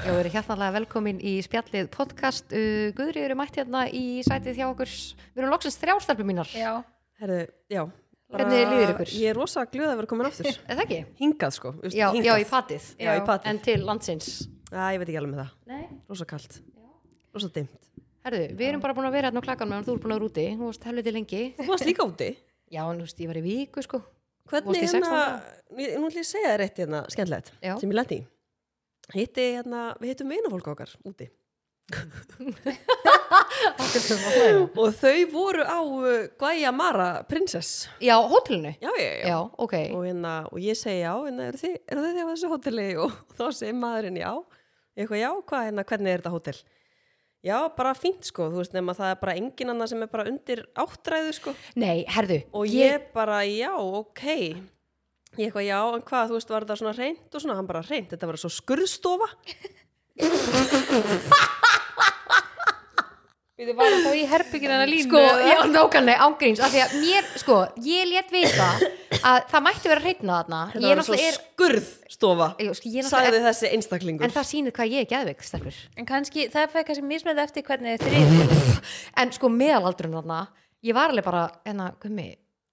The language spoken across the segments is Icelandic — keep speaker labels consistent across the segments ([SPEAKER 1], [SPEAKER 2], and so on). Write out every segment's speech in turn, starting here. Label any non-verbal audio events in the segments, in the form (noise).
[SPEAKER 1] Þau eru hjartanlega velkomin í spjallið podcast. Uh, Guðri eru mætt hérna í sætið hjá okkur. Við erum loksins þrjástarpi mínar.
[SPEAKER 2] Já,
[SPEAKER 3] Herðu, já.
[SPEAKER 1] Hvernig líður ykkur?
[SPEAKER 3] Ég er rosa glöð að vera komin
[SPEAKER 1] (laughs)
[SPEAKER 3] aftur.
[SPEAKER 1] Er það ekki?
[SPEAKER 3] Hingað sko. Just,
[SPEAKER 1] Já,
[SPEAKER 3] hingað.
[SPEAKER 1] já, í patið.
[SPEAKER 3] Já, í patið.
[SPEAKER 1] En til landsins.
[SPEAKER 3] Æ, ég veit ekki alveg með það.
[SPEAKER 1] Nei.
[SPEAKER 3] Rosa kalt. Rosa dimmt.
[SPEAKER 1] Herðu, við erum bara búin að vera hérna á klakan meðan þú ert búin að vera úti. Þú varst helviti lengi.
[SPEAKER 3] Þú varst líka úti.
[SPEAKER 1] Já, en þú veist, ég var í viku, sko. (laughs)
[SPEAKER 3] Hvernig
[SPEAKER 1] Varst í
[SPEAKER 3] hérna,
[SPEAKER 1] 16
[SPEAKER 3] ég- nú ætlum ég að segja þér eitt hérna skemmtilegt
[SPEAKER 1] Já.
[SPEAKER 3] sem ég lendi í. Hitti hérna, við hittum vinafólk okkar úti og þau voru á uh, Guaya Mara Princess.
[SPEAKER 1] Já, hótelinu.
[SPEAKER 3] Já, já, já.
[SPEAKER 1] Já, ok.
[SPEAKER 3] Og, hérna, og ég segi já, hérna, eru þið, eru þið á þessu hóteli (laughs) og þá segir maðurinn já. Ég eitthvað já, hvað, hérna, hvernig er þetta hótel? Já, bara fínt sko, þú veist, nema það er bara engin annað sem er bara undir áttræðu sko.
[SPEAKER 1] Nei, herðu.
[SPEAKER 3] Og ég, bara já, ok. Ég eitthvað já, en hvað, þú veist, var þetta svona reynd og svona, hann bara reynd, þetta var svo skurðstofa.
[SPEAKER 2] við erum bara þá í herbyggin hennar línu
[SPEAKER 1] Sko,
[SPEAKER 2] eða?
[SPEAKER 1] já, nákvæmlega, ángríns. Af því að mér, sko, ég létt veita að það mætti vera hreitna þarna.
[SPEAKER 3] Þetta
[SPEAKER 1] Ég
[SPEAKER 3] var svo
[SPEAKER 1] náttúrulega er,
[SPEAKER 3] skurðstofa,
[SPEAKER 1] Ég- sko, ég náttúrulega
[SPEAKER 3] sagði þessi einstaklingur.
[SPEAKER 1] en það sýnir hvað ég er geðveik, stelpur. (laughs)
[SPEAKER 2] En kannski, það fæði kannski mismöld eftir hvernig þið þrýðir
[SPEAKER 1] en sko meðalaldurinn þarna ég var alveg bara, enna, gummi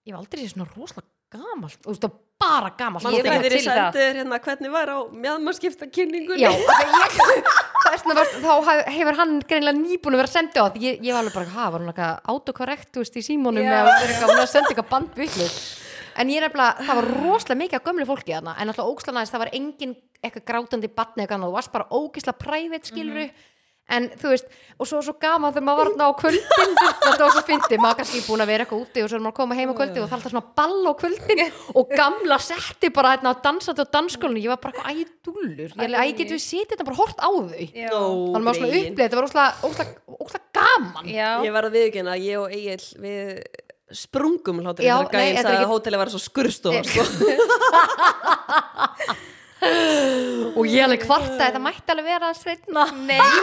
[SPEAKER 1] ég var aldrei séð svona rosalega gamalt og þú veist að bara gamalt
[SPEAKER 3] Manstu
[SPEAKER 2] Ég
[SPEAKER 3] þegar
[SPEAKER 2] veit
[SPEAKER 3] ég
[SPEAKER 2] til það.
[SPEAKER 3] sendi þér hérna hvernig var á mjadmarskipta kynningunni?
[SPEAKER 1] Já, af því ég, (laughs) þessna var, þá ha- hefur hann greinilega nýbúin að vera sendið á því ég, ég var alveg bara, hvað, var hann eitthvað autokorrekt þú veist, í símónum
[SPEAKER 2] Já.
[SPEAKER 1] eða var eitthvað, hann var að senda eitthvað bandvillur en ég er nefnilega, það var rosalega mikið af gömlu fólki þarna en alltaf ógslanaðist, það var engin eitthvað grátandi batni eitthvað annað, þú varst bara ógisla prævit skiluru en þú veist, og svo svo gaman þegar maður var þarna á kvöldin (laughs) þetta var svo fyndið, maður kannski búin að vera eitthvað úti og svo er maður að koma heim á kvöldin og það er alltaf svona ball á kvöldin og gamla setti bara hérna að dansa á dansskólinu, ég var bara eitthvað ædúllur ég, alveg, æ, getum við setið þetta bara hort á þau
[SPEAKER 2] Já,
[SPEAKER 3] Nó,
[SPEAKER 1] þannig maður svona
[SPEAKER 3] greyin.
[SPEAKER 1] upplega, þetta var óslega, óslega, óslega gaman
[SPEAKER 2] já
[SPEAKER 3] Ég var að viðkynna að ég og Egil við sprungum hlátur
[SPEAKER 1] Já,
[SPEAKER 3] þegar
[SPEAKER 1] nei, þetta
[SPEAKER 3] gæinn
[SPEAKER 1] er
[SPEAKER 3] sagði
[SPEAKER 1] ekki-
[SPEAKER 3] að hótelið var svo skurðstofa sko.
[SPEAKER 1] og ég alveg kvartaði, það mætti alveg vera sveitna
[SPEAKER 2] Nei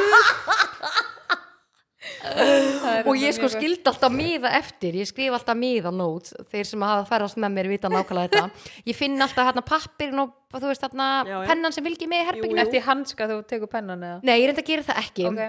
[SPEAKER 2] Það er
[SPEAKER 1] og ég
[SPEAKER 2] mjög
[SPEAKER 1] sko
[SPEAKER 2] gott.
[SPEAKER 1] skildi alltaf miða eftir ég skrif alltaf miða notes þeir sem hafa ferðast með mér vita nákvæmlega þetta ég finn alltaf hérna pappirinn og þú veist hérna
[SPEAKER 3] Já, já.
[SPEAKER 1] pennan sem fylgir með í herbygginu
[SPEAKER 2] Eftir hanska þú tekur pennan eða
[SPEAKER 1] Nei, ég reynda að gera það ekki
[SPEAKER 2] Ok,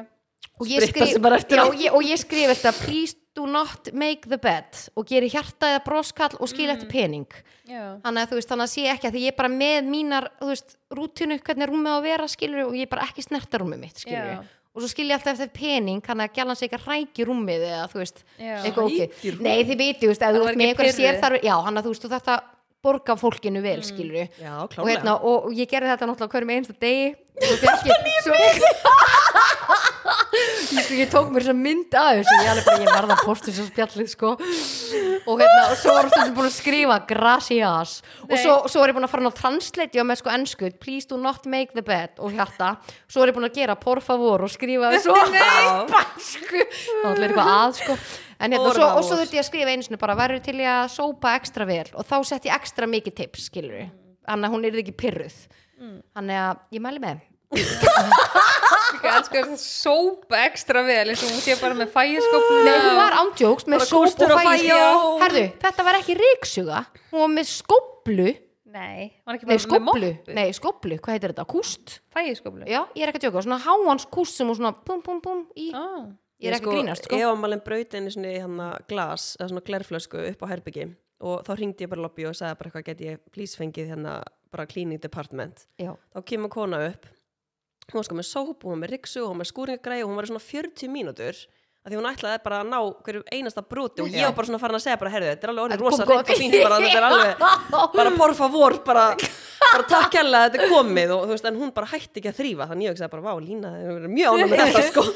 [SPEAKER 1] og, ég
[SPEAKER 3] Spritta sig bara eftir
[SPEAKER 1] já,
[SPEAKER 3] á.
[SPEAKER 1] ég, og ég skrif alltaf please do not make the bed og geri hjarta eða broskall og skil eftir pening
[SPEAKER 2] já
[SPEAKER 1] þannig að þú veist, þannig að sé ekki að því ég er bara með mínar, þú veist, rútinu hvernig rúmið á að vera skilur og ég er bara ekki snerta rúmið mitt skilur
[SPEAKER 2] Já.
[SPEAKER 1] og svo skil ég alltaf eftir pening þannig að gælan sig ekki að ræki rúmið eða þú veist,
[SPEAKER 2] Já.
[SPEAKER 1] eitthvað
[SPEAKER 3] Hrækir
[SPEAKER 1] ókið
[SPEAKER 3] rúmið?
[SPEAKER 1] Nei, þið veitir, þú veist, ef
[SPEAKER 2] Það
[SPEAKER 1] þú ert
[SPEAKER 2] var ekki
[SPEAKER 1] með eitthvað
[SPEAKER 2] pirrið.
[SPEAKER 1] sér þar já, hann að þú veist, þú þetta borga fólkinu vel mm. skilur
[SPEAKER 3] Já,
[SPEAKER 1] og,
[SPEAKER 3] klárlega.
[SPEAKER 1] hérna, og ég gerði þetta náttúrulega á hverjum einsta degi og fekk ég svo, (laughs) ég, sko, ég tók mér svo mynd af þessu ég, alveg bara, ég varða postur svo spjallið sko. og hérna, og svo var stundum búin að skrifa gracias og
[SPEAKER 2] Nei.
[SPEAKER 1] svo, svo var ég búin að fara ná translate já með sko ennsku please do not make the bed og hjarta svo var ég búin að gera por favor og skrifa svo
[SPEAKER 3] Já.
[SPEAKER 1] spansku þá ætlaði eitthvað að sko En hérna, og,
[SPEAKER 3] Por
[SPEAKER 1] svo, og
[SPEAKER 3] favor.
[SPEAKER 1] svo þurfti ég að skrifa einu sinni bara verður til ég að sópa ekstra vel og þá sett ég ekstra mikið tips skilur við þannig að hún yrði ekki pyrruð
[SPEAKER 3] Mm.
[SPEAKER 1] þannig að ég mæli með
[SPEAKER 2] Ég elsku að það sópa ekstra vel eins og hún sé bara með fæjaskopnum
[SPEAKER 1] Nei, hún var ándjóks með
[SPEAKER 3] Bara
[SPEAKER 1] sóp
[SPEAKER 3] kústur
[SPEAKER 1] og
[SPEAKER 3] og
[SPEAKER 1] fæði
[SPEAKER 3] fæja og-
[SPEAKER 1] Herðu, þetta var ekki ríksuga hún var með skóplu
[SPEAKER 2] Nei, hún var ekki
[SPEAKER 1] Nei,
[SPEAKER 2] bara
[SPEAKER 1] skóplu,
[SPEAKER 2] með moppu
[SPEAKER 1] nei, skóplu, hvað heitir þetta? Kúst?
[SPEAKER 2] Fæjaskopnum
[SPEAKER 1] Já, ég er ekki að tjóka, svona háans kúst sem hún svona bum bum bum í
[SPEAKER 2] Ah,
[SPEAKER 1] Ég er ekki að grínast, sko
[SPEAKER 3] Ég var malin braut einu svona hérna glas, eða svona glerflösku upp á herbyggi og þá ringdi ég bara í lobby og sagði bara eitthvað get ég please fengið hérna bara cleaning department.
[SPEAKER 1] Já,
[SPEAKER 3] Þá kemur kona upp, hún var sko með sóp, hún var með riksu, hún var með skúringagræði og hún var í svona 40 mínútur að því hún ætlaði bara að ná hverju einasta broti og ég var bara svona farin að segja bara, herðu, þetta er alveg orðið
[SPEAKER 1] Þetta kom
[SPEAKER 3] rosa reynd
[SPEAKER 1] gott.
[SPEAKER 3] og fínt bara, þetta er
[SPEAKER 1] (laughs)
[SPEAKER 3] alveg, (laughs) bara por favor, bara, bara takk kjærlega að þetta er komið og þú veist, en hún bara hætti ekki að þrýfa, þannig ég hugsaði bara, vá, Lína, það er mjög ánum með þetta,
[SPEAKER 1] (laughs)
[SPEAKER 3] sko.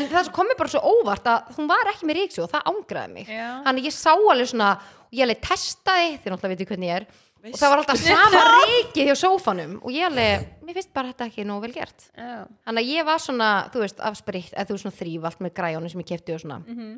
[SPEAKER 1] en það kom mér bara svo óvart að hún var ekki með ríksu og það ángraði mig
[SPEAKER 2] Já.
[SPEAKER 1] þannig að ég sá alveg svona og ég alveg testaði, þið náttúrulega veitir hvernig ég er og það var alltaf
[SPEAKER 2] (laughs)
[SPEAKER 1] sama ríkið hjá sófanum og ég alveg, mér finnst bara þetta ekki nóg vel gert
[SPEAKER 2] Já
[SPEAKER 1] þannig að ég var svona, þú veist, afspritt eða þú veist svona þrývalt með græjónu sem ég kefti og svona
[SPEAKER 2] Mhm.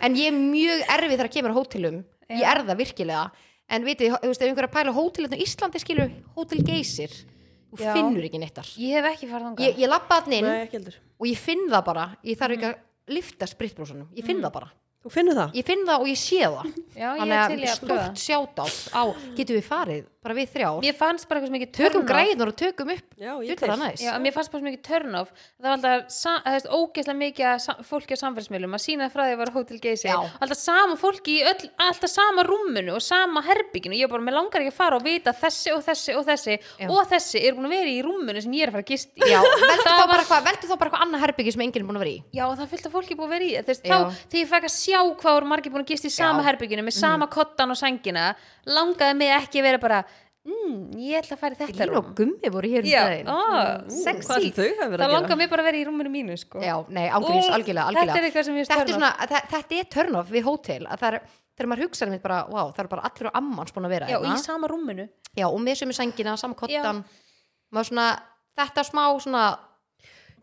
[SPEAKER 1] en ég er mjög erfið þegar að kemur á hótelum, ég er það virkilega en vitið, þú veist, ef einhverja pæla hótelum í Íslandi skilur hótel geysir þú
[SPEAKER 2] Já.
[SPEAKER 1] finnur ekki neitt þar
[SPEAKER 2] Ég hef ekki farið þangað
[SPEAKER 1] ég, ég lappa hann inn
[SPEAKER 3] Nei, ekki heldur.
[SPEAKER 1] og ég finn það bara, ég þarf
[SPEAKER 2] Mm.
[SPEAKER 1] ekki að lifta spritbrósunum, ég finn það bara
[SPEAKER 3] Þú finnur það?
[SPEAKER 1] ég finn það og ég sé það
[SPEAKER 2] Já, Mm. ég
[SPEAKER 1] Þannig
[SPEAKER 2] er
[SPEAKER 1] að
[SPEAKER 2] til í að
[SPEAKER 1] stórt sjátátt á, getum við farið bara við þrjár,
[SPEAKER 2] Mér fannst bara eitthvað sem ekki
[SPEAKER 1] tökum græðnar og tökum upp
[SPEAKER 3] Já, ég
[SPEAKER 1] djúlar að næs
[SPEAKER 2] Já, mér fannst bara svo mikið turn off það var alltaf, sa- það veist, ógeðslega mikið af sa- fólki á samfélagsmiðlum að sína frá því að vera hótel geysi,
[SPEAKER 1] Já.
[SPEAKER 2] alltaf sama fólki í öll, alltaf sama rúminu og sama herbygginu, ég bara, mér langar ekki að fara og vita að þessi og þessi og þessi
[SPEAKER 1] Já.
[SPEAKER 2] og þessi er búin að vera í rúminu sem ég er að fara að gist í (laughs)
[SPEAKER 1] Já, veldu
[SPEAKER 2] Það
[SPEAKER 1] þá bara eitthvað, veldu þá bara eitthvað annað herbyggi sem enginn er búin að vera í
[SPEAKER 2] Já, og það er fullt af fólki búið að vera í þú veist,
[SPEAKER 1] Já.
[SPEAKER 2] þá, þegar ég fekk að sjá hvað voru margir búin að gista í sama herbygginu með
[SPEAKER 1] Mm.
[SPEAKER 2] sama kottan og sængina langaði mig ekki að vera bara mm, ég ætla að fara í þetta
[SPEAKER 1] Lín og
[SPEAKER 2] rúm
[SPEAKER 1] Gummi voru hér um
[SPEAKER 2] Já,
[SPEAKER 1] daginn
[SPEAKER 2] ó,
[SPEAKER 3] Hvað
[SPEAKER 1] Sexy
[SPEAKER 3] ætli þau hafi verið að
[SPEAKER 2] það
[SPEAKER 3] gera?
[SPEAKER 2] langaði mig bara að vera í rúminu mínu sko.
[SPEAKER 1] Já, nei, ángríns,
[SPEAKER 2] Og
[SPEAKER 1] algjörlega,
[SPEAKER 2] þetta er
[SPEAKER 1] algjörlega
[SPEAKER 2] eitthvað sem mér finnst
[SPEAKER 1] Þetta er
[SPEAKER 2] turn
[SPEAKER 1] svona, þa- Þetta er turn off við hótel að það er, þegar maður hugsaði mitt bara, wow, það er bara allir og ammans búin að vera
[SPEAKER 2] Já, og í
[SPEAKER 1] hérna.
[SPEAKER 2] sama rúminu
[SPEAKER 1] Já, og með sem er sængina, samkottan maður svona, þetta smá svona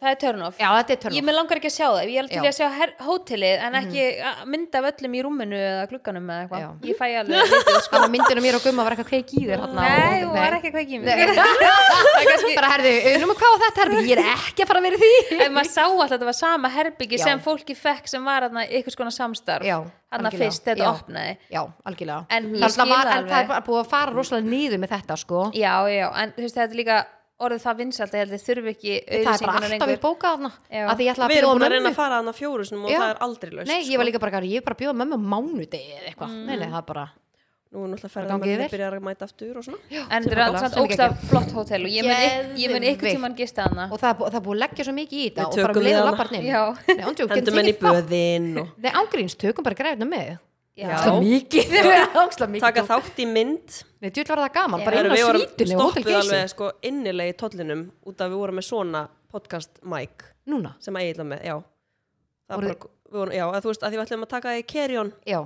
[SPEAKER 2] Það er turn off
[SPEAKER 1] Já, þetta er turn
[SPEAKER 2] Ég
[SPEAKER 1] off
[SPEAKER 2] með langar ekki að sjá það, ég er til
[SPEAKER 1] Já. Mhm.
[SPEAKER 2] í að sjá her- hótelið en ekki mm. mynda af öllum í rúminu eða glugganum eða
[SPEAKER 1] Já.
[SPEAKER 2] eitthvað Ég fæ
[SPEAKER 1] (laughs)
[SPEAKER 2] alveg lítið, sko.
[SPEAKER 1] Þannig að myndinu mér og Gumma var eitthvað kveik í þér hérna á
[SPEAKER 2] Nei,
[SPEAKER 1] hótel.
[SPEAKER 2] hún var ekki að kveikið
[SPEAKER 1] Nei.
[SPEAKER 2] mér Það er kannski
[SPEAKER 1] Bara herðu, unum að hvað á þetta herbyggi, ég er ekki að fara að vera í því
[SPEAKER 2] (laughs) En maður sá alltaf að þetta var sama herbyggi
[SPEAKER 1] Já.
[SPEAKER 2] sem fólki fekk sem var þarna einhvers konar samstarf
[SPEAKER 1] Já,
[SPEAKER 2] Þarna
[SPEAKER 1] algjörlega.
[SPEAKER 2] fyrst þegar þetta
[SPEAKER 1] Já.
[SPEAKER 2] opnaði
[SPEAKER 1] Já, algjörlega
[SPEAKER 2] En ég
[SPEAKER 1] Það er
[SPEAKER 2] skil
[SPEAKER 1] alltaf var-
[SPEAKER 2] það
[SPEAKER 1] en það er
[SPEAKER 2] alveg.
[SPEAKER 1] bara búið að fara rosalega niður með þetta sko.
[SPEAKER 2] Já, já, en þú veist þetta er líka orðið það vinsalt að ég held þið þurfi ekki
[SPEAKER 1] Það er bara
[SPEAKER 2] auðlýsingunar
[SPEAKER 1] alltaf við bókað þarna
[SPEAKER 2] Já.
[SPEAKER 1] Af því ég ætla að
[SPEAKER 3] Við erum
[SPEAKER 1] bjóða
[SPEAKER 3] búin að reyna
[SPEAKER 1] mömmu
[SPEAKER 3] að fara sko. hana fjóru sinum og
[SPEAKER 1] Já.
[SPEAKER 3] það er aldrei löst
[SPEAKER 1] Nei, ég var líka bara, ég er bara að bjóða mömmu á mánudegi eða eitthvað
[SPEAKER 2] Mm.
[SPEAKER 1] Nei, nei, það er bara
[SPEAKER 3] Nú er náttúrulega
[SPEAKER 1] Það gangi
[SPEAKER 3] ferðarmenni
[SPEAKER 1] vel.
[SPEAKER 3] byrjar að mæta aftur og svona
[SPEAKER 2] En þetta er
[SPEAKER 1] Sem
[SPEAKER 2] alltaf
[SPEAKER 1] er
[SPEAKER 2] ógsta
[SPEAKER 1] geggjað.
[SPEAKER 2] flott hótel og ég mun- ég mun ykkur
[SPEAKER 1] Geðveikt.
[SPEAKER 2] tíman gista hana
[SPEAKER 1] Og það er bú- það er búið að leggja svo mikið í þetta
[SPEAKER 3] Við
[SPEAKER 1] Og bara um
[SPEAKER 3] tökum
[SPEAKER 1] leið
[SPEAKER 3] við
[SPEAKER 1] og
[SPEAKER 3] hana.
[SPEAKER 1] labbarn inn.
[SPEAKER 2] Já.
[SPEAKER 1] Nei, ándjók,
[SPEAKER 3] Hendum henni í böðin og
[SPEAKER 1] Nei, ángríns, tökum bara græðina með
[SPEAKER 2] Já.
[SPEAKER 1] Óksla mikið (laughs) Óksla mikið
[SPEAKER 3] taka þátt í mynd
[SPEAKER 1] Nei, djúl var það gaman,
[SPEAKER 2] Já.
[SPEAKER 1] bara inn á
[SPEAKER 3] Við vorum
[SPEAKER 1] svítunni og hótel
[SPEAKER 3] stoppuð
[SPEAKER 1] geysi
[SPEAKER 3] alveg sko innilegi tóllinum út af við vorum með svona podcast mic
[SPEAKER 1] Núna,
[SPEAKER 3] sem Egil var með, já Það
[SPEAKER 1] Voruð-
[SPEAKER 3] bara, við vorum, já, að þú veist, að því við ætlum að taka í kerjón
[SPEAKER 1] já,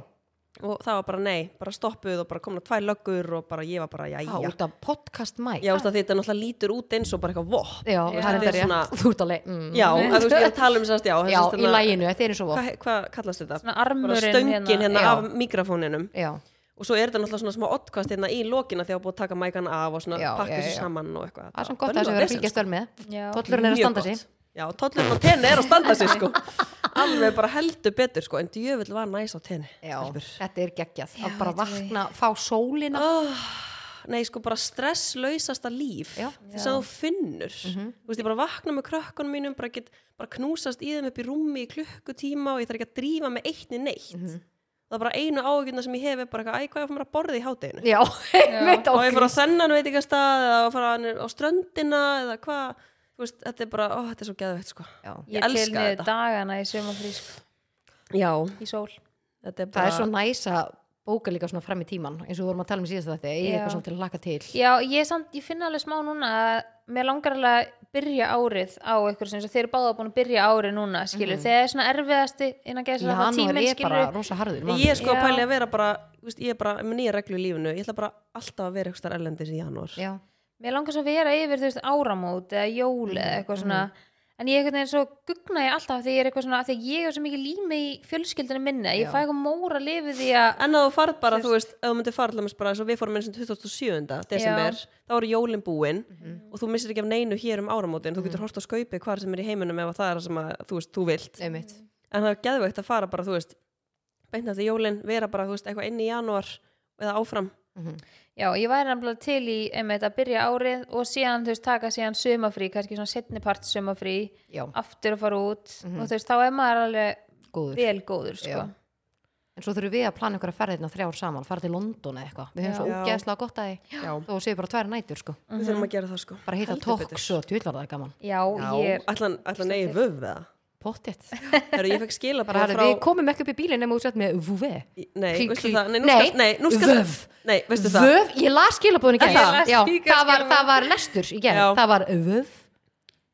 [SPEAKER 3] og það var bara nei, bara stoppuð og bara komna tvær löggur og bara ég var bara, já,
[SPEAKER 1] á,
[SPEAKER 3] já
[SPEAKER 1] út af podcast mic
[SPEAKER 3] Já, þú veist að þetta náttúrulega lítur út eins og bara eitthvað vopp
[SPEAKER 1] Já,
[SPEAKER 2] Já.
[SPEAKER 1] það er
[SPEAKER 3] Þetta er
[SPEAKER 1] þetta
[SPEAKER 3] svona-
[SPEAKER 1] rétt (laughs) Þú ert alveg mm.
[SPEAKER 3] Já, að þú veist, ég er að tala um sérst, já sem
[SPEAKER 1] Já,
[SPEAKER 3] sagt
[SPEAKER 1] í
[SPEAKER 3] hérna-
[SPEAKER 1] læginu, þetta er eins og
[SPEAKER 3] Hvað
[SPEAKER 1] vop
[SPEAKER 3] hva kallast þetta?
[SPEAKER 2] Svona
[SPEAKER 3] Bara
[SPEAKER 2] armurinn
[SPEAKER 3] stöngin hérna,
[SPEAKER 1] Já.
[SPEAKER 3] af mikrofóninum
[SPEAKER 1] Já,
[SPEAKER 3] og svo er þetta náttúrulega svona smá oddkvast hérna í lokina þegar búið að taka mækan af og svona
[SPEAKER 1] Já, já,
[SPEAKER 3] pakka þessu
[SPEAKER 1] já.
[SPEAKER 3] saman og eitthvað
[SPEAKER 1] það er sem gott að þessu verið að fylgjast vel með
[SPEAKER 2] Já.
[SPEAKER 1] Tollurinn er að standa sig
[SPEAKER 3] Já, tollurinn á tenni er að standa sig
[SPEAKER 1] (laughs)
[SPEAKER 3] sko Alveg bara heldur betur sko en djöfull var næs á tenni
[SPEAKER 1] Já,
[SPEAKER 3] stelpur.
[SPEAKER 1] þetta er geggjað að bara
[SPEAKER 2] þetta er-
[SPEAKER 1] vakna, fá sólina
[SPEAKER 3] Nei, sko bara stresslausasta líf
[SPEAKER 1] Já. Mhm.
[SPEAKER 3] þess að þú finnur Þú veist, ég bara vakna með krökkunum mínum bara, get, bara knúsast í þeim upp í rúmi í klukkutíma og ég þarf ekki að drífa með eittni neitt
[SPEAKER 1] Mhm.
[SPEAKER 3] Það er bara einu ágjörna sem ég hef er bara eitthvað, æ, hvað ég fór að borða í hátæðinu
[SPEAKER 1] Já, (laughs) einmitt
[SPEAKER 3] og ég fór
[SPEAKER 1] ágrís
[SPEAKER 3] á þennan veit ekki að stað eða að fara niður á ströndina eða hvað, þú veist, þetta er bara, ó, þetta er svo geðveikt sko.
[SPEAKER 1] Það
[SPEAKER 2] Ég
[SPEAKER 3] Ég
[SPEAKER 2] til
[SPEAKER 3] elska
[SPEAKER 2] niður
[SPEAKER 3] þetta.
[SPEAKER 2] dagana í sömafrísk
[SPEAKER 3] Já,
[SPEAKER 2] í sól
[SPEAKER 3] þetta er bara
[SPEAKER 1] er svo næs að bóka líka svona fram í tíman eins og við vorum að tala um síðast þetta ég er
[SPEAKER 2] Já.
[SPEAKER 1] eitthvað svona til að laka til
[SPEAKER 2] Já, ég, samt, ég finna alveg smá núna að mér langar alveg að byrja árið á ykkur sem þeir eru báða búin að byrja árið núna, skilur, mm. þegar er svona erfiðasti innan gæsa það
[SPEAKER 1] Janúar
[SPEAKER 2] tíminn,
[SPEAKER 1] er
[SPEAKER 2] skilur
[SPEAKER 1] bara rosa harður maður.
[SPEAKER 3] Ég er sko
[SPEAKER 2] Já.
[SPEAKER 3] að pæli að vera bara, þú veist, ég er bara með nýja reglu í lífinu, ég ætla bara alltaf að vera eitthvað erlendis í janúar
[SPEAKER 1] Já,
[SPEAKER 2] mér langar svo að vera yfir þú veist áramót eða jól eða eitthvað svona en ég einhvern veginn svo gugna ég alltaf því ég er eitthvað svona, af því að ég er svo mikið lími í fjölskyldinu minni, að ég
[SPEAKER 1] Já.
[SPEAKER 2] fæ eitthvað móra lifið því að
[SPEAKER 3] En að þú farð bara, þú veist, ef þú myndir farð allavega bara, svo við fórum eins og 27. desember þá eru jólin búin og þú missir ekki af neinu hér um áramótin þú getur hort á skaupi hvar sem er í heiminum ef að það er það sem að, þú veist, þú vilt
[SPEAKER 1] einmitt
[SPEAKER 3] en það er geðveikt að fara bara, þú veist beint eftir jólin, vera bara, þú veist, eitthvað inn í janúar eða áfram
[SPEAKER 1] Mhm.
[SPEAKER 2] Já, ég væri nefnilega til í einmitt að byrja árið og síðan, þú veist, taka síðan sömafrí, kannski svona setnipart sömafrí,
[SPEAKER 1] Já,
[SPEAKER 2] aftur að fara út og þú veist, þá er maður alveg
[SPEAKER 1] Mhm. góður
[SPEAKER 2] vel góður, sko.
[SPEAKER 1] Já. En svo þurfum við að plana ykkur að ferða þarna þrjár saman fara til London eða eitthvað Við höfum svo
[SPEAKER 3] Já.
[SPEAKER 1] ógeðslega gott að því
[SPEAKER 3] Já.
[SPEAKER 1] Þó séu bara tvær nætur sko
[SPEAKER 3] við þurfum að gera það sko
[SPEAKER 1] Bara hitta
[SPEAKER 3] Heldur betur.
[SPEAKER 1] tóks og tjúlar það er gaman
[SPEAKER 2] Já,
[SPEAKER 3] Já,
[SPEAKER 2] ég er
[SPEAKER 3] ætlan, ætlan eigi vöf eða
[SPEAKER 1] Pottitt
[SPEAKER 3] Heru, ég fekk skila
[SPEAKER 1] Bara herðu, við komum ekki upp í bílinn nema þú sett með VV
[SPEAKER 3] nei,
[SPEAKER 1] klí-
[SPEAKER 3] veistu
[SPEAKER 1] klí-
[SPEAKER 3] það, nei, nú
[SPEAKER 1] Nei,
[SPEAKER 3] skal, nei, nú skal
[SPEAKER 1] vöf.
[SPEAKER 3] nei, veistu það
[SPEAKER 1] Vöf, ég las skilabóðin í
[SPEAKER 2] Ég las
[SPEAKER 1] gerð Já,
[SPEAKER 2] líka
[SPEAKER 1] það var,
[SPEAKER 2] skilaboðin.
[SPEAKER 1] það var lestur í gerð
[SPEAKER 3] Já.
[SPEAKER 1] Það var vöf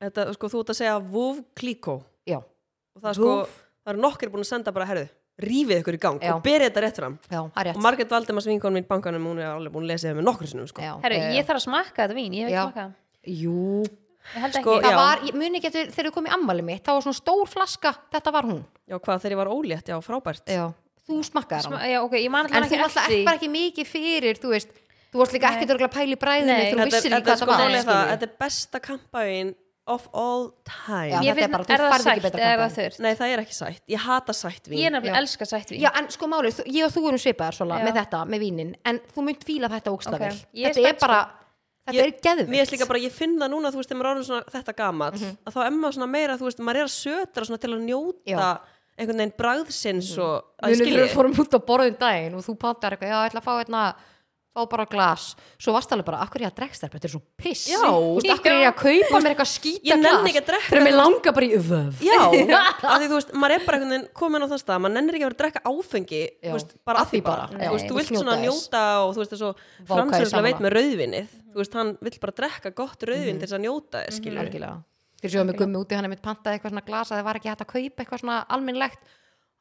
[SPEAKER 3] Þetta, sko, þú ert að segja vöf klíkó
[SPEAKER 1] Já,
[SPEAKER 3] og það, er sko,
[SPEAKER 1] Vöf.
[SPEAKER 3] það eru nokkir búin að senda bara, herðu, rífið ykkur í gang
[SPEAKER 1] Já.
[SPEAKER 3] og berið þetta rétt fram
[SPEAKER 1] já, það er
[SPEAKER 3] og
[SPEAKER 1] rétt
[SPEAKER 3] Margrét Valdemars vinkon mín í bankanum, hún er alveg búin að lesa það með nokkur sinnum sko.
[SPEAKER 1] Já,
[SPEAKER 2] Herru,
[SPEAKER 1] já, já.
[SPEAKER 2] ég þarf að smakka þetta vín, ég hef
[SPEAKER 1] Já.
[SPEAKER 2] ekki smakað það.
[SPEAKER 1] Jú,
[SPEAKER 2] Ég held
[SPEAKER 3] Sko,
[SPEAKER 2] ekki.
[SPEAKER 1] það
[SPEAKER 3] Já.
[SPEAKER 1] var, ég muni ekki eftir þegar þú kom í ammali mitt, það var svona stór flaska, þetta var hún
[SPEAKER 3] já, hvað þegar ég var ólétt, já, frábært
[SPEAKER 1] já. þú smakkaðir
[SPEAKER 2] Sma,
[SPEAKER 1] hana
[SPEAKER 2] já, ok, ég man
[SPEAKER 1] en þú
[SPEAKER 2] alltaf
[SPEAKER 1] alltaf
[SPEAKER 2] ekki
[SPEAKER 1] ert bara
[SPEAKER 2] eftir.
[SPEAKER 1] ekki mikið fyrir þú veist, þú varst líka
[SPEAKER 2] Nei.
[SPEAKER 1] ekkert örgulega pæli bræðinu
[SPEAKER 2] Nei.
[SPEAKER 1] þú
[SPEAKER 3] Þetta,
[SPEAKER 1] vissir
[SPEAKER 3] þetta,
[SPEAKER 1] ekki hvað
[SPEAKER 3] sko,
[SPEAKER 1] það
[SPEAKER 3] málið
[SPEAKER 1] var
[SPEAKER 3] er það, þetta er besta kampaginn of all time
[SPEAKER 1] Já, þetta
[SPEAKER 2] Mér
[SPEAKER 1] er bara- þú
[SPEAKER 2] finnst, er það
[SPEAKER 1] færð ekki
[SPEAKER 2] sætt
[SPEAKER 1] betra
[SPEAKER 2] eða er það
[SPEAKER 1] kampavín.
[SPEAKER 2] þurrt?
[SPEAKER 3] Nei, það er ekki sætt, ég hata sætt vín
[SPEAKER 2] Ég er nefnilega
[SPEAKER 1] Já.
[SPEAKER 2] elska sætt vín
[SPEAKER 1] Já, en sko málið, þú- ég og þú erum svipaðar svona
[SPEAKER 2] Já.
[SPEAKER 1] með þetta, með vínin, en þú mynd fíla þetta ógsta
[SPEAKER 2] Ok.
[SPEAKER 1] vel.
[SPEAKER 2] Ég er
[SPEAKER 1] Þetta er
[SPEAKER 2] spennt,
[SPEAKER 1] bara, þetta er
[SPEAKER 3] sko. Ég-
[SPEAKER 1] geðvikt.
[SPEAKER 3] Mér finnst líka bara, ég finn það núna, þú veist, þegar maður er orðin svona þetta gamall,
[SPEAKER 1] Mhm.
[SPEAKER 3] að þá er maður svona meira, þú veist, maður er að sötra svona til að njóta
[SPEAKER 1] Já.
[SPEAKER 3] einhvern veginn bragðsins og að ég
[SPEAKER 1] Munið
[SPEAKER 3] skilji
[SPEAKER 1] þegar við fórum út á borðum daginn og þú pantar eitthvað, já, ég ætla að fá hérna fá bara glas, svo varst alveg bara akkur er ég að drekka stærpa, þetta er svo piss
[SPEAKER 3] Já.
[SPEAKER 1] Þú veist, akkur er ég að kaupa mér eitthvað skýta
[SPEAKER 3] Ég nenni ekki að drekka
[SPEAKER 1] þegar mér langar bara í öf (laughs)
[SPEAKER 3] Já, af því þú veist, maður er bara einhvern veginn komin á þann stað, maður nennir ekki að vera að drekka áfengi,
[SPEAKER 1] Já,
[SPEAKER 3] þú veist, bara
[SPEAKER 1] að
[SPEAKER 3] að því
[SPEAKER 1] því
[SPEAKER 3] bara,
[SPEAKER 1] bara, já,
[SPEAKER 3] þú veist, þú
[SPEAKER 1] vill
[SPEAKER 3] vilt svona
[SPEAKER 1] njóta þess.
[SPEAKER 3] njóta og þú veist, þessu
[SPEAKER 1] Vá, hvað ég
[SPEAKER 3] framsögulega veit
[SPEAKER 1] sammála. Mhm.
[SPEAKER 3] með rauðvinnið, þú veist, hann vill bara drekka gott rauðvinn til þess að njóta þess, skilur við.
[SPEAKER 1] algjörlega, þegar sjóðum við gummi úti hann er mitt pantaði eitthvað svona glasa, það var ekki hægt að kaupa eitthvað svona almennlegt,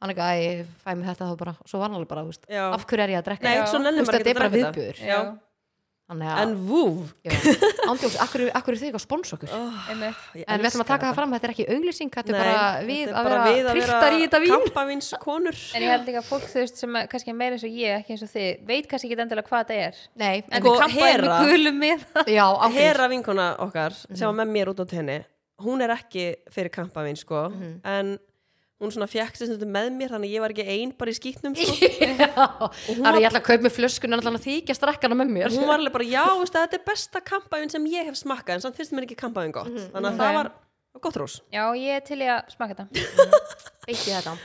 [SPEAKER 1] hann ekki að ég fæ mig þetta þá bara, svo var hann alveg bara, þú veist,
[SPEAKER 3] Já.
[SPEAKER 1] af hverju er ég að drekka
[SPEAKER 3] Nei,
[SPEAKER 1] þetta?
[SPEAKER 3] svo
[SPEAKER 1] Þú
[SPEAKER 3] nennir
[SPEAKER 1] veist, þetta
[SPEAKER 3] maður
[SPEAKER 1] er
[SPEAKER 3] ekki að
[SPEAKER 1] bara
[SPEAKER 3] drekka þetta.
[SPEAKER 1] viðbjör
[SPEAKER 2] Já,
[SPEAKER 1] þannig að,
[SPEAKER 3] En vúv,
[SPEAKER 1] ándjóks, akkur, akkur er þið ekki að sponsa okkur
[SPEAKER 2] einmitt
[SPEAKER 1] en við
[SPEAKER 3] Ég
[SPEAKER 1] ætlum
[SPEAKER 3] elska
[SPEAKER 1] að taka það
[SPEAKER 3] þetta.
[SPEAKER 1] fram, þetta er ekki auglýsing þetta er
[SPEAKER 3] Nei,
[SPEAKER 1] bara við
[SPEAKER 3] þetta er
[SPEAKER 1] að
[SPEAKER 3] bara við
[SPEAKER 1] vera trilltar í þetta vín
[SPEAKER 3] kampavínskonur.
[SPEAKER 1] (laughs)
[SPEAKER 2] En ég held líka að fólk þú veist sem að, kannski er meira eins og ég, ekki eins og þið veit kannski ekki endilega hvað það er
[SPEAKER 1] Nei,
[SPEAKER 2] En
[SPEAKER 3] Sko,
[SPEAKER 2] þið kampaðið
[SPEAKER 3] Hera-
[SPEAKER 2] með gulum með
[SPEAKER 1] (laughs) já, ákveð (laughs)
[SPEAKER 3] Hera vinkona okkar sem
[SPEAKER 1] Mhm.
[SPEAKER 3] var með mér út á tenni hún er ekki fyrir kampavín sko
[SPEAKER 1] Mhm.
[SPEAKER 3] en hún svona fjekk sér stundum með mér þannig að ég var ekki ein bara í
[SPEAKER 1] (laughs)
[SPEAKER 3] skýtnum sko.
[SPEAKER 1] Það er ég ætla að kaupa með flöskun en ætla hann að þykja strakkana með mér
[SPEAKER 3] hún var alveg bara já veistu, þetta er besta kampavín sem ég hef smakkað en samt finnst mér ekki kampavín gott þannig að
[SPEAKER 2] Mhm.
[SPEAKER 3] það
[SPEAKER 2] Ok.
[SPEAKER 3] var gott rós
[SPEAKER 2] Já, ég er til í að smaka þetta
[SPEAKER 1] Beitti þetta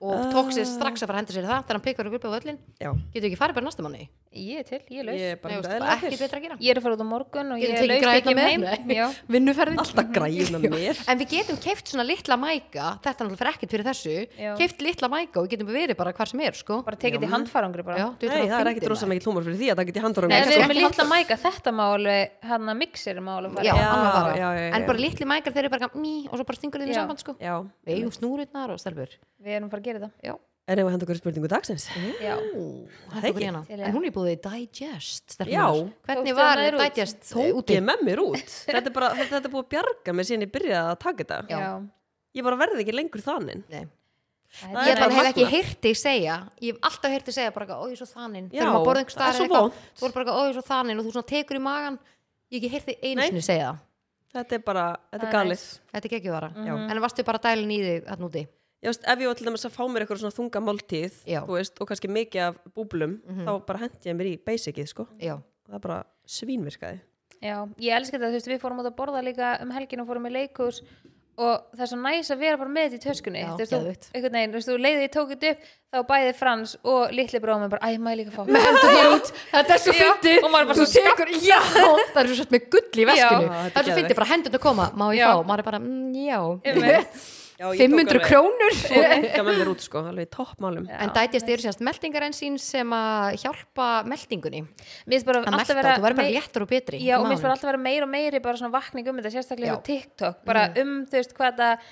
[SPEAKER 1] Og tók sér strax að fara að henda sér í það þegar hann pikkar upp á völlin
[SPEAKER 3] já
[SPEAKER 1] Getur ekki farið bara næsta manni
[SPEAKER 2] Ég er til, ég er laus
[SPEAKER 3] ég
[SPEAKER 2] Ég,
[SPEAKER 3] er bara
[SPEAKER 1] Nei, veistu,
[SPEAKER 3] ekkert
[SPEAKER 1] bara
[SPEAKER 3] eðlilega
[SPEAKER 1] ekkert
[SPEAKER 3] til.
[SPEAKER 1] betra að gera
[SPEAKER 2] er að fara út á morgun og ég
[SPEAKER 1] Getum tekið
[SPEAKER 2] er laus
[SPEAKER 1] græðina
[SPEAKER 2] ekki um
[SPEAKER 1] með?
[SPEAKER 2] heim
[SPEAKER 1] Nei.
[SPEAKER 2] Já,
[SPEAKER 1] (laughs) Vinnuferðin
[SPEAKER 3] hérna alltaf græjuna
[SPEAKER 1] (laughs)
[SPEAKER 3] mér
[SPEAKER 1] En við getum keift svona litla mæka Þetta er náttúrulega fyrir ekkert fyrir þessu
[SPEAKER 2] Já.
[SPEAKER 1] Keift litla mæka og við getum verið bara hvar sem er sko.
[SPEAKER 2] bara tekið þetta í handfarangri bara
[SPEAKER 1] Já, þú
[SPEAKER 3] Nei,
[SPEAKER 1] ert
[SPEAKER 3] það er
[SPEAKER 1] bara
[SPEAKER 3] ekkert
[SPEAKER 1] fyndin,
[SPEAKER 3] rosa
[SPEAKER 1] maður.
[SPEAKER 3] mikið tómar fyrir því að það geti handur á
[SPEAKER 2] Nei,
[SPEAKER 1] Nei,
[SPEAKER 2] en
[SPEAKER 1] sko,
[SPEAKER 2] við
[SPEAKER 1] ekki
[SPEAKER 2] erum með litla mæka, þetta má alveg, hann að mixir má alveg
[SPEAKER 1] Já,
[SPEAKER 2] fara.
[SPEAKER 3] Já,
[SPEAKER 1] alveg bara.
[SPEAKER 3] já, já, já.
[SPEAKER 1] En bara litli mækar þeir eru bara mý, Og svo bara stingur þeir í
[SPEAKER 2] Já.
[SPEAKER 1] samband sko.
[SPEAKER 3] Já,
[SPEAKER 1] Við eigum snúrutnar og stelpur
[SPEAKER 2] Við erum bara að gera þetta.
[SPEAKER 1] Já,
[SPEAKER 3] en ef við hendur okkur í spurningu dagsins
[SPEAKER 1] Mhm.
[SPEAKER 2] Já.
[SPEAKER 1] þetta
[SPEAKER 3] ekki.
[SPEAKER 1] okkur hérna
[SPEAKER 2] Til í
[SPEAKER 1] En
[SPEAKER 2] það.
[SPEAKER 1] hún er búið í Digest stelpurnar.
[SPEAKER 3] Já.
[SPEAKER 1] Hvernig
[SPEAKER 2] Tókstu
[SPEAKER 1] var
[SPEAKER 2] hana þér út?
[SPEAKER 1] Digest eh,
[SPEAKER 3] Tók
[SPEAKER 1] úti?
[SPEAKER 3] ég með mér
[SPEAKER 1] (laughs)
[SPEAKER 3] út Þetta er bara, þetta þetta er búið að bjarga mér síðan ég byrjaði að taka þetta
[SPEAKER 1] Já.
[SPEAKER 2] Já.
[SPEAKER 3] Ég bara verði ekki lengur þaninn
[SPEAKER 1] Nei.
[SPEAKER 2] Þetta
[SPEAKER 1] Ég
[SPEAKER 2] er-
[SPEAKER 1] ætla að hef
[SPEAKER 3] magnað.
[SPEAKER 1] ekki heyrti segja Ég hef alltaf heyrti segja bara eitthvað, ó ég er svo þaninn
[SPEAKER 3] Já,
[SPEAKER 1] Þegar maður borðið einhver
[SPEAKER 3] það er
[SPEAKER 1] staðar
[SPEAKER 3] svo
[SPEAKER 1] eða
[SPEAKER 3] vont.
[SPEAKER 1] eitthvað Þú er bara eitthvað, ó ég er svo þaninn og þú svona tekur í magan Ég hef ekki heyrti einu
[SPEAKER 3] Nei.
[SPEAKER 1] sinni segja það
[SPEAKER 3] Þetta er bara, þetta er
[SPEAKER 2] Það er
[SPEAKER 3] galið
[SPEAKER 1] Þetta er ekki vara
[SPEAKER 3] Já.
[SPEAKER 1] En varstu bara dælin í þig þarna úti
[SPEAKER 3] Já, veist, ef ég var til dæmis að fá mér eitthvað svona þunga máltíð
[SPEAKER 1] Já. Mhm.
[SPEAKER 3] þú veist, og kannski mikið af búblum þá bara hendi ég mér í basicið sko.
[SPEAKER 1] Já,
[SPEAKER 3] það er bara svínvirkaði
[SPEAKER 2] Já, ég elska þetta, þú veist, við fórum út að borða líka um helgin og fórum í leikurs og það er svo næs að vera bara með þetta í töskunni
[SPEAKER 1] Já,
[SPEAKER 2] þú veist, þú-
[SPEAKER 1] geðveikt.
[SPEAKER 2] einhvern veginn, þú veist, þú leiðið ég tók þetta upp þá bæði Frans og litli bróðum bara, æ, maður líka fá með hendur út
[SPEAKER 1] þetta er svo
[SPEAKER 2] Já,
[SPEAKER 1] fyndið
[SPEAKER 2] og maður bara
[SPEAKER 1] Þú
[SPEAKER 2] svona
[SPEAKER 1] tekur, já, (laughs) það er svo sett með gull í veskinu
[SPEAKER 3] Já, þetta
[SPEAKER 1] Það er svo fyndið,
[SPEAKER 3] er geðveikt.
[SPEAKER 1] bara hendurna koma, má ég
[SPEAKER 2] Já.
[SPEAKER 1] fá Maður er bara, mm, já (laughs)
[SPEAKER 2] Einmitt.
[SPEAKER 1] 500 krónur
[SPEAKER 3] krónka með mér út sko, alveg í toppmálum
[SPEAKER 2] Já.
[SPEAKER 1] En dætjast eru síðast meldingar sem að hjálpa meldingunni
[SPEAKER 2] Mér finnst bara
[SPEAKER 1] að melda,
[SPEAKER 2] alltaf
[SPEAKER 1] vera,
[SPEAKER 2] vera
[SPEAKER 1] þú verður bara
[SPEAKER 2] mei-
[SPEAKER 1] léttur og betri
[SPEAKER 2] Já,
[SPEAKER 1] í
[SPEAKER 2] og mér finnst bara
[SPEAKER 1] maganum.
[SPEAKER 2] alltaf vera meira og meiri bara svona vakning um þetta, sérstaklega
[SPEAKER 1] Já. Mm.
[SPEAKER 2] hjá TikTok, bara um, þú veist, hvað að,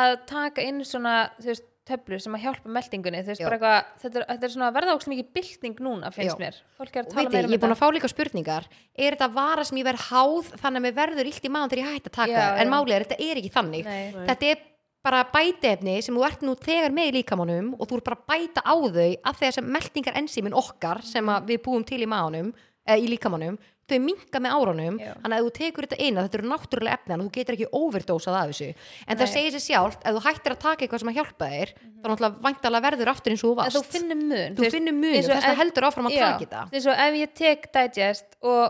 [SPEAKER 2] að taka inn svona, þú veist, töflur sem að hjálpa meldingunni, þú veist,
[SPEAKER 1] Já.
[SPEAKER 2] bara eitthvað, þetta, er- þetta er svona að verða ógst mikið bylting núna, finnst
[SPEAKER 1] Já.
[SPEAKER 2] mér. Fólk er að
[SPEAKER 1] og
[SPEAKER 2] tala
[SPEAKER 1] veit ég,
[SPEAKER 2] meira
[SPEAKER 1] ég
[SPEAKER 2] um
[SPEAKER 1] er búin
[SPEAKER 2] þetta.
[SPEAKER 1] að fá líka spurningar er þetta vara sem ég verð háð þannig að mér verður illt í maðan þegar ég hætti að taka
[SPEAKER 2] Já,
[SPEAKER 1] það en
[SPEAKER 2] já.
[SPEAKER 1] málið er, þetta er ekki þannig
[SPEAKER 2] Nei.
[SPEAKER 3] Nei.
[SPEAKER 1] þetta er bara bætefni sem þú ert nú þegar með í líkamanum og þú ert bara að bæta á þau af því að þessum meldingar ensímin okkar sem að við búum til í maðanum eða í líkamanum, þau minka með árunum
[SPEAKER 2] Já.
[SPEAKER 1] þannig að ef þú tekur þetta inn að þetta eru náttúrulega efni þannig að þú getur ekki overdosað af þessu en það
[SPEAKER 2] Nei. Mhm.
[SPEAKER 1] segir sér sjálft, ef þú hættir að taka eitthvað sem að hjálpa þér, mm -hmm. þá náttúrulega væntalega verður aftur eins og þú
[SPEAKER 2] En þú
[SPEAKER 1] varst
[SPEAKER 2] finnur mun.
[SPEAKER 1] þú finnur mun,
[SPEAKER 2] eins og
[SPEAKER 1] þess að
[SPEAKER 2] ef-
[SPEAKER 1] heldur áfram að taka þetta
[SPEAKER 2] eins og ef ég tek digest og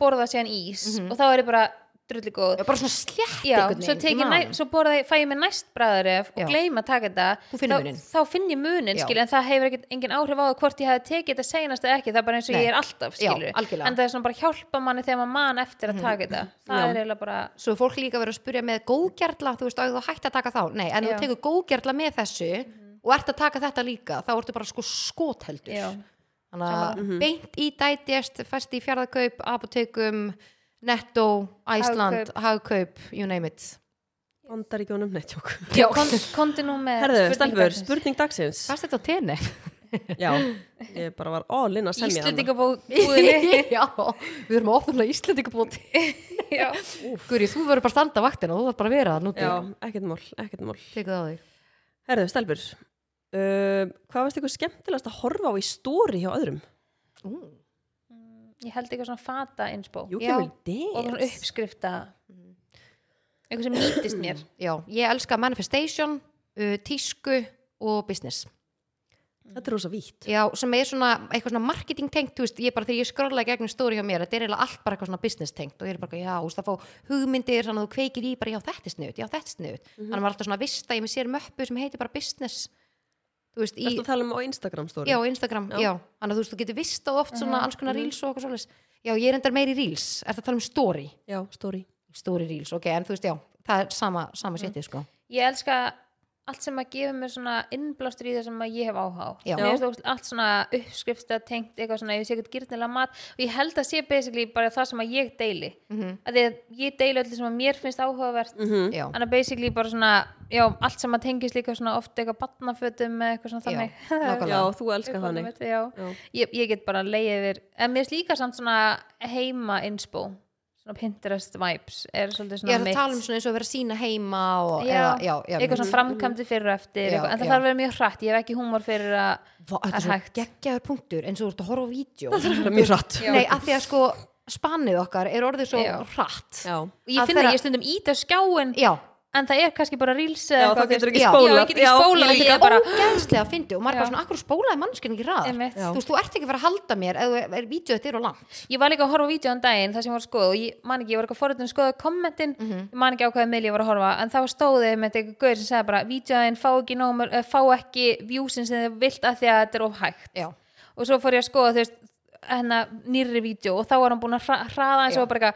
[SPEAKER 2] borða síðan ís
[SPEAKER 1] Mhm.
[SPEAKER 2] og þá er ég bara drulli góð.
[SPEAKER 1] bara svona slétt
[SPEAKER 2] Já,
[SPEAKER 1] einhvern
[SPEAKER 2] svo,
[SPEAKER 1] veginn
[SPEAKER 2] tek
[SPEAKER 1] í
[SPEAKER 2] ég næ,
[SPEAKER 1] maganum.
[SPEAKER 2] svo borða, ég- fæ ég mér næst bræðaref
[SPEAKER 1] Já.
[SPEAKER 2] og gleyma að taka þetta
[SPEAKER 1] Þú finnur
[SPEAKER 2] þá-
[SPEAKER 1] muninn.
[SPEAKER 2] þá finn ég munin,
[SPEAKER 1] Já.
[SPEAKER 2] skil, en það hefur ekkit, engin áhrif á það hvort ég hefði tekið þetta senast eða ekki, það er bara eins og
[SPEAKER 1] Nei.
[SPEAKER 2] ég er alltaf
[SPEAKER 1] Já,
[SPEAKER 2] skilur,
[SPEAKER 1] algjörlega. Mhm.
[SPEAKER 2] en það er svona bara að hjálpa manni þegar maður man eftir að taka þetta það er eiginlega bara,
[SPEAKER 1] svo er fólk líka verið að spurja með góðgerla þú veist, á ég þú hætti að taka þá, nei, en
[SPEAKER 2] Já.
[SPEAKER 1] þú tekur góðgerla með þessu og ert að taka þetta líka þá ertu bara sko skotheldur
[SPEAKER 2] já,
[SPEAKER 1] þannig að beint í dætjast fæst í fjárðakaup, apotekum netto, Æsland, hagkaup you name it
[SPEAKER 3] andar ekki honum nettjók
[SPEAKER 1] Já.
[SPEAKER 2] Kon, kondi nú með spurningar
[SPEAKER 3] herðu, stelpur,
[SPEAKER 2] dagsins.
[SPEAKER 3] spurning dagsins
[SPEAKER 1] fæst þetta á tenni
[SPEAKER 3] já, ég bara var all in að semja hana.
[SPEAKER 1] (laughs)
[SPEAKER 2] Íslendingabúðinni
[SPEAKER 1] já, við erum að opna Íslandingabóti
[SPEAKER 2] Já.
[SPEAKER 1] Guri, þú verður bara að standa vaktina þú verður bara að vera það núti
[SPEAKER 3] já, ekkert mál, ekkert mál
[SPEAKER 1] Tekur það á þig.
[SPEAKER 3] herðu, stelpur uh, hvað varst ykkur skemmtilegast að horfa á í stóri hjá öðrum?
[SPEAKER 1] Ú.
[SPEAKER 2] ég held eitthvað svona fata insbó
[SPEAKER 3] You
[SPEAKER 1] Já.
[SPEAKER 3] can
[SPEAKER 1] Og
[SPEAKER 2] og
[SPEAKER 3] will
[SPEAKER 2] svona
[SPEAKER 3] dance
[SPEAKER 1] Mhm.
[SPEAKER 2] uppskrifta eitthvað sem nýtist mér
[SPEAKER 1] já, ég elska manifestation uh, tísku og business
[SPEAKER 3] Þetta er rosa vítt.
[SPEAKER 1] já, sem er svona eitthvað svona marketing tengt þú veist, ég bara þegar ég skrolla í gegnum stóri hjá mér þetta er eiginlega allt bara eitthvað svona business tengt og ég er bara, eitthvað, já, þú veist, að fá hugmyndir þannig að þú kveikir í bara, já, þetta er snuð, já, þetta er snuð þannig að maður er alltaf svona að vista, ég með sér möppu sem heitir bara business þú veist, í,
[SPEAKER 3] Þetta tala um á Instagram story.
[SPEAKER 1] já, á Instagram, já, þannig að þú veist, þú getur vista oft svona alls konar reels og eitthvað svolítið já, ég er endar meiri reels, er það að tala um story
[SPEAKER 3] Já, story.
[SPEAKER 1] story reels, ok, en þú veist, já það er sama, sama setið, sko
[SPEAKER 2] ég elska allt sem að gefa mér svona innblástur í það sem að ég hef áhá
[SPEAKER 1] Já.
[SPEAKER 2] Mér finnst ógeðslega- allt svona uppskrifta tengt eitthvað svona, ég sé eitthvað gyrnilega mat og ég held að sé basically bara það sem að ég deili mm
[SPEAKER 1] Mhm.
[SPEAKER 2] -hmm. að því að ég deili öllu sem að mér finnst áhugavert mm
[SPEAKER 3] Mhm.
[SPEAKER 2] -hmm.
[SPEAKER 1] já,
[SPEAKER 2] þannig að basically bara svona já, allt sem að tengist líka svona oft eitthvað batnafötum eða eitthvað svona
[SPEAKER 1] já,
[SPEAKER 2] þannig
[SPEAKER 3] (laughs) Já,
[SPEAKER 1] nákvæmlega
[SPEAKER 3] þú elskar
[SPEAKER 2] Uppáhaldið
[SPEAKER 3] þannig.
[SPEAKER 2] mitt, já. Ég, ég get bara leið yfir en mér finnst líka samt svona heima inspo, svona Pinterest vibes er svolítið
[SPEAKER 1] ég
[SPEAKER 2] svona
[SPEAKER 1] er að
[SPEAKER 2] mitt
[SPEAKER 1] tala um svona eins og að vera sína heima og,
[SPEAKER 2] já,
[SPEAKER 1] eða, já, já, mm-hmm,
[SPEAKER 2] eitthvað svona framkvæmdi fyrir og eftir
[SPEAKER 1] Já,
[SPEAKER 2] eitthvað, en það
[SPEAKER 1] já.
[SPEAKER 2] þarf að vera mjög hrætt, ég hef ekki húmor fyrir að
[SPEAKER 1] Va, þetta
[SPEAKER 2] Það
[SPEAKER 1] er
[SPEAKER 2] er
[SPEAKER 1] svo
[SPEAKER 2] hægt.
[SPEAKER 1] geggjaður punktur eins og þú ert að horfa á vídeo (laughs)
[SPEAKER 3] Það er (laughs) mjög rætt.
[SPEAKER 1] nei, af því að sko spannið okkar er orðið svo
[SPEAKER 2] Já.
[SPEAKER 1] hratt
[SPEAKER 3] Já.
[SPEAKER 2] ég
[SPEAKER 1] Að
[SPEAKER 2] finn
[SPEAKER 1] þeirra-
[SPEAKER 2] að ég stundum íta skjáin
[SPEAKER 1] já,
[SPEAKER 2] en það er kannski bara reels
[SPEAKER 3] Já,
[SPEAKER 2] eða
[SPEAKER 3] þá
[SPEAKER 2] eitthvað,
[SPEAKER 3] getur
[SPEAKER 2] þú
[SPEAKER 3] ekki
[SPEAKER 1] Já.
[SPEAKER 2] veist.
[SPEAKER 3] spólað.
[SPEAKER 2] já, ég get ekki spólað,
[SPEAKER 1] þetta er
[SPEAKER 2] ég get bara
[SPEAKER 1] ógæðslega fyndið og maður er bara
[SPEAKER 2] Já.
[SPEAKER 1] svona, akkur spólaði mannskinn ekki ræð
[SPEAKER 2] Einmitt.
[SPEAKER 1] þú veist, þú ert ekki að vera að halda mér eða þú er vídeo þetta er og langt
[SPEAKER 2] ég var líka að horfa á vídeo um daginn þar sem ég var að skoða og ég man ekki, ég var eitthvað forröndin að skoða kommentin,
[SPEAKER 1] Mm-hmm.
[SPEAKER 2] ég man ekki á hvaða miðl ég var að horfa en þá stóði með þetta eitthvað gaur sem sagði bara vídeoðin fá ekki, nómur, fá ekki vjúsin sem þið vilt að því að þetta er of hægt
[SPEAKER 1] já,
[SPEAKER 2] og svo fór ég að skoða þú veist hennar nýrri vídeo og þá var hann búin að hra- hraða eins
[SPEAKER 1] Já.
[SPEAKER 2] og bara eitthvað,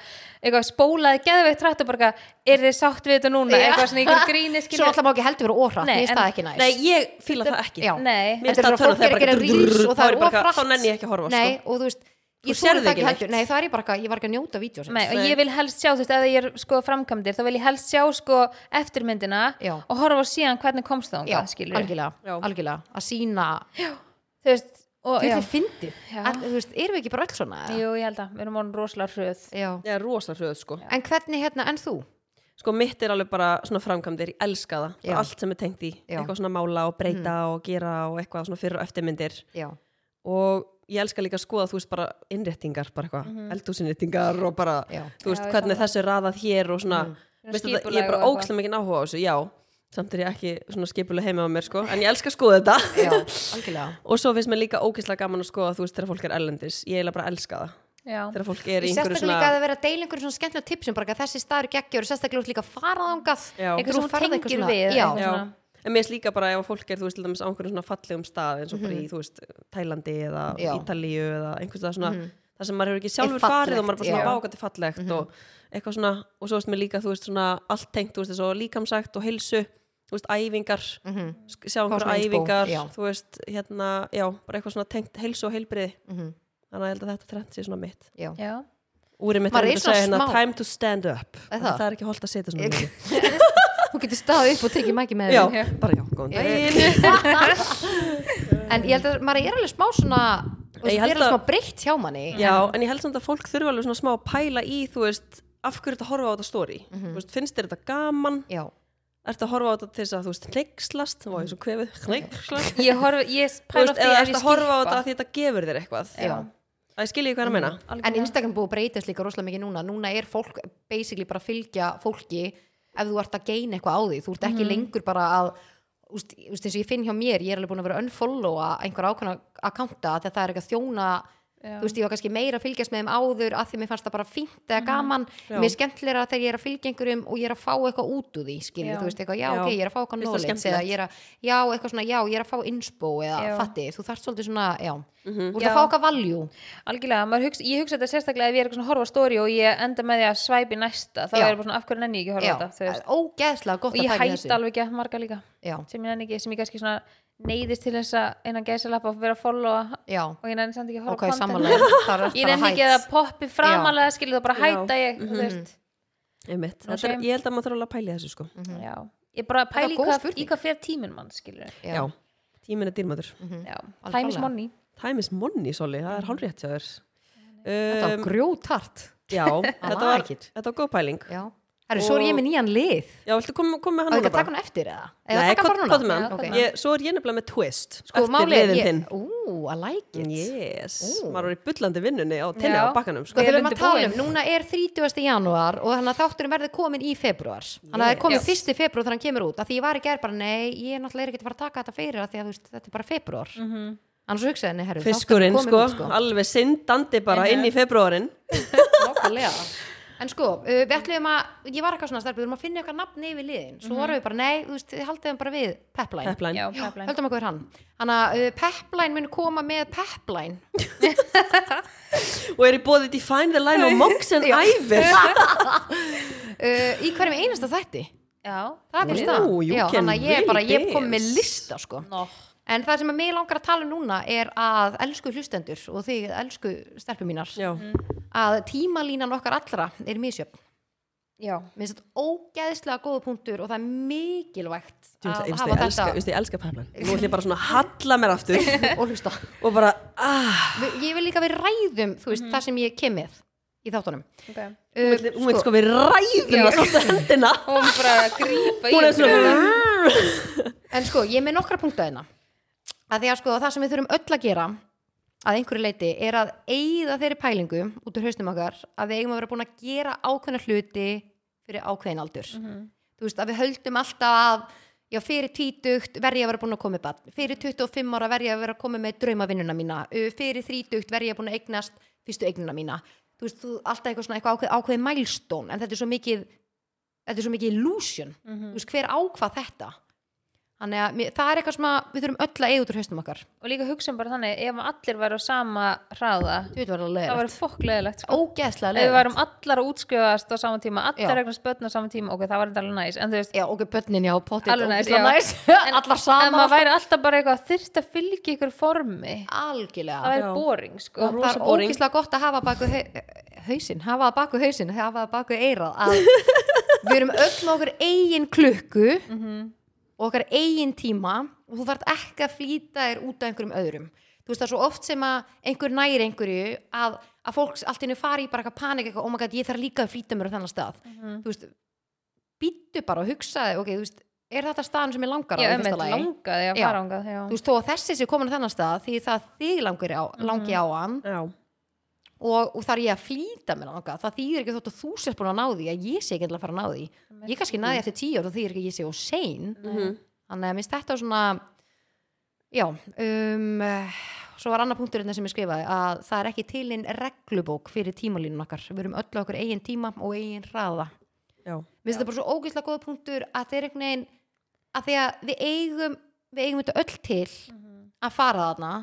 [SPEAKER 2] eitthvað spólaði geðveikt rætt og bara eitthvað, er þið sátt við þetta núna
[SPEAKER 1] Já.
[SPEAKER 2] eitthvað svona ykkur
[SPEAKER 3] (laughs)
[SPEAKER 2] gríni
[SPEAKER 1] (laughs) svo alltaf má ekki heldur vera óhratt mér finnst það ekki næst
[SPEAKER 3] Nei, ég fíla það ekki.
[SPEAKER 1] Já.
[SPEAKER 2] Nei.
[SPEAKER 1] Þetta
[SPEAKER 3] Mér
[SPEAKER 1] er
[SPEAKER 3] finnst
[SPEAKER 1] svona fólk er
[SPEAKER 3] það
[SPEAKER 1] að
[SPEAKER 3] bara
[SPEAKER 1] gera rýrs og
[SPEAKER 3] Þá
[SPEAKER 1] það
[SPEAKER 3] er
[SPEAKER 1] er
[SPEAKER 3] ég bara
[SPEAKER 1] ofrætt
[SPEAKER 3] eitthvað, Þá nenni ég ekki að horfa,
[SPEAKER 1] Nei,
[SPEAKER 3] sko.
[SPEAKER 1] og þú veist, ég
[SPEAKER 3] sérð
[SPEAKER 1] þúr það
[SPEAKER 3] ekki
[SPEAKER 1] ekki heldur
[SPEAKER 3] neitt.
[SPEAKER 1] Nei, það er ég bara ekki, ég var ekki að njóta sko. vídeos
[SPEAKER 2] Nei, og ég vil helst sjá, þú veist, ef ég er sko framkvæmdir þá vil ég helst sjá sko eftirmyndina
[SPEAKER 1] Já.
[SPEAKER 2] og horfa síðan hvernig komst þá
[SPEAKER 1] Já,
[SPEAKER 2] skilur
[SPEAKER 1] algjörlega,
[SPEAKER 3] Já.
[SPEAKER 1] algjörlega að sína,
[SPEAKER 2] þú veist, og
[SPEAKER 1] þetta
[SPEAKER 2] já,
[SPEAKER 1] er fyndið
[SPEAKER 2] Já.
[SPEAKER 1] All- þú veist, erum við ekki bara öll svona eða?
[SPEAKER 2] jú, ég held að við erum orðin rosalega hröð
[SPEAKER 1] Já.
[SPEAKER 3] Ég er rosa hröð, sko.
[SPEAKER 1] en hvernig hérna, en þú
[SPEAKER 3] Sko, mitt er alveg bara svona framkvæmdir, ég elska það.
[SPEAKER 1] Já.
[SPEAKER 3] Bara Allt sem er tengt í.
[SPEAKER 1] Já. Mhm.
[SPEAKER 3] Eitthvað svona mála og breyta og gera og eitthvað svona fyrir og eftirmyndir.
[SPEAKER 1] já,
[SPEAKER 3] og ég elska líka að skoða, þú veist, bara innréttingar, bara eitthvað, mm og bara,
[SPEAKER 1] Mhm. Já. Mhm.
[SPEAKER 3] þú veist,
[SPEAKER 2] Já, ég
[SPEAKER 3] hvernig
[SPEAKER 2] sammála.
[SPEAKER 3] þessu er raðað hér og svona,
[SPEAKER 2] Svona
[SPEAKER 3] veistu það, ég
[SPEAKER 2] skipulag
[SPEAKER 3] er bara
[SPEAKER 2] og eitthvað.
[SPEAKER 3] ógslum mikið áhuga á þessu, já, samt er ég ekki svona skipuleg heima á mér, sko, en ég elska að skoða þetta
[SPEAKER 1] já, algjörlega
[SPEAKER 3] (laughs) og svo finnst mér líka ógislega gaman að skoða, þú veist, þegar fólk er ellendis, ég er bara að elska það
[SPEAKER 2] já,
[SPEAKER 3] þegar fólk er í
[SPEAKER 1] Ég
[SPEAKER 3] einhverju
[SPEAKER 1] sérstaklega líka að
[SPEAKER 3] svona
[SPEAKER 1] það vera að deila einhverjum svona skemmtilega tipsum bara ekki að þessi staður geggjur og sérstaklega út líka að fara þangað
[SPEAKER 3] Já.
[SPEAKER 1] Þú
[SPEAKER 2] eitthvað sem
[SPEAKER 1] ferð
[SPEAKER 2] hún
[SPEAKER 1] eitthvað
[SPEAKER 2] tengir
[SPEAKER 1] svona-
[SPEAKER 2] við
[SPEAKER 1] já,
[SPEAKER 2] eitthvað
[SPEAKER 3] já,
[SPEAKER 2] svona.
[SPEAKER 3] en mér finnst líka bara ef að fólk er, þú veist, til dæmis á einhverjum svona fallegum stað eins og bara í, þú veist, Tælandi eða
[SPEAKER 1] Mhm. Já. Mhm.
[SPEAKER 3] Ítalíu eða einhvers það svona þar sem maður hefur ekki
[SPEAKER 1] Er
[SPEAKER 3] sjálfur
[SPEAKER 1] fallegt,
[SPEAKER 3] farið og maður er bara
[SPEAKER 1] já.
[SPEAKER 3] svona
[SPEAKER 1] Mhm.
[SPEAKER 3] bákandi fallegt og eitthvað svona, og svo veist mér líka, þú veist, svona allt tengt, þú veist, eins og líkamsagt og hilsu þú veist, æfingar,
[SPEAKER 1] Mhm.
[SPEAKER 3] sk- sjá einhverja
[SPEAKER 1] svona inspo,
[SPEAKER 3] æfingar,
[SPEAKER 1] já.
[SPEAKER 3] þú veist, hérna já, bara eitthvað svona tengt hilsu og heilbriði
[SPEAKER 1] Mhm.
[SPEAKER 3] þannig að ég held að þetta trend sé svona mitt
[SPEAKER 1] já.
[SPEAKER 2] já,
[SPEAKER 3] úrið mitt er
[SPEAKER 1] Maður er
[SPEAKER 3] einmitt að
[SPEAKER 1] svona
[SPEAKER 3] segja hérna
[SPEAKER 1] smá-
[SPEAKER 3] time to stand up,
[SPEAKER 1] Er
[SPEAKER 3] það,
[SPEAKER 1] það?
[SPEAKER 3] það er ekki holdt að setja svona mikið
[SPEAKER 1] Þú getur staðið upp og tekið mæki með
[SPEAKER 3] já,
[SPEAKER 1] þér.
[SPEAKER 3] bara já, góðan
[SPEAKER 1] Já.
[SPEAKER 3] daginn
[SPEAKER 1] En ég held að maður er alveg smá svona þú veist,
[SPEAKER 3] Ég
[SPEAKER 1] Ég
[SPEAKER 3] held
[SPEAKER 1] er alveg
[SPEAKER 3] að-
[SPEAKER 1] smá breytt hjá manni
[SPEAKER 3] já, en ég held samt að fólk þurfa alveg svona smá að pæla í, þú veist af hverju þetta horfa á þetta stóri
[SPEAKER 1] Mhm.
[SPEAKER 3] þú veist, finnst þér þetta gaman,
[SPEAKER 1] Já,
[SPEAKER 3] ertu að horfa á þetta til þess að þú veist, hneikslast, þá var ég svo kvefið hneikslast,
[SPEAKER 2] ég horf, ég
[SPEAKER 3] þú
[SPEAKER 2] pæla
[SPEAKER 3] veist,
[SPEAKER 2] oft í
[SPEAKER 3] eða
[SPEAKER 2] að
[SPEAKER 3] ertu
[SPEAKER 2] ég
[SPEAKER 3] að horfa á
[SPEAKER 2] skilpa
[SPEAKER 3] þetta af því þetta gefur þér eitthvað
[SPEAKER 1] Já. Mhm,
[SPEAKER 3] það skilji ég hvað ég er að meina
[SPEAKER 1] En Instagram búið að breytast líka rosalega mikið núna Núna er fólk basically bara að fylgja fólki ef þú ert að geina eitthvað á því Þú ert ekki lengur bara að úst, úst, eins og ég finn hjá mér, ég er alveg búin að vera að unfollowa einhver ákveðna akkanta þegar það er ekki að þjóna
[SPEAKER 2] Já.
[SPEAKER 1] Þú veist, ég var kannski meira að fylgjast með þeim áður að því mér fannst það bara fínt eða gaman mér er skemmtilega þegar ég er að fylgja einhverjum og ég er að fá eitthvað út úr því, skilur,
[SPEAKER 2] Já.
[SPEAKER 1] þú veist, eitthvað, já,
[SPEAKER 3] Já.
[SPEAKER 1] ok, ég er að fá eitthvað
[SPEAKER 3] Finnst það
[SPEAKER 1] knowledge eða
[SPEAKER 3] skemmtilegt.
[SPEAKER 1] ég er að, já, eitthvað svona, já, ég er að fá inspo eða
[SPEAKER 2] Já.
[SPEAKER 1] fatti, þú þarft svolítið svona, já, mm -hmm.
[SPEAKER 2] Já.
[SPEAKER 1] að fá eitthvað value,
[SPEAKER 2] algjörlega, maður hugsa, ég hugsa þetta sérstaklega ef ég er eitthvað svona að horfa á stóri og ég enda með því að svæpi næsta, þá
[SPEAKER 1] Já.
[SPEAKER 2] er ég bara svona af hverju nenni ég ekki að
[SPEAKER 1] já,
[SPEAKER 2] horfa á þetta, þú veist
[SPEAKER 1] ógeðslega gott
[SPEAKER 2] og ég
[SPEAKER 1] að pæla í
[SPEAKER 2] hætti alveg ekki marga líka
[SPEAKER 1] Já,
[SPEAKER 2] sem ég nenni ekki, sem ég kannski svona neyðist til þess að innan gæsalappa að vera að followa
[SPEAKER 1] já,
[SPEAKER 2] og ég nenni samt ekki að
[SPEAKER 1] ok,
[SPEAKER 2] horfa á
[SPEAKER 1] sammála þar er bara hætt. Mhm.
[SPEAKER 2] (laughs) content ég nenni ekki að það poppi framalega skilur það bara
[SPEAKER 3] Já.
[SPEAKER 2] hætta ég þú veist,
[SPEAKER 3] Einmitt.
[SPEAKER 2] No
[SPEAKER 3] Þetta er,
[SPEAKER 2] shame.
[SPEAKER 3] ég held að maður þarf alveg að pæla í þessu sko.
[SPEAKER 1] Mhm,
[SPEAKER 2] já ég bara pæli í
[SPEAKER 1] góð
[SPEAKER 2] hvað,
[SPEAKER 1] spurning.
[SPEAKER 2] í hvað fer tíminn mann skilur
[SPEAKER 1] Já. Mhm.
[SPEAKER 3] já, tíminn er dýrmætur
[SPEAKER 2] já,
[SPEAKER 1] Alveg
[SPEAKER 2] time is
[SPEAKER 1] klárlega.
[SPEAKER 2] money
[SPEAKER 3] time is money, Soli, það er hálfrétt hjá þér
[SPEAKER 1] Mhm. Þetta var
[SPEAKER 3] um,
[SPEAKER 1] grjótart
[SPEAKER 3] já,
[SPEAKER 1] (laughs)
[SPEAKER 3] þetta
[SPEAKER 1] var
[SPEAKER 3] var,
[SPEAKER 1] ekkert.
[SPEAKER 3] þetta var góð pæling
[SPEAKER 1] Já, Herru, svo er
[SPEAKER 3] Og-
[SPEAKER 1] ég með nýjan lið
[SPEAKER 3] Já, viltu koma kom með
[SPEAKER 1] Og þú
[SPEAKER 3] hann núna
[SPEAKER 1] ekki að taka
[SPEAKER 3] bara?
[SPEAKER 1] hann eftir eða? Eða taka
[SPEAKER 3] Nei,
[SPEAKER 1] hann
[SPEAKER 3] hvað
[SPEAKER 1] bara núna?
[SPEAKER 3] hvað með hann?
[SPEAKER 1] Já, ok.
[SPEAKER 3] Ég- Svo er ég nefnilega með twist
[SPEAKER 1] Sko,
[SPEAKER 3] eftir
[SPEAKER 1] málið,
[SPEAKER 3] liðin
[SPEAKER 1] ég,
[SPEAKER 3] þinn.
[SPEAKER 1] ú, I like it
[SPEAKER 3] Yes,
[SPEAKER 1] Ú.
[SPEAKER 3] maður var í bullandi vinnunni á tenni
[SPEAKER 2] Já.
[SPEAKER 3] á bakkanum sko.
[SPEAKER 1] Sko
[SPEAKER 2] Vel
[SPEAKER 1] þegar við erum að tala um,
[SPEAKER 2] undirbúin.
[SPEAKER 1] núna er 30. janúar og þannig að þátturinn verður komin í februar þannig að það er komin
[SPEAKER 3] Yes.
[SPEAKER 1] fyrst í februar þegar hann kemur út af því ég var í gær bara, nei, ég er náttúrulega er ekki að fara að taka þetta fyrir af því að þú veist, þetta er bara februar mm -hmm.
[SPEAKER 2] Mhm.
[SPEAKER 1] annars hugsaði henni, herru,
[SPEAKER 3] Fiskurinn
[SPEAKER 1] þátturinn
[SPEAKER 3] sko,
[SPEAKER 1] er kominn út,
[SPEAKER 3] alveg syndandi bara
[SPEAKER 2] Mhm.
[SPEAKER 3] inn í februarinn
[SPEAKER 1] sko. Nákvæmlega. en sko, uh, við ætlum að ég var eitthvað svona stelpur, við erum að finna eitthvað nafn yfir liðin svo vorum við bara, nei, þú veist, haldið hann bara við Pepline,
[SPEAKER 3] Pepline,
[SPEAKER 2] Já,
[SPEAKER 1] Já,
[SPEAKER 2] pepline.
[SPEAKER 1] höldum okkur hann þannig að uh, Pepline mun koma með Pepline
[SPEAKER 3] og er í bóði Define the Line og Mox and Iver
[SPEAKER 1] uh, í hverjum einasta þætti
[SPEAKER 2] Já,
[SPEAKER 1] það er bara
[SPEAKER 3] Ú,
[SPEAKER 1] staðan.
[SPEAKER 3] you
[SPEAKER 1] Já,
[SPEAKER 3] can
[SPEAKER 1] þannig að ég er bara, ég
[SPEAKER 3] really
[SPEAKER 1] kom með
[SPEAKER 3] dance.
[SPEAKER 1] lista sko.
[SPEAKER 2] nó
[SPEAKER 1] En það sem að mig langar að tala um núna er að elsku hlustendur og þig elsku stelpum mínar
[SPEAKER 3] Já,
[SPEAKER 1] að tímalínan okkar allra er misjöfn.
[SPEAKER 2] Já,
[SPEAKER 1] Mér finnst þetta ógeðslega góða punktur og það er mikilvægt
[SPEAKER 3] Þú veist,
[SPEAKER 1] Mm, að
[SPEAKER 3] ég
[SPEAKER 1] hafa
[SPEAKER 3] elska,
[SPEAKER 1] þetta
[SPEAKER 3] ég elska Pepline Nú ætlum ég bara svona að halla mér aftur
[SPEAKER 1] (laughs) og hlusta.
[SPEAKER 3] og bara, ah, ahhh
[SPEAKER 1] Vi- Ég vil líka við ræðum þú veist, það sem ég kem með í þáttunum.
[SPEAKER 2] ok
[SPEAKER 1] Uh,
[SPEAKER 3] Hún veit sko við ræðum það svolítið hendina
[SPEAKER 2] Hún er bara að grípa í
[SPEAKER 3] Hún er
[SPEAKER 2] okkur.
[SPEAKER 3] svona
[SPEAKER 1] En sko, ég er með nokkra punktu að hérna að því að sko, það sem við þurfum öll að gera að einhverju leiti er að eigða þeirri pælingu út úr haustum okkar að við eigum að vera búin að gera ákveðna hluti fyrir ákveðin aldur þú veist, að við höldum alltaf að já, fyrir tvítugt verð ég að vera búin að koma með barn fyrir 25 ára verð ég að vera að koma með draumavinnuna mína, Ö, fyrir þrítugt verð ég að búin að eignast fyrstu eignuna mína þú veist, þú, alltaf eitthvað svona eitthvað ákveð, ákveð milestone en þetta er svo mikið þetta er svo mikið illusion, þú veist, hver ákvað þetta þannig að mér, það er eitthvað sem að við þurfum öll að eiga út úr haustum okkar
[SPEAKER 2] Og líka hugsa um bara þannig Ef allir væru á sama hraða
[SPEAKER 1] Þú veit, var það
[SPEAKER 2] Það
[SPEAKER 1] leiðilegt.
[SPEAKER 2] væri fokkleðilegt sko
[SPEAKER 1] ógeðslega
[SPEAKER 2] Ef við
[SPEAKER 1] leiðilegt
[SPEAKER 2] værum allar að útskrifast á sama tíma
[SPEAKER 1] Já.
[SPEAKER 2] Allar regnast börn á sama tíma Ok, það var þetta alveg næs En þú veist
[SPEAKER 1] já, ok, börnin, já, potið,
[SPEAKER 2] Alveg næs,
[SPEAKER 1] ógeðslega
[SPEAKER 2] já.
[SPEAKER 1] næs (laughs) allar
[SPEAKER 2] En maður
[SPEAKER 1] saman,
[SPEAKER 2] væri alltaf bara eitthvað Þyrft að fylgja ykkur formi Það
[SPEAKER 1] algjörlega
[SPEAKER 2] væri
[SPEAKER 3] Já.
[SPEAKER 2] boring sko
[SPEAKER 1] og það er
[SPEAKER 3] boring.
[SPEAKER 1] ógeðslega gott að hafa baku hausinn, hafa að baku hausinn hafa að baku eirað að við erum öll með okkur eigin klukku og okkar eigin tíma og þú þarf ekki að flýta þér út af einhverjum öðrum þú veist það er svo oft sem að einhver næri einhverju að, að fólks allt innu fari í bara eitthvað panik eitthvað, oh my god, ég þarf líka að flýta mér á þennan stað þú veist, býttu bara og hugsaði, ok, þú veist er þetta staðan sem ég langar á
[SPEAKER 2] Já,
[SPEAKER 1] í
[SPEAKER 2] um
[SPEAKER 1] fyrsta lagi?
[SPEAKER 2] langaði að
[SPEAKER 1] Já.
[SPEAKER 2] fara ángað Já,
[SPEAKER 1] þú veist, þó að þessi sé komin á þennan stað því það þig langi á, langi á hann
[SPEAKER 3] Já,
[SPEAKER 1] og, og þar ég að flýta mér langa það þýðir ekki þótt að þú sérst búin að ná því að ég sé ekki endilega að fara að ná því ég kannski
[SPEAKER 2] Mm.
[SPEAKER 1] náði eftir tíu ára og þýðir ekki að ég sé og sein
[SPEAKER 3] Mhm.
[SPEAKER 1] þannig að minnst þetta var svona já um, eh, svo var annar punktur þetta sem ég skrifaði að það er ekki tilinn reglubók fyrir tímalínun okkar, við erum öll á okkur eigin tíma og eigin hraða
[SPEAKER 3] já,
[SPEAKER 1] minnst þetta bara svo ógeðslega góða punktur að það er einhvern veginn að því að við eigum við eigum þetta öll til að fara þarna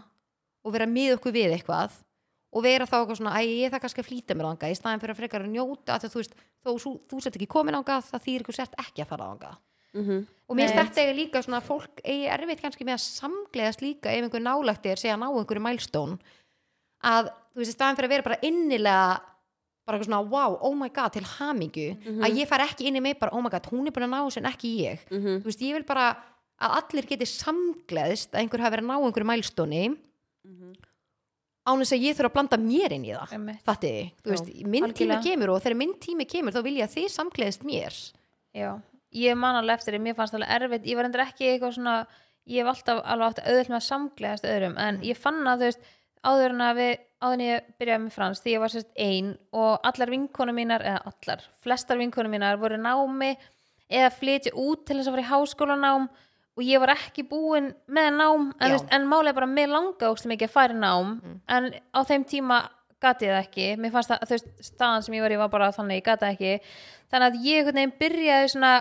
[SPEAKER 1] og vera með okkur við eitthvað og vera þá eitthvað svona, æ, ég það kannski að flýta mér þangað í staðin fyrir að frekar að njóta að þú veist, þó þú, þú sett ekki komin þangað það þýr ykkur sett ekki að fara þangað
[SPEAKER 3] Mhm.
[SPEAKER 1] og mér finnst
[SPEAKER 2] Nei.
[SPEAKER 1] þetta eiga líka svona að fólk eigi erfitt kannski með að samgleðast líka ef einhver nálægt er, segja að ná einhverju milestone að þú veist, í staðin fyrir að vera bara innilega bara eitthvað svona, wow, oh my god, til hamingju
[SPEAKER 2] Mhm.
[SPEAKER 1] að ég far ekki inn í mig bara, oh my god, hún er búin að ná þessu en ekki ég þú
[SPEAKER 3] Mhm.
[SPEAKER 1] veist, ég vil bara að allir geti samgleðst að einhver hafi verið að ná einhverju milestone
[SPEAKER 3] Mhm.
[SPEAKER 1] án þess að ég þurfa að blanda mér inn í það
[SPEAKER 2] Einmitt.
[SPEAKER 1] fattiði, þið, þú
[SPEAKER 3] Já,
[SPEAKER 1] veist, minn tími
[SPEAKER 2] algjörlega.
[SPEAKER 1] kemur og þegar minn tími kemur þá vil ég að þið samgleðist mér
[SPEAKER 2] Já, ég man alveg eftir því, mér fannst alveg erfitt, ég var endur ekki eitthvað svona, ég hef alltaf alveg átt auðvitað með að samgleðast öðrum, en ég fann að þú veist, áður en að við, áður en ég byrjaði með frans, því ég var sérst ein og allar vinkonum mínar, eða allar, flestar vinkonum mínar voru í námi eða flytja út til þess að fara í háskólanám og ég var ekki búin með nám, en,
[SPEAKER 1] Já.
[SPEAKER 2] þú veist, en málið er bara með langa ógstum ekki að fara í nám, en á þeim tíma gati ég það ekki, mér fannst það, þú veist, staðan sem ég var í var bara þannig, ég gati það ekki þannig að ég einhvern veginn byrjaði svona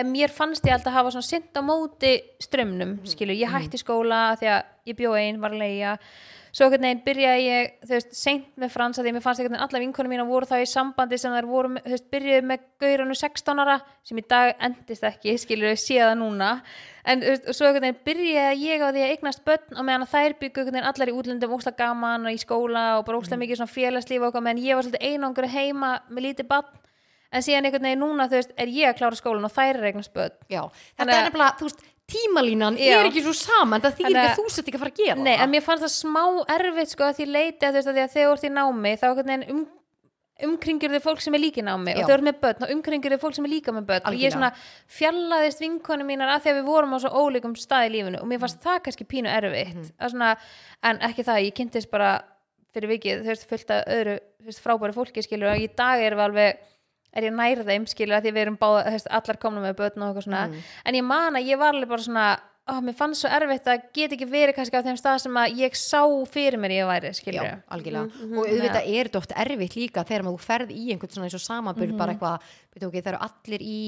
[SPEAKER 2] en mér fannst ég alltaf að hafa svona sint á móti strömmnum, skilur, ég hætti skóla af því að ég bjó einn, var að leia svo einhvern veginn byrjaði ég þú veist, seint með frans að því að mér fannst einhvern veginn alla vinkonum mína voru þá í sambandi sem þær voru með- þú veist, byrjuðu með gauranu 16 ára sem í dag endist ekki, skilur ég sé það núna, en þú veist, og svo einhvern veginn byrjaði ég á því að eignast börn og meðan að þær byggu einhvern veginn allar í útlöndum ósla gaman og í skóla og bara ósla mikið svona félagslíf og eitthvað, meðan ég var svolítið einangur heima með lítið barn en síðan einhvern veginn núna þú veist, er ég að klára skólan og þær er eignast börn
[SPEAKER 1] já, þetta
[SPEAKER 2] Þannig
[SPEAKER 1] er
[SPEAKER 2] að-
[SPEAKER 1] nefnilega, þú veist, tímalínan
[SPEAKER 2] Já.
[SPEAKER 1] er ekki svo saman, það þýr
[SPEAKER 2] Þannig
[SPEAKER 1] ekki
[SPEAKER 2] að-
[SPEAKER 1] að þú sett ekki að fara að gera
[SPEAKER 2] Nei, en
[SPEAKER 1] það
[SPEAKER 2] mér fannst það smá erfitt sko að því leiti að þú veist að því að þegar þú ert í námi þá einhvern veginn um umkringur þið fólk sem er líkin á mig
[SPEAKER 1] Já.
[SPEAKER 2] og þau eru með börn og umkringur þið fólk sem er líka með börn og
[SPEAKER 1] Algjörlega.
[SPEAKER 2] ég svona fjallaðist vinkonu mínar að því að við vorum á svo ólíkum stað í lífinu og mér fannst það kannski pínu erfitt mm. svona, en ekki það, ég kynntist bara fyrir vikið, þú veist, fullt af öðru þú veist, frábæru fólki skilur og í dag erum við alveg er ég nær þeim skilur að því að við erum báða, þú veist, allar komna með börn og eitthvað svona en ég man að ég var alveg bara svona ó, mér fannst svo erfitt að get ekki verið kannski á þeim stað sem að ég sá fyrir mér ég væri skilur
[SPEAKER 1] Já, algjörlega.
[SPEAKER 2] Mm,
[SPEAKER 1] Og auðvitað er þetta oft erfitt líka þegar maður ferð í einhvern svona eins og samanbyrð bara
[SPEAKER 2] Mhm.
[SPEAKER 1] eitthvað, veitum ok, það eru allir í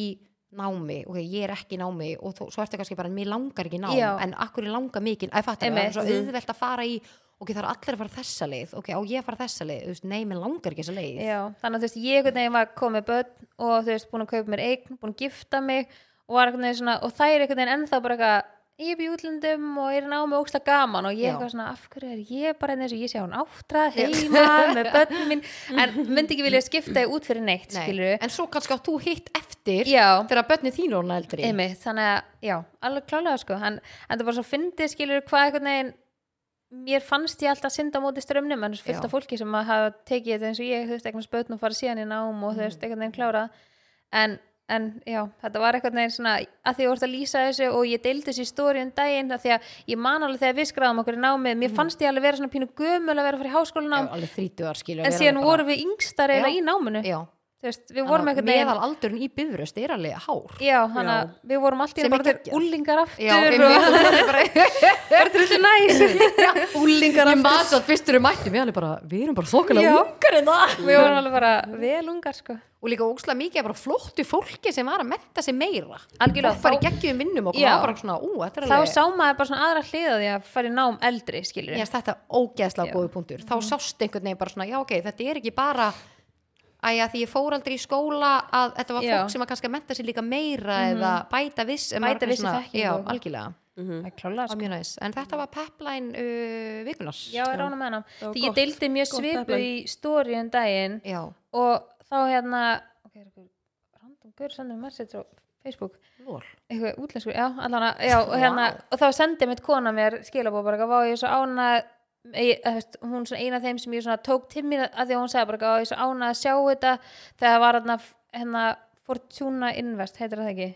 [SPEAKER 1] námi, ok, ég er ekki í námi og þó, svo ertu kannski bara, mér langar ekki í nám
[SPEAKER 2] Já.
[SPEAKER 1] en akkur ég langar mikið, að fattar það er
[SPEAKER 2] Einmitt.
[SPEAKER 1] svo auðvelt að fara í ok, það eru allir að fara þessa leið, ok, á ég að fara þessa leið, þú veist, nei, mér langar ekki þessa leið
[SPEAKER 2] Já, þannig að þú veist, ég einhvern veginn var komið börn og þú veist, búin að kaupa mér eign, búin að gifta mig og var einhvern veginn svona, og það er einhvern veginn ennþá bara eitthvað, ég er upp í útlöndum og er námi óksla gaman og ég
[SPEAKER 1] Já.
[SPEAKER 2] er eitthvað svona, af hverju er ég bara hérna eins og ég sé hún átrað heima með börnum
[SPEAKER 1] (laughs)
[SPEAKER 2] mín, en myndi ekki vilja skipta þið út fyrir neitt,
[SPEAKER 1] Nei.
[SPEAKER 2] skilur
[SPEAKER 1] en svo kannski átt þú hitt eftir
[SPEAKER 2] Já,
[SPEAKER 1] þegar börnið þín er orðin eldri
[SPEAKER 2] einmitt, þannig að, já, alveg klálega sko, en, en það er bara svo fyndið skilur hvað einhvern veginn mér fannst ég alltaf synda á móti strömmnum en fullt
[SPEAKER 1] Já.
[SPEAKER 2] af fólki sem að hafa tekið þetta eins og ég þú veist, eitthvað spötn og fara síðan í nám og þú
[SPEAKER 1] Mm.
[SPEAKER 2] veist, einhvern veginn klárað en, en já, þetta var einhvern veginn svona að því ég vorst að lýsa þessu og ég deildi þessu í stóri um daginn að því að ég man alveg þegar við skráðum okkur í námið, mér fannst ég alveg vera svona pínu gömul að vera að fara í
[SPEAKER 1] Mm. Já,
[SPEAKER 2] háskólanám
[SPEAKER 1] alveg þrítuðar skilur
[SPEAKER 2] en síðan vorum við yngstar
[SPEAKER 1] Já.
[SPEAKER 2] eða í náminu
[SPEAKER 1] já,
[SPEAKER 2] þú veist, við vorum einhvern veginn
[SPEAKER 1] meðal aldurinn í bifröst er alveg hár
[SPEAKER 2] Já, þannig að við vorum alltaf
[SPEAKER 1] Sem
[SPEAKER 2] bara
[SPEAKER 1] er
[SPEAKER 2] þeir
[SPEAKER 1] geggjað.
[SPEAKER 2] úlingar aftur
[SPEAKER 1] Já,
[SPEAKER 2] og (laughs)
[SPEAKER 1] einmitt, það er bara (laughs)
[SPEAKER 2] bara til þetta næs
[SPEAKER 3] Úlingar
[SPEAKER 1] Ég maður svo að fyrst eru mættum, við erum bara, við erum bara þokkalega
[SPEAKER 2] Já.
[SPEAKER 1] ungar en það.
[SPEAKER 2] Við vorum alveg bara vel ungar sko
[SPEAKER 1] Og líka ógslag mikið er bara flottu fólki sem var að menta sig meira.
[SPEAKER 2] Algjörlega,
[SPEAKER 1] Fólk bara
[SPEAKER 2] þá-
[SPEAKER 1] í geggjum vinnum og
[SPEAKER 2] Já.
[SPEAKER 1] var bara svona, ú, þetta er
[SPEAKER 2] Þá
[SPEAKER 1] alveg,
[SPEAKER 2] sá maður bara svona aðra hliða því að fara í nám eldri skilur
[SPEAKER 1] ég
[SPEAKER 2] yes.
[SPEAKER 1] veist þetta ógeðslega góðu punktur.
[SPEAKER 2] Mhm.
[SPEAKER 1] Þá sást einhvern veginn bara svona, já ok, þetta er ekki bara, æja því ég fór aldrei í skóla að þetta var
[SPEAKER 2] Já. Mhm.
[SPEAKER 1] fólk sem var kannski að menta sig líka meira eða bæta viss. en
[SPEAKER 2] Bæta
[SPEAKER 1] maður
[SPEAKER 2] vissi
[SPEAKER 1] svona-
[SPEAKER 2] þekkingu
[SPEAKER 1] Já,
[SPEAKER 2] og-
[SPEAKER 1] algjörlega.
[SPEAKER 2] Það er klálega
[SPEAKER 1] Það var
[SPEAKER 2] sko
[SPEAKER 1] mjög næs. En þetta var pepline uh, vikunars.
[SPEAKER 2] Já, ég rána með hann
[SPEAKER 3] var
[SPEAKER 2] Því ég
[SPEAKER 3] gott.
[SPEAKER 2] deildi mjög
[SPEAKER 3] Gott
[SPEAKER 2] svipu
[SPEAKER 3] peplan.
[SPEAKER 2] í stóri um daginn
[SPEAKER 1] Já,
[SPEAKER 2] og þá hérna ok, er eitthvað random gaur sendur mér message á Facebook
[SPEAKER 1] lól.
[SPEAKER 2] eitthvað útlenskur, já, allan að já, og, hérna,
[SPEAKER 1] Vá.
[SPEAKER 2] og þá sendi mitt kona mér skilabóð bara eitthvað, vá, ég er svo ána ég, þú veist, hún er svona eina af þeim sem ég svona tók til mér að því að hún sagði bara eitthvað, "Vá, ég er svo ána að sjá þetta þegar það var hérna, hérna Fortuna Invest, heitir það ekki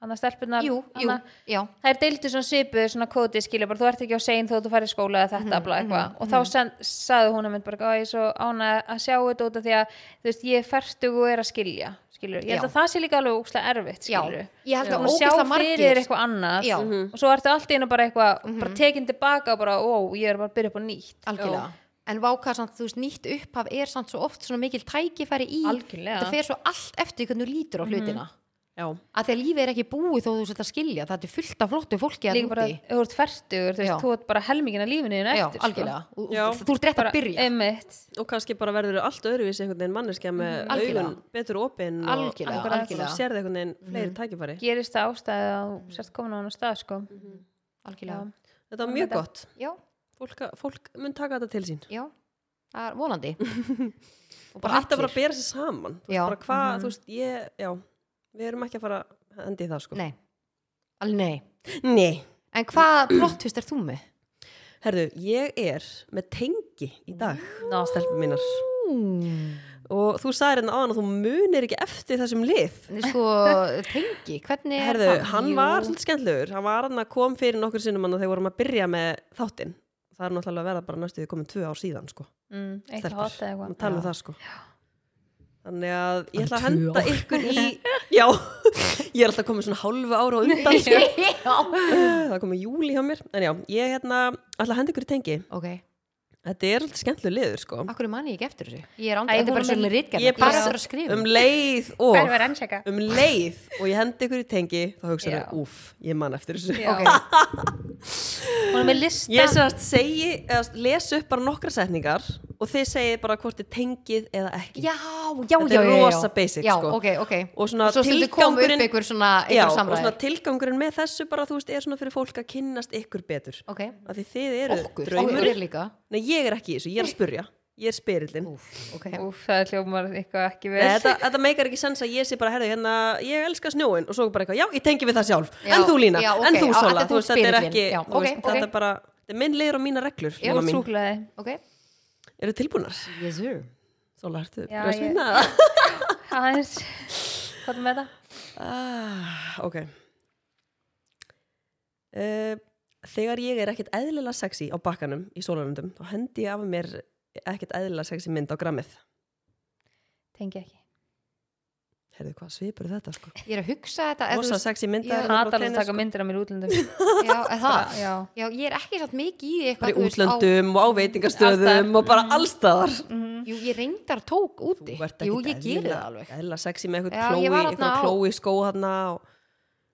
[SPEAKER 2] hann að stelpunar
[SPEAKER 1] Jú, jú, já.
[SPEAKER 2] Það er deildu svona svipuð, svona kóti skilja bara, þú ert ekki á sein þó að þú færi skóla eða þetta
[SPEAKER 1] Mhm,
[SPEAKER 2] bla eitthvað og þá send, sagði hún að mynd bara, að ég er svo ána að sjá þetta út af því að þú veist, ég er ferstug og er að skilja, skilur, ég held
[SPEAKER 1] Já.
[SPEAKER 2] að það sé líka alveg úkslega erfitt, skilur
[SPEAKER 1] Já, ég held að
[SPEAKER 2] og sjá
[SPEAKER 1] ógeðslega
[SPEAKER 2] fyrir
[SPEAKER 1] margir-
[SPEAKER 2] þér eitthvað annað Mhm.
[SPEAKER 1] Já. Mhm.
[SPEAKER 2] og svo ertu allt í einu bara eitthvað bara tekin tilbaka og bara, ó, ég er bara að byrja upp á nýtt
[SPEAKER 1] algjörlega en váka samt, þú veist, nýtt upphaf er samt svo oft svona mikil tækifæri í
[SPEAKER 2] Algjörlega.
[SPEAKER 1] þetta fer svo allt eftir hvernig þú lítur á hlutina
[SPEAKER 3] Já,
[SPEAKER 1] að því að lífið er ekki búið þó þú sett að skilja það er fullt af flottu fólki að
[SPEAKER 2] líka bara,
[SPEAKER 1] núti
[SPEAKER 2] ef þú ert ferstugur, þú
[SPEAKER 1] Já.
[SPEAKER 2] veist, þú ert bara helmingin af lífinu þínu
[SPEAKER 1] já,
[SPEAKER 2] eftir, sko.
[SPEAKER 1] algjörlega, og,
[SPEAKER 3] Já.
[SPEAKER 1] og, þú ert rétt
[SPEAKER 2] bara,
[SPEAKER 1] að byrja
[SPEAKER 2] einmitt,
[SPEAKER 3] og kannski bara verður allt öðruvísi einhvern veginn manneskja með
[SPEAKER 1] Mhm. Algjörlega.
[SPEAKER 3] augun betur opinn og
[SPEAKER 1] algjörlega,
[SPEAKER 2] Akkurat.
[SPEAKER 1] algjörlega, Mhm.
[SPEAKER 3] og sérði einhvern veginn fleiri tækifæri.
[SPEAKER 2] gerist það ástæði að þú sért komin á hann stað, sko
[SPEAKER 1] algjörlega.
[SPEAKER 3] Þetta var mjög gott.
[SPEAKER 1] Já,
[SPEAKER 3] Fólk, fólk mun taka þetta til sín.
[SPEAKER 1] já, það er vonandi og
[SPEAKER 3] bara hægt að
[SPEAKER 1] allir.
[SPEAKER 3] bara bera sér saman þú
[SPEAKER 1] Já. Mhm.
[SPEAKER 3] veist bara hvað, þú veist, ég, já við erum ekki að fara að enda í það sko
[SPEAKER 1] nei, alveg nei
[SPEAKER 3] Nei.
[SPEAKER 1] en hvað plottvist er þú með?
[SPEAKER 3] herðu, ég er með tengi í dag
[SPEAKER 2] Ná.
[SPEAKER 3] stelpur mínar
[SPEAKER 1] Mm.
[SPEAKER 3] og þú sagðir hérna áðan að þú munir ekki eftir þessum lið
[SPEAKER 1] sko, tengi, hvernig er
[SPEAKER 3] herðu,
[SPEAKER 1] það?
[SPEAKER 3] hann
[SPEAKER 1] Jú.
[SPEAKER 3] var svolítið skemmtlegur hann var hann að kom fyrir nokkur sinnum hann að þeir vorum að byrja með þáttinn það er náttúrulega að verða bara næstu því komin tvö ár síðan sko,
[SPEAKER 2] mm, eitt að
[SPEAKER 3] stelpur,
[SPEAKER 2] hota eða
[SPEAKER 3] Má
[SPEAKER 2] eitthvað
[SPEAKER 3] tala um
[SPEAKER 1] Já.
[SPEAKER 3] það sko þannig að ég
[SPEAKER 1] Hann
[SPEAKER 3] ætla að
[SPEAKER 1] tvö
[SPEAKER 3] henda
[SPEAKER 1] ár.
[SPEAKER 3] ykkur í
[SPEAKER 2] (laughs)
[SPEAKER 3] já, ég er alltaf komin svona hálfu ára á undan sko.
[SPEAKER 2] (laughs)
[SPEAKER 1] já,
[SPEAKER 3] það komið júli hjá mér en já, ég hérna, alltaf hendi ykkur í tengi
[SPEAKER 1] (laughs) ok
[SPEAKER 3] þetta er alltaf skemmtilega liður sko
[SPEAKER 1] Akkur manni ég ekki eftir þessu? Ég er
[SPEAKER 2] Æ,
[SPEAKER 1] ándur, þetta
[SPEAKER 2] hún
[SPEAKER 1] er bara
[SPEAKER 2] er
[SPEAKER 1] svona
[SPEAKER 2] með-
[SPEAKER 1] rítgerð
[SPEAKER 3] ég
[SPEAKER 1] Ég bara
[SPEAKER 3] passa-
[SPEAKER 1] eftir að skrifa
[SPEAKER 3] um leið og
[SPEAKER 2] Það var ennsjaka
[SPEAKER 3] um leið og ég hendi ykkur í tengi þá hugsaðu,
[SPEAKER 2] Já.
[SPEAKER 3] úf, ég man eftir þessu
[SPEAKER 1] Ok,
[SPEAKER 2] Hún er með lista
[SPEAKER 3] ég sérst segi, eða sem sagt les upp bara nokkra setningar og þið segið bara hvort þið tengið eða ekki
[SPEAKER 1] Já, já,
[SPEAKER 3] Þetta
[SPEAKER 1] já,
[SPEAKER 3] er
[SPEAKER 1] já, já.
[SPEAKER 3] rosa basic,
[SPEAKER 1] Já,
[SPEAKER 3] sko.
[SPEAKER 1] ok, ok
[SPEAKER 3] og svona
[SPEAKER 1] Svo stundu kom upp
[SPEAKER 3] tilgangurinn-
[SPEAKER 1] ykkur svona
[SPEAKER 3] já,
[SPEAKER 1] ykkur
[SPEAKER 3] og svona
[SPEAKER 1] samræði
[SPEAKER 3] tilgangurinn með þessu bara þú veist, er svona fyrir fólk að kynnast ykkur betur
[SPEAKER 1] Ok,
[SPEAKER 3] af því þið eru
[SPEAKER 1] okkur, okkur
[SPEAKER 3] draumur
[SPEAKER 1] er líka
[SPEAKER 3] nei, ég er ekki í þessu, ég er að spurja ég er spyrillin
[SPEAKER 1] Úf, ok
[SPEAKER 2] Úf, það er hljómar eitthvað ekki
[SPEAKER 3] Nei,
[SPEAKER 2] vel
[SPEAKER 3] þetta, þetta meikar ekki sens að ég sé bara, herðu, hérna, ég elska snjóin og svo bara eitthvað, já, ég tengi við það sjálf,
[SPEAKER 1] Já,
[SPEAKER 3] en þú Lína,
[SPEAKER 1] já, ok,
[SPEAKER 3] en þú
[SPEAKER 1] já,
[SPEAKER 3] Sola,
[SPEAKER 1] þetta þú
[SPEAKER 3] þú veist, þetta er
[SPEAKER 1] spyrillinn,
[SPEAKER 3] ekki,
[SPEAKER 1] já,
[SPEAKER 3] þú
[SPEAKER 1] ok,
[SPEAKER 3] veist,
[SPEAKER 1] ok.
[SPEAKER 3] þetta er bara, þetta er minn liður og mína reglur,
[SPEAKER 1] Já,
[SPEAKER 3] Lína mín,
[SPEAKER 2] Súklaði
[SPEAKER 1] Ok,
[SPEAKER 3] eru tilbúnar,
[SPEAKER 1] yes sir
[SPEAKER 3] Svo lærtu
[SPEAKER 2] Já,
[SPEAKER 3] brjóstvitna
[SPEAKER 1] (laughs)
[SPEAKER 3] ég...
[SPEAKER 2] aðeins hvað er með það?
[SPEAKER 3] ah, Ok uh, Þegar ég er ekkert eðlilega sexy á bakkanum í sólaröndum þá hendi ég af mér ekkert eðlilega sexy mynd á grammið
[SPEAKER 2] tengi ekki
[SPEAKER 3] Herðu hvað svipur er þetta sko
[SPEAKER 1] Ég er að hugsa þetta eða þú
[SPEAKER 3] Rosa
[SPEAKER 1] veist-
[SPEAKER 3] sexy mynd
[SPEAKER 1] ég
[SPEAKER 3] af
[SPEAKER 2] hann
[SPEAKER 1] um
[SPEAKER 2] aðalast
[SPEAKER 3] hennar á
[SPEAKER 2] að taka
[SPEAKER 3] tennis,
[SPEAKER 2] myndir af mér í útlöndum
[SPEAKER 1] Já, eða sko. (laughs) það
[SPEAKER 2] já,
[SPEAKER 1] Já, ég er ekki satt mikið í því eitthvað
[SPEAKER 3] bara í
[SPEAKER 1] þú veist, á-
[SPEAKER 3] útlöndum og á veitingastöðum og bara allstaðar
[SPEAKER 2] Mhm.
[SPEAKER 1] Jú, ég reyndar tók úti Jú, ég geri það alveg
[SPEAKER 3] eðla sexy með
[SPEAKER 1] Já,
[SPEAKER 3] eitthvað
[SPEAKER 1] ég var
[SPEAKER 3] klói,
[SPEAKER 1] þarna
[SPEAKER 3] eitthvað
[SPEAKER 1] á-
[SPEAKER 3] klói skó hann og...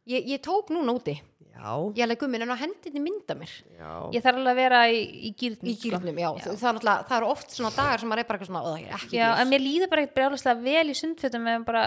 [SPEAKER 1] Ég, ég tók núna úti,
[SPEAKER 3] já,
[SPEAKER 1] ég alveg gummin en á hendinni mynda mér
[SPEAKER 3] já,
[SPEAKER 2] ég þarf alveg að vera í, í sko. gýrnum
[SPEAKER 1] í gýrnum, já, já. Það, er náttúrulega- það eru oft svona dagar sem maður er bara eitthvað svona, "Ó, það er ekki
[SPEAKER 2] já,
[SPEAKER 1] gýr."
[SPEAKER 2] en mér líður bara ekkert brjálislega vel í sundfötum en bara,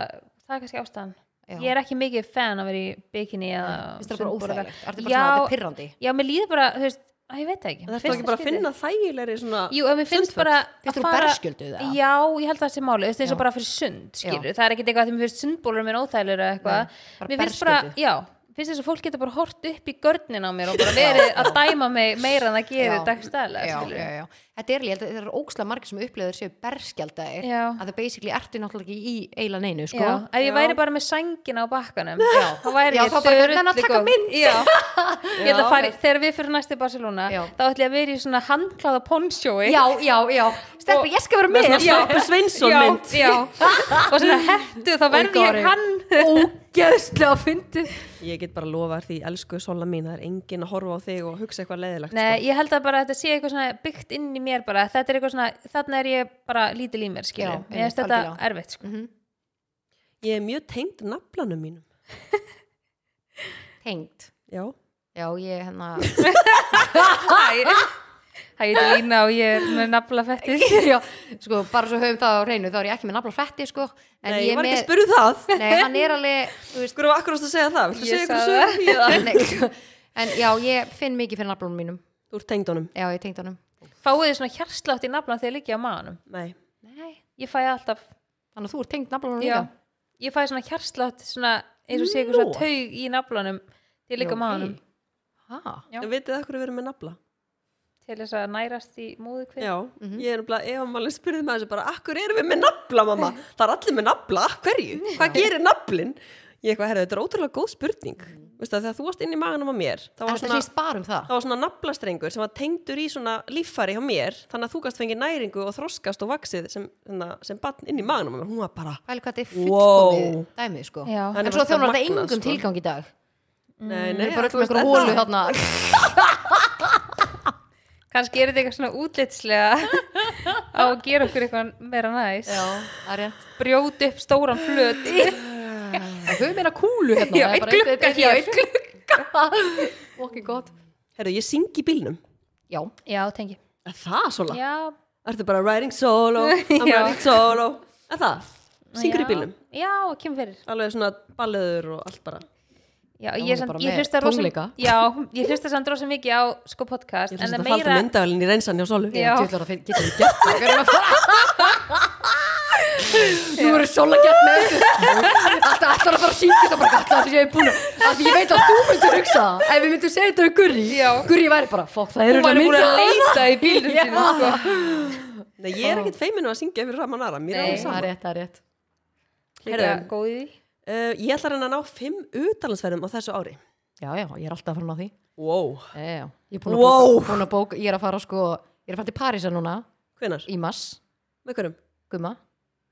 [SPEAKER 2] það er kannski ástæðan
[SPEAKER 1] Já.
[SPEAKER 2] ég er ekki mikið fan að vera í bikini eða
[SPEAKER 1] Finnst þér það bara
[SPEAKER 2] sundbúrða.
[SPEAKER 1] óþægilegt? Er þetta bara
[SPEAKER 2] já,
[SPEAKER 1] svona, þetta er pirrandi?
[SPEAKER 2] já, mér líður bara, þú veist, að ég veit það ekki
[SPEAKER 3] það er
[SPEAKER 2] Finnst
[SPEAKER 3] ekki bara að
[SPEAKER 2] skrítið?
[SPEAKER 3] finna þægilegri svona
[SPEAKER 2] Jú, ef mér finnst
[SPEAKER 3] sundföt?
[SPEAKER 2] bara
[SPEAKER 1] Finnst þér
[SPEAKER 2] að
[SPEAKER 1] hún
[SPEAKER 2] fara-
[SPEAKER 1] berskjölduð eða?
[SPEAKER 2] Já, ég held að það sé máli, þú veist, eins og
[SPEAKER 1] Já.
[SPEAKER 2] bara fyrir sund
[SPEAKER 1] Já.
[SPEAKER 2] skilur, það er ekkit eitthvað að mér finnst sundbólur minn óþægilegur eða eitthvað,
[SPEAKER 1] Nei, bara
[SPEAKER 2] mér finnst bara,
[SPEAKER 1] berskjölduð.
[SPEAKER 2] já finnst þess að fólk getur bara hort upp í görnin á mér og bara verið að dæma mig meira en það gerir
[SPEAKER 1] Já.
[SPEAKER 2] dagstæðlega,
[SPEAKER 1] já,
[SPEAKER 2] skilur
[SPEAKER 1] já, já. Þetta er líka, þetta er ókslega margir sem upplöður séu berskjaldæðir
[SPEAKER 2] Já.
[SPEAKER 1] að það basically ertu náttúrulega ekki í eila neinu sko.
[SPEAKER 2] Já, ef ég
[SPEAKER 3] Já.
[SPEAKER 2] væri bara með sængina á bakkanum já, þá væri
[SPEAKER 1] Já,
[SPEAKER 2] ég
[SPEAKER 1] þá bara
[SPEAKER 2] drullu
[SPEAKER 1] hvernig hann að taka
[SPEAKER 2] góð.
[SPEAKER 1] mynd?
[SPEAKER 2] já.
[SPEAKER 1] (laughs)
[SPEAKER 2] Ég ætla
[SPEAKER 3] Já.
[SPEAKER 2] að fara, í- þegar við fyrir næstu Barcelona
[SPEAKER 1] Já.
[SPEAKER 2] þá ætla ég að vera í svona handklæða ponnsjói
[SPEAKER 1] já, já, já. Stelpa, ég skal vera
[SPEAKER 3] með
[SPEAKER 1] með sko.
[SPEAKER 3] svona Svapur Sveinsson mynd
[SPEAKER 1] (laughs)
[SPEAKER 2] já, og svona hættu þá verði
[SPEAKER 1] Oh God.
[SPEAKER 2] ég hann
[SPEAKER 1] Ógeðslega fyndi
[SPEAKER 3] ég get bara lofa þér því, elsku sola mín það er engin að horfa á þig og hugsa eitthvað sko. leðilegt
[SPEAKER 2] Nei, ég held að bara þetta sé eitthvað svona byggt inn í mér bara, þetta er eitthvað svona þarna er ég bara lítil í mér,
[SPEAKER 1] Já,
[SPEAKER 2] skilur ég
[SPEAKER 1] einmitt,
[SPEAKER 2] veist þetta
[SPEAKER 1] algjörlega.
[SPEAKER 2] erfitt, sko
[SPEAKER 1] Mhm.
[SPEAKER 3] sko. ég er mjög tengd naflanum mínum
[SPEAKER 1] Tengt
[SPEAKER 3] já,
[SPEAKER 1] Já, ég hérna
[SPEAKER 2] Hæ, ég heiti Lína og ég er með nafla (laughs) fettir
[SPEAKER 1] já, Sko, bara svo höfum það á reynu þá er ég ekki með nafla frætti sko, en
[SPEAKER 3] nei,
[SPEAKER 1] ég
[SPEAKER 3] ég
[SPEAKER 1] er
[SPEAKER 3] var ekki að
[SPEAKER 1] með
[SPEAKER 3] spyrja um það
[SPEAKER 1] Nei, hann er alveg þú veist,
[SPEAKER 3] Hver var akkur ást að segja það? Viltu
[SPEAKER 2] Ég
[SPEAKER 3] segja ykkur
[SPEAKER 2] sagði
[SPEAKER 3] sögur? í það?
[SPEAKER 1] nei, (laughs) En já, ég finn mikið fyrir naflunum mínum
[SPEAKER 3] Þú ert tengd honum?
[SPEAKER 1] Já, ég tengt honum
[SPEAKER 2] (laughs) Fáið þið svona hjarslátt í nafla þegar ég liggja á maðanum
[SPEAKER 3] Nei.
[SPEAKER 2] Nei, ég fæ alltaf
[SPEAKER 1] Þannig að þú ert tengt naflunum
[SPEAKER 2] já,
[SPEAKER 1] líka
[SPEAKER 2] Ég fæ svona hjarslátt svona, eins og sé eitthvað svona
[SPEAKER 3] Nú.
[SPEAKER 2] taug í naflanum þegar ég liggja á maðanum
[SPEAKER 1] Hæ?
[SPEAKER 2] Já.
[SPEAKER 3] En vitið það hverju við erum með nafla?
[SPEAKER 2] til þess að nærast í móðu kvinn
[SPEAKER 3] Já, ég er bara, ef maður spyrði með þessu um bara, akkur erum við með nafla, mamma? Það er allir með nafla, af hverju? Hvað gerir naflin? Ég eitthvað, herrðu, þetta er ótrúlega góð spurning. Veistu það, þegar þú varst inn í maganum á mér, þá
[SPEAKER 1] En
[SPEAKER 3] var
[SPEAKER 1] þetta
[SPEAKER 3] svona,
[SPEAKER 1] snýst bara um það
[SPEAKER 3] þá var svona naflastrengur sem var tengdur í svona líffari hjá mér, þannig að þú gast fengið næringu og þroskast og vaksið sem, svona, sem batn inn í maganum á mér. Hún var bara,
[SPEAKER 1] Pæli hvað þetta er fullkomið
[SPEAKER 3] Wow.
[SPEAKER 1] dæmið sko
[SPEAKER 2] Já.
[SPEAKER 1] En
[SPEAKER 3] Henni
[SPEAKER 1] svo
[SPEAKER 3] fannst það
[SPEAKER 1] þjónar þetta
[SPEAKER 3] magnað,
[SPEAKER 1] engum
[SPEAKER 3] sko.
[SPEAKER 1] tilgang í dag
[SPEAKER 3] nei,
[SPEAKER 1] Við
[SPEAKER 3] nei,
[SPEAKER 1] erum Mm. bara
[SPEAKER 3] þú
[SPEAKER 1] öll með
[SPEAKER 3] veist,
[SPEAKER 1] einhverja hérna. hólu
[SPEAKER 3] er það-
[SPEAKER 1] þarna
[SPEAKER 2] kannski er þetta eitthvað svona útlitslega (laughs) á að gera okkur eitthvað meira næs
[SPEAKER 1] Já, það er rétt
[SPEAKER 2] brjóti upp stóran
[SPEAKER 1] (laughs)
[SPEAKER 2] flöt
[SPEAKER 1] Það höfum meina kúlu hérna
[SPEAKER 2] Já,
[SPEAKER 1] það er
[SPEAKER 2] einn
[SPEAKER 1] bara
[SPEAKER 2] glugga
[SPEAKER 1] einn-
[SPEAKER 2] hér.
[SPEAKER 1] Já, einn glugga Okkur gott
[SPEAKER 3] Herru, ég syngi í bílnum.
[SPEAKER 1] Já,
[SPEAKER 2] já, tengi
[SPEAKER 3] Er það svona?
[SPEAKER 2] já,
[SPEAKER 3] Ertu bara riding
[SPEAKER 2] (laughs)
[SPEAKER 3] solo, I'm
[SPEAKER 2] Já.
[SPEAKER 3] riding solo Er það? Syngur í
[SPEAKER 2] já.
[SPEAKER 3] bílnum?
[SPEAKER 2] já, kemur fyrir
[SPEAKER 3] Alveg svona balleður og allt bara
[SPEAKER 2] já,
[SPEAKER 1] hún
[SPEAKER 2] ég,
[SPEAKER 1] er
[SPEAKER 2] er samt,
[SPEAKER 1] bara
[SPEAKER 2] ég
[SPEAKER 1] með
[SPEAKER 2] hlusta rosa,
[SPEAKER 1] tónleika.
[SPEAKER 2] já, ég hlusta samt rosa mikið á sko podcast
[SPEAKER 3] Ég
[SPEAKER 2] en
[SPEAKER 3] ætla
[SPEAKER 2] það
[SPEAKER 3] að falda
[SPEAKER 2] meira
[SPEAKER 3] myndavælinn í reynsan hjá Solu
[SPEAKER 2] Já.
[SPEAKER 1] djöðlar að þeir getur við gert það Við erum að fara Nú verður Sola gert með þessu Alltaf ætlar að fara að syngja það bara Alltaf þess að ég er búin að Af því ég veit að þú myndir hugsa það Ef við myndum segja þetta við Gurri
[SPEAKER 2] Já.
[SPEAKER 1] Gurri væri bara, fokk það eru
[SPEAKER 2] hún var búin að leita í bílum
[SPEAKER 1] (laughs) Já.
[SPEAKER 2] sínum sko.
[SPEAKER 3] Nei, ég er ekkert feiminu að syngja fyrir Raman Ara Mér er
[SPEAKER 2] Nei.
[SPEAKER 3] alveg
[SPEAKER 1] Það
[SPEAKER 3] saman
[SPEAKER 1] er rétt, það er rétt
[SPEAKER 2] líka
[SPEAKER 3] Heyrðu.
[SPEAKER 2] góð í því
[SPEAKER 3] uh, Ég ætla að reyna að ná fimm utalansverðum á þessu ári
[SPEAKER 1] Já, já, ég er alltaf að fara ná því
[SPEAKER 3] Wow
[SPEAKER 1] Já, já, já. Ég er búin að,
[SPEAKER 3] Wow.
[SPEAKER 1] bóka, búin að bóka Ég er að fara sko Ég er að fara til Parísa núna
[SPEAKER 3] Hvenar?
[SPEAKER 1] Í mars,
[SPEAKER 3] Með hverjum?
[SPEAKER 1] gumma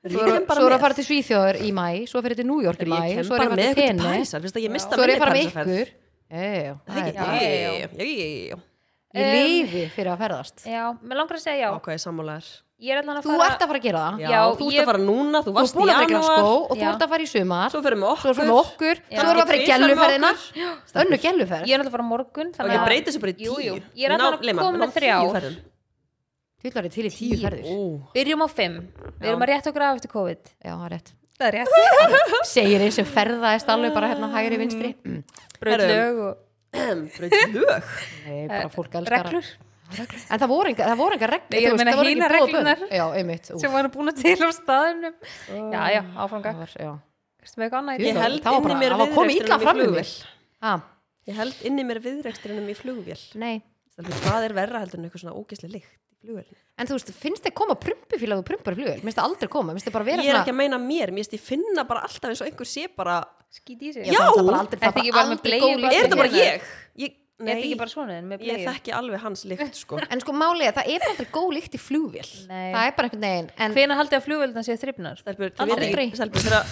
[SPEAKER 3] Er
[SPEAKER 1] Svo
[SPEAKER 3] ég
[SPEAKER 1] er
[SPEAKER 3] kem bara
[SPEAKER 1] svo er að
[SPEAKER 3] með?
[SPEAKER 1] fara til Svíþjóður í mæ Svo fyrir til New York í
[SPEAKER 3] Er
[SPEAKER 1] mæ
[SPEAKER 3] Ég kem
[SPEAKER 1] Svo er ég
[SPEAKER 3] bara
[SPEAKER 1] að
[SPEAKER 3] með
[SPEAKER 1] fara til
[SPEAKER 3] ykkur til
[SPEAKER 1] Tenni
[SPEAKER 3] Parísar Vist að ég mista
[SPEAKER 1] Svo er ég
[SPEAKER 3] minni
[SPEAKER 1] að fara með
[SPEAKER 3] Parísarferð
[SPEAKER 1] ykkur Já, já,
[SPEAKER 3] Það er
[SPEAKER 1] já
[SPEAKER 3] ekki-
[SPEAKER 2] Já,
[SPEAKER 3] Jú,
[SPEAKER 2] já, já.
[SPEAKER 3] jú, jú, jú, jú.
[SPEAKER 1] Ég
[SPEAKER 2] Um,
[SPEAKER 1] lifi fyrir að ferðast
[SPEAKER 2] já, mér langar að segja já
[SPEAKER 3] Ákvæði sammálaðar
[SPEAKER 2] ég er allan að
[SPEAKER 1] Þú
[SPEAKER 2] fara
[SPEAKER 1] ert að fara að gera það
[SPEAKER 3] Já,
[SPEAKER 2] Já,
[SPEAKER 3] þú ert
[SPEAKER 2] ég-
[SPEAKER 3] að fara núna, þú
[SPEAKER 1] Þú
[SPEAKER 3] varst
[SPEAKER 1] ert
[SPEAKER 3] í
[SPEAKER 1] búin að fara í
[SPEAKER 3] janúar
[SPEAKER 1] Glasgow og þú
[SPEAKER 2] Já.
[SPEAKER 1] ert að fara í sumar
[SPEAKER 3] Svo fyrir með
[SPEAKER 1] Svo
[SPEAKER 3] okkur
[SPEAKER 1] erum við okkur
[SPEAKER 2] Já.
[SPEAKER 1] Svo erum við að fara í
[SPEAKER 3] Ekki tvisvar með
[SPEAKER 1] gelluferðina
[SPEAKER 3] okkur.
[SPEAKER 1] Önnu gelluferð
[SPEAKER 2] ég er allan að fara á morgun
[SPEAKER 3] Og
[SPEAKER 2] þannig
[SPEAKER 3] ég
[SPEAKER 2] að-
[SPEAKER 3] breyti þessu bara í tíu
[SPEAKER 2] Jú, jú. Ég er allan að koma með þrjár.
[SPEAKER 1] Þú ætlar þér til í tíu
[SPEAKER 2] Tíu.
[SPEAKER 1] ferðir
[SPEAKER 2] byrjum á fimm við erum að rétta okkur af eftir COVID
[SPEAKER 1] Já, það er rétt
[SPEAKER 2] það er rétt
[SPEAKER 1] Segir eins og ferðaðist alveg bara hérna hægri vinstri Mm.
[SPEAKER 3] (clears throat)
[SPEAKER 2] bröðlög og
[SPEAKER 3] Breyt lög
[SPEAKER 1] Nei, bara fólk elskar að-
[SPEAKER 2] reglur
[SPEAKER 1] En það voru enga, það voru enga reglur
[SPEAKER 2] Nei, ég
[SPEAKER 1] þú veist,
[SPEAKER 2] meina
[SPEAKER 1] það voru
[SPEAKER 2] hinar
[SPEAKER 1] engin boð og bönn.
[SPEAKER 2] reglurnar.
[SPEAKER 1] Já, einmitt úff,
[SPEAKER 2] sem var búin að til á staðunum já, já, áfranga
[SPEAKER 1] það var- já.
[SPEAKER 2] Erstu með eitthvað annað í
[SPEAKER 1] Ég
[SPEAKER 3] Ég
[SPEAKER 2] dag?
[SPEAKER 1] held
[SPEAKER 3] held
[SPEAKER 1] Það var
[SPEAKER 3] inni
[SPEAKER 1] bara-
[SPEAKER 3] mér
[SPEAKER 1] það var komið illa
[SPEAKER 3] viðreksturinn í
[SPEAKER 1] fram við
[SPEAKER 3] flugvél.
[SPEAKER 1] mig. Ha,
[SPEAKER 3] Ég held inni mér viðreksturinnum í flugvél
[SPEAKER 1] Nei,
[SPEAKER 3] Stelpur, Hvað er verra heldur en eitthvað svona ógisli lykt flugvel
[SPEAKER 1] en þú veist, finnst þið koma prumpufílag og prumpar í flugvél, minnst þið aldrei koma, minnst þið bara vera
[SPEAKER 3] Ég er ekki að meina mér, mér finnst ég finna bara alltaf eins og einhver sé bara
[SPEAKER 2] skýt í sig
[SPEAKER 1] Já, það er bara aldrei,
[SPEAKER 2] Ertu
[SPEAKER 1] það
[SPEAKER 2] ekki
[SPEAKER 1] er
[SPEAKER 2] bara
[SPEAKER 1] bara
[SPEAKER 2] með
[SPEAKER 1] aldrei
[SPEAKER 2] bleiu
[SPEAKER 1] góð
[SPEAKER 2] bara
[SPEAKER 1] lykt.
[SPEAKER 3] Er þetta bara
[SPEAKER 2] hérna.
[SPEAKER 3] ég? ég
[SPEAKER 2] er þetta
[SPEAKER 3] nei,
[SPEAKER 2] ekki bara svona en með
[SPEAKER 3] ég
[SPEAKER 2] bleið
[SPEAKER 3] þekki alveg hans lykt sko
[SPEAKER 1] En sko málið er, það er bara aldrei góð líkt í flugvél
[SPEAKER 2] Nei.
[SPEAKER 1] Það er bara einhvern veginn En
[SPEAKER 2] hvena haldið að flugvöldan séu þrifnar
[SPEAKER 3] Stelpur,
[SPEAKER 1] Aldrei.
[SPEAKER 3] aldrei Stelpur, þegar,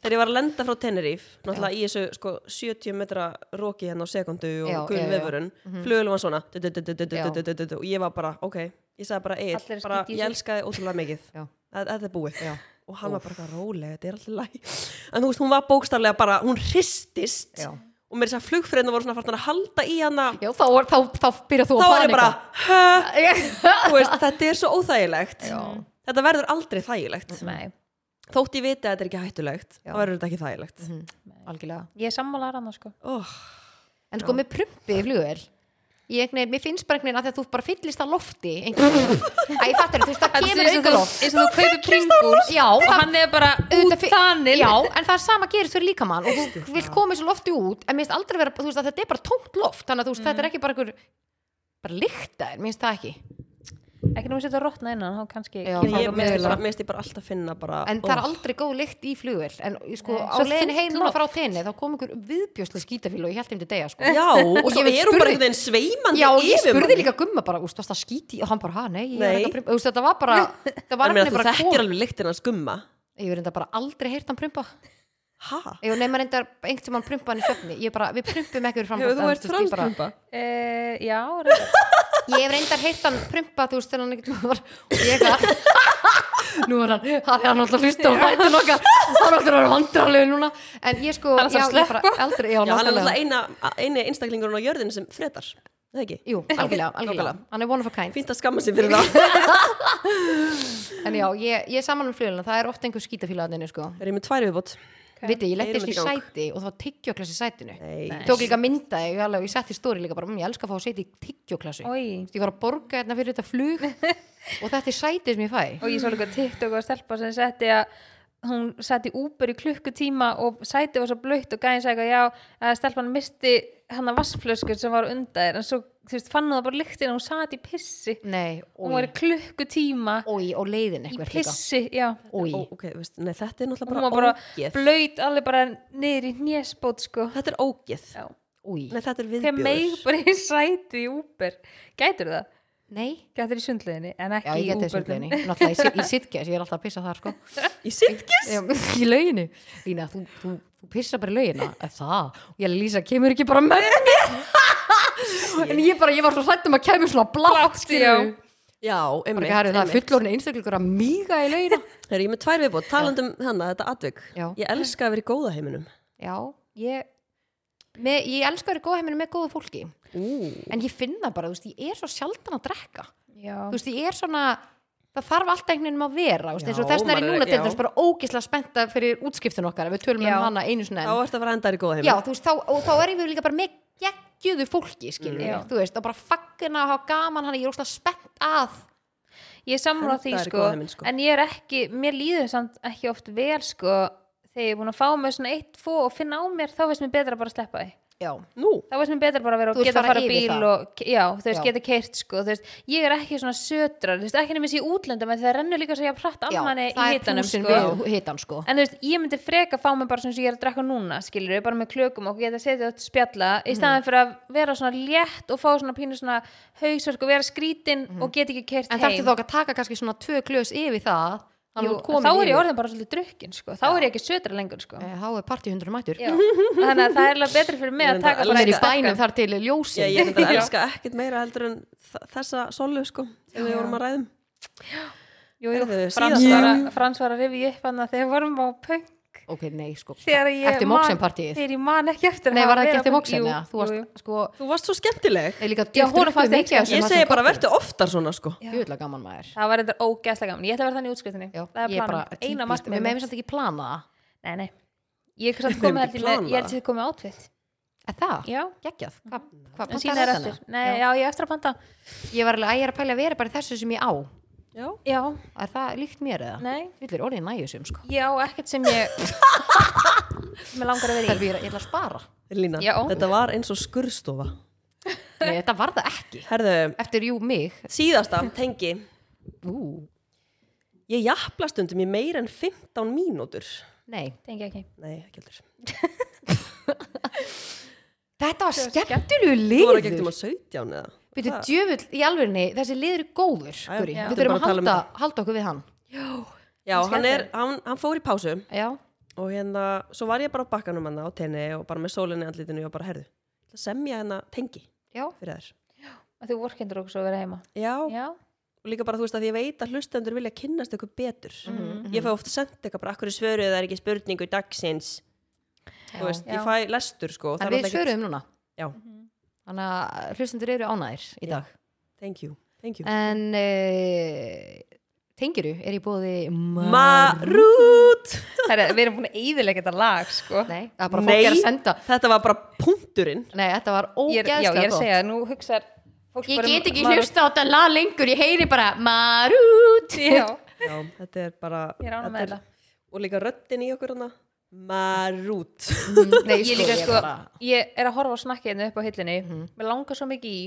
[SPEAKER 3] þegar ég var að lenda frá Tenerife náttúrulega í þessu sko, 70 metra roki hérna á sekundu
[SPEAKER 1] Já,
[SPEAKER 3] og
[SPEAKER 1] já,
[SPEAKER 3] gul
[SPEAKER 1] já.
[SPEAKER 3] vefurinn flugulum var svona du- du- du- du- du- du-
[SPEAKER 1] Já.
[SPEAKER 3] du- du- du- du- og ég var bara, ok, ég sagði bara
[SPEAKER 2] Allir
[SPEAKER 3] Egil,
[SPEAKER 2] eru
[SPEAKER 3] bara,
[SPEAKER 2] skítið í
[SPEAKER 3] ég
[SPEAKER 2] sig.
[SPEAKER 3] elska þig ótrúlega mikið
[SPEAKER 1] Já.
[SPEAKER 3] Það- þetta er búið
[SPEAKER 1] Já.
[SPEAKER 3] og hann var bara eitthvað rólega, þetta er alltaf læg en þú veist, hún var bókstaflega bara, hún hristist
[SPEAKER 1] Já.
[SPEAKER 3] og mér þess að flugfreyðinu voru svona farnar að halda í hana
[SPEAKER 1] já, þá, er- þá, þá, þá byrjar þú
[SPEAKER 3] þá
[SPEAKER 1] að
[SPEAKER 3] var ég bara, hæ
[SPEAKER 1] panika.
[SPEAKER 3] Þú veist, þetta er svo óþægilegt þetta verður aldrei þægilegt
[SPEAKER 2] nei
[SPEAKER 3] þótt ég viti að þetta er ekki hættulegt þá verður þetta ekki þægilegt
[SPEAKER 1] Mhm.
[SPEAKER 3] mm
[SPEAKER 1] (laughs) Algjörlega
[SPEAKER 2] ég er sammála rann sko
[SPEAKER 1] En sko með prumpi í flugvél Ég einhvern veginn, mér finnst bara einhvern veginn að því að þú bara fyllist að lofti einhvern veginn. Æ, fattar þú veist, það kemur auka loft
[SPEAKER 2] eins og þú kaupir pringuls
[SPEAKER 1] Já,
[SPEAKER 2] og
[SPEAKER 1] það-
[SPEAKER 2] hann er bara
[SPEAKER 1] auðvitað
[SPEAKER 2] út
[SPEAKER 1] fi-
[SPEAKER 2] þannig
[SPEAKER 1] Já, en það sama gerist fyrir líkamann og þú vilt koma þessu lofti út en mér finnst aldrei vera, þú veist að þetta er bara tómt loft þannig að þú veist,
[SPEAKER 2] Mm.
[SPEAKER 1] þetta er ekki bara einhver bara líkta, mér finnst það ekki
[SPEAKER 2] ekki nú að setja rótna innan þá kannski
[SPEAKER 1] Já,
[SPEAKER 2] kemur
[SPEAKER 1] þá-
[SPEAKER 2] það
[SPEAKER 3] ég
[SPEAKER 2] bara með-
[SPEAKER 3] mér
[SPEAKER 1] mögulega.
[SPEAKER 3] finnst bara- mér finnst ég bara alltaf finna bara
[SPEAKER 1] en það er
[SPEAKER 3] óh.
[SPEAKER 1] aldrei góð lykt í flugvél en sko,
[SPEAKER 2] Nei.
[SPEAKER 1] á
[SPEAKER 2] Svo
[SPEAKER 1] leiðin
[SPEAKER 2] þungt
[SPEAKER 1] heim núna
[SPEAKER 2] loft.
[SPEAKER 1] frá tenni þá kom einhver viðbjóslega skítafíl og ég held þeim til degja sko.
[SPEAKER 3] já, og svo
[SPEAKER 1] ég veit
[SPEAKER 3] er hún bara
[SPEAKER 1] spurði-
[SPEAKER 3] einhvern veginn sveimandi
[SPEAKER 1] Já, og ég
[SPEAKER 3] yfir
[SPEAKER 1] spurði
[SPEAKER 3] manni.
[SPEAKER 1] líka gumma bara, úst, varst það skíti? Og hann bara, ha, nei, ég
[SPEAKER 3] Nei.
[SPEAKER 1] er ekki að prumpa. Úst, þetta var bara,
[SPEAKER 2] (laughs)
[SPEAKER 1] það var
[SPEAKER 3] en meina,
[SPEAKER 1] nefnilega
[SPEAKER 3] þú
[SPEAKER 1] bara
[SPEAKER 3] þekkir alveg lyktin hans gumma
[SPEAKER 1] Ég verði bara aldrei heyrt hann prumpa.
[SPEAKER 3] ha?
[SPEAKER 1] Ég nefnir reyndar einhvern tímann prumpa hann í svefni. Ég bara, við prumpum ekki fyrir fram.
[SPEAKER 3] hefur þú ert franskjumpa?
[SPEAKER 2] Eh, já reyndar.
[SPEAKER 1] Ég hef reyndar heyrt hann prumpa, þú veist, þegar hann ekkert var, og ég eitthvað,
[SPEAKER 2] (laughs)
[SPEAKER 1] nú er hann, hann er hann alltaf að hlusta á hættun okkar, hann er alltaf að vera vandrarlegu núna, en ég sko,
[SPEAKER 2] Hann er
[SPEAKER 1] já,
[SPEAKER 2] alltaf að
[SPEAKER 1] ég bara, aldrei, já,
[SPEAKER 3] já, hann er
[SPEAKER 1] nákvæmlega.
[SPEAKER 3] náttúrulega eina- eini einstaklingurinn á jörðinu sem fretar það ekki?
[SPEAKER 1] Jú, algjörlega, algjörlega,
[SPEAKER 3] nákvæmlega.
[SPEAKER 1] hann er one of a kind.
[SPEAKER 3] fínt að skamma sér
[SPEAKER 1] (laughs)
[SPEAKER 3] fyrir það
[SPEAKER 1] En já, ég, ég er saman um flugulina, það er ofta einhver skítafílaðinni, sko.
[SPEAKER 3] er ég með tvær viðbót?
[SPEAKER 1] okay. viti, ég leti
[SPEAKER 3] Heyrum
[SPEAKER 1] þessu í
[SPEAKER 3] þetta í
[SPEAKER 1] sæti og það var tyggjóklas í sætinu
[SPEAKER 3] Nei. Nei.
[SPEAKER 1] tók líka mynda, ég, alveg, ég setti í stóri líka bara, mmm, ég elska að fá að setja í tyggjóklasu
[SPEAKER 2] Oj.
[SPEAKER 1] ég var að borga hérna fyrir þetta
[SPEAKER 2] (laughs)
[SPEAKER 1] flug og þetta er sætið sem ég fæ
[SPEAKER 2] og ég svo líka TikTok og stelpa sem setti að hún setti Uber í klukkutíma og sæti var svo blöitt og gæði segja já, að stelpan misti hann að vassflöskur sem var undan þér en svo þú veist, fann hún það bara lyktin og hún sat í pissi
[SPEAKER 1] nei,
[SPEAKER 2] hún var
[SPEAKER 1] oi,
[SPEAKER 2] í klukkutíma
[SPEAKER 1] oi og leiðin
[SPEAKER 2] í
[SPEAKER 1] eitthvað líka
[SPEAKER 2] pissi, já
[SPEAKER 1] oi,
[SPEAKER 3] Ó, ok, veist, nei, þetta er
[SPEAKER 2] hún var
[SPEAKER 3] náttúrulega
[SPEAKER 2] bara
[SPEAKER 3] bara ógeð
[SPEAKER 2] blöyt alveg bara niður í hnésbót sko
[SPEAKER 3] þetta er ógeð
[SPEAKER 2] Já.
[SPEAKER 1] oi,
[SPEAKER 3] Nei, þetta er
[SPEAKER 2] þegar meig
[SPEAKER 3] viðbjóður.
[SPEAKER 2] bara í sæti í Uber gætur það?
[SPEAKER 1] nei
[SPEAKER 2] Gætur í sundleginni en
[SPEAKER 1] já,
[SPEAKER 2] ekki
[SPEAKER 1] ég
[SPEAKER 2] í
[SPEAKER 1] geti þessu
[SPEAKER 2] Uber
[SPEAKER 1] leiðinni, náttúrulega í sit- í sitges ég er alltaf að pissa þar, sko
[SPEAKER 3] Í sitki?
[SPEAKER 1] Já, (laughs) í lauginu, Lína, þú, þú, þú pissa bara í laugina, Eh, það og ég Lísa, kemur ekki bara með mér (laughs) en ég bara, ég var svo hrætt um að kemur svona blátt, skilur
[SPEAKER 3] Já, einmitt.
[SPEAKER 1] Bara ekki herrið það
[SPEAKER 3] einmitt.
[SPEAKER 1] fullorinn einstaklingur að míga í laugina
[SPEAKER 3] Þegar ég er með tvær viðbót, talandum þannig að þetta atvik.
[SPEAKER 1] Já.
[SPEAKER 3] Ég elska að vera í góða heiminum.
[SPEAKER 1] (laughs) Já, ég með, ég elska verið góð heiminu með góðu fólki
[SPEAKER 3] Ú.
[SPEAKER 1] en ég finn það bara, þú veist, ég er svo sjaldan að drekka
[SPEAKER 2] (laughs) já,
[SPEAKER 1] þú veist, ég er svona það þarf alltaf einhvern veginn að vera þú veist, eins og
[SPEAKER 3] Já,
[SPEAKER 1] þess vegna er ég
[SPEAKER 3] maður er-
[SPEAKER 1] núna til
[SPEAKER 3] já.
[SPEAKER 1] þess bara ógislega spennta fyrir útskiptun okkar ef við tölum
[SPEAKER 2] Já.
[SPEAKER 1] um hana einu sinni
[SPEAKER 3] Þá
[SPEAKER 1] enn.
[SPEAKER 3] ertu að vera endar í góða
[SPEAKER 1] Já,
[SPEAKER 3] heiminum.
[SPEAKER 1] þú veist, þá, og þá erum við líka bara með geggjuðu fólki, skilur
[SPEAKER 2] Já.
[SPEAKER 1] þú veist, og bara faggina að hafa gaman hann, ég er óslega spennt að
[SPEAKER 2] ég er sammála því
[SPEAKER 3] Þetta er
[SPEAKER 2] sko,
[SPEAKER 3] góð hugmynd, sko.
[SPEAKER 2] en ég er ekki, mér líður samt ekki oft vel sko þegar ég er búin að fá mig svona eitt, fó og finna á mér þá veist mér betra bara að sleppa því
[SPEAKER 1] Já,
[SPEAKER 3] Nú,
[SPEAKER 2] þá veist mér betra bara að vera
[SPEAKER 1] Þú
[SPEAKER 2] og
[SPEAKER 1] vilt
[SPEAKER 2] geta að
[SPEAKER 1] fara
[SPEAKER 2] fara
[SPEAKER 1] yfir
[SPEAKER 2] bíl
[SPEAKER 1] það.
[SPEAKER 2] og já, þú veist,
[SPEAKER 1] Já.
[SPEAKER 2] geta keirt sko þú veist, ég er ekki svona sötrar þú veist, ekki nefnir sér útlöndum en það rennur líka svo ég að prata
[SPEAKER 1] já
[SPEAKER 2] almanni í
[SPEAKER 1] það er
[SPEAKER 2] hitanum
[SPEAKER 1] púsin
[SPEAKER 2] sko
[SPEAKER 1] við hitan, sko
[SPEAKER 2] en þú veist, ég myndi freka fá mig bara svona sem ég er að drekka núna, skilur við, bara með klökum og geta setið átt spjalla, í
[SPEAKER 1] Mhm.
[SPEAKER 2] staðan fyrir að vera svona létt og fá svona pínu svona hausverk og vera skrítin og geta ekki kert
[SPEAKER 1] Mhm. En
[SPEAKER 2] heim
[SPEAKER 1] þarftu þá ekki að taka kannski svona tvö glös yfir það þannig að
[SPEAKER 2] Jú,
[SPEAKER 1] þú ert komin
[SPEAKER 2] þá er ég
[SPEAKER 1] yfir.
[SPEAKER 2] orðin bara svolítið drukkin sko. þá er ég ekki sötra lengur sko.
[SPEAKER 1] Eh, Þá er partíhundurinn mættur
[SPEAKER 2] Já. þannig að það er alveg betri fyrir mig
[SPEAKER 3] Ég
[SPEAKER 2] að
[SPEAKER 3] reyndar
[SPEAKER 2] taka
[SPEAKER 1] Hún
[SPEAKER 2] bara
[SPEAKER 1] er í
[SPEAKER 2] eitt
[SPEAKER 1] bænum
[SPEAKER 2] sterkan.
[SPEAKER 1] þar til er ljósin
[SPEAKER 3] ég, ég þetta elska ekkit meira heldur en þ- þessa solu, sko, sem við vorum að ræðum.
[SPEAKER 2] Jú, jú,
[SPEAKER 3] Heyrðu,
[SPEAKER 2] Frans
[SPEAKER 3] síðasta-
[SPEAKER 2] var að- Frans var að rifja upp hann þegar við vorum á punk
[SPEAKER 1] Ok, nei, sko
[SPEAKER 2] þegar ég
[SPEAKER 1] Eftir
[SPEAKER 2] man-
[SPEAKER 1] Moxenpartíið
[SPEAKER 2] þegar ég man ekki eftir að
[SPEAKER 1] Nei,
[SPEAKER 2] hafa
[SPEAKER 1] var það
[SPEAKER 2] verið
[SPEAKER 1] ekki
[SPEAKER 2] á
[SPEAKER 1] eftir
[SPEAKER 2] pönk.
[SPEAKER 1] Moxen
[SPEAKER 2] Jú,
[SPEAKER 1] eða? Þú
[SPEAKER 2] jú, jú.
[SPEAKER 1] varst, sko,
[SPEAKER 3] Þú varst svo skemmtileg.
[SPEAKER 1] er líka
[SPEAKER 2] Já, honum
[SPEAKER 1] djúpt drukkuð
[SPEAKER 2] fannst það
[SPEAKER 1] mikið
[SPEAKER 2] ekki,
[SPEAKER 1] sem
[SPEAKER 3] Ég
[SPEAKER 1] að
[SPEAKER 3] segi
[SPEAKER 1] sem
[SPEAKER 3] bara,
[SPEAKER 1] kom.
[SPEAKER 3] verður oftar svona, sko.
[SPEAKER 2] Já.
[SPEAKER 1] Jöðla gaman maður
[SPEAKER 2] það var þetta ógæslega gaman ég ætla að vera þannig í útskriftinni
[SPEAKER 1] Já,
[SPEAKER 2] það er
[SPEAKER 1] ég er bara
[SPEAKER 2] planið,
[SPEAKER 1] típist-
[SPEAKER 2] eina
[SPEAKER 1] Við
[SPEAKER 2] markmið
[SPEAKER 1] meðum
[SPEAKER 2] mitt.
[SPEAKER 1] samt ekki plana það
[SPEAKER 2] nei, nei, ég er samt
[SPEAKER 3] Við
[SPEAKER 2] komið
[SPEAKER 3] megum
[SPEAKER 2] held
[SPEAKER 3] ekki
[SPEAKER 2] ég með-
[SPEAKER 3] plana
[SPEAKER 2] ég er
[SPEAKER 3] það.
[SPEAKER 2] til komið átfitt
[SPEAKER 1] Er það?
[SPEAKER 2] já,
[SPEAKER 1] Geggjað Hva- Hvað
[SPEAKER 2] en
[SPEAKER 1] pantaði
[SPEAKER 2] sína er
[SPEAKER 1] þetta
[SPEAKER 2] eftir
[SPEAKER 1] hana?
[SPEAKER 2] nei, já, ég er eftir að panta
[SPEAKER 1] Ég var alveg, æ, ég er að pæla að vera bara í þessu sem ég á
[SPEAKER 3] Já.
[SPEAKER 2] já,
[SPEAKER 1] Er það líkt mér eða?
[SPEAKER 2] nei,
[SPEAKER 1] Villir orðið nægjusum, sko
[SPEAKER 2] ég á ekkert sem ég
[SPEAKER 1] (laughs)
[SPEAKER 2] mér langar að vera í
[SPEAKER 1] Þegar ég er- ég ætla að spara
[SPEAKER 3] Lína,
[SPEAKER 2] Já.
[SPEAKER 3] þetta var eins og skurðstofa.
[SPEAKER 1] Nei, þetta var það ekki
[SPEAKER 3] Herðu,
[SPEAKER 1] Eftir jú mig
[SPEAKER 3] síðasta tengi
[SPEAKER 1] Ú,
[SPEAKER 3] Ég jafla stundum í meir en 15 mínútur
[SPEAKER 1] nei
[SPEAKER 2] tengi ekki
[SPEAKER 3] Nei, ekki heldur
[SPEAKER 1] Þetta var
[SPEAKER 2] Þetta var
[SPEAKER 1] skemmtilegu
[SPEAKER 3] Þú voru ekki
[SPEAKER 1] liður
[SPEAKER 3] um að 17 eða
[SPEAKER 1] Býtu
[SPEAKER 3] Hvað?
[SPEAKER 1] djöfull í alvörinni Þessi liður er góður
[SPEAKER 3] já.
[SPEAKER 1] Guri.
[SPEAKER 3] Já.
[SPEAKER 1] Við þurfum
[SPEAKER 3] Bara
[SPEAKER 1] að
[SPEAKER 3] tala um
[SPEAKER 1] halda, halda okkur við hann
[SPEAKER 3] Já,
[SPEAKER 2] Skemmtilegt.
[SPEAKER 3] hann, er, hann, hann fór í pásu
[SPEAKER 1] Já,
[SPEAKER 3] og hérna, svo var ég bara á bakkanum hann á tenni og bara með sólinni í andlitinu og bara herðu, það semja hérna tengi
[SPEAKER 1] já,
[SPEAKER 3] fyrir þær.
[SPEAKER 2] að þú vorkendur okkur svo að vera heima
[SPEAKER 3] Já,
[SPEAKER 2] já,
[SPEAKER 3] og líka bara þú veist að ég veit að hlustendur vilja kynnast eitthvað betur. Mhm.
[SPEAKER 1] Mm-hmm. Mhm.
[SPEAKER 3] Ég fæ oft sendt eitthvað bara, akkur svöruð það er ekki spurningu dagsins. Þú
[SPEAKER 1] Já.
[SPEAKER 3] veist, ég
[SPEAKER 2] Já.
[SPEAKER 3] fæ lestur sko. og
[SPEAKER 1] en
[SPEAKER 3] það er
[SPEAKER 1] við
[SPEAKER 3] náttúrulega ekkert-
[SPEAKER 1] svöruðum núna Mhm.
[SPEAKER 3] Já.
[SPEAKER 1] Þannig að hlustendur eru ánæðir í dag
[SPEAKER 3] Thank you, thank you.
[SPEAKER 1] En uh, tengiru er í bóði Mar
[SPEAKER 3] Marút!
[SPEAKER 2] Herra, við erum búin að eyðilega þetta lag sko.
[SPEAKER 1] Nei, það er bara fólk er að senda
[SPEAKER 3] þetta var bara punkturinn.
[SPEAKER 1] Nei, þetta var
[SPEAKER 2] ég er,
[SPEAKER 1] ógeðslega
[SPEAKER 2] já, ég er að segja, nú hugsar fólk
[SPEAKER 1] Ég
[SPEAKER 2] bara um
[SPEAKER 1] get ekki
[SPEAKER 2] Maru-
[SPEAKER 1] hlusta á þetta lag lengur, ég heyri bara Marút
[SPEAKER 2] (laughs) já,
[SPEAKER 3] Já, þetta er bara...
[SPEAKER 2] Ég er ánægð með
[SPEAKER 3] er- Og líka röddin í okkur hana. Marút.
[SPEAKER 1] Nei,
[SPEAKER 2] ég líka sko, ég er að horfa á snakkiðinu upp á hillinni, mér langar svo mikið í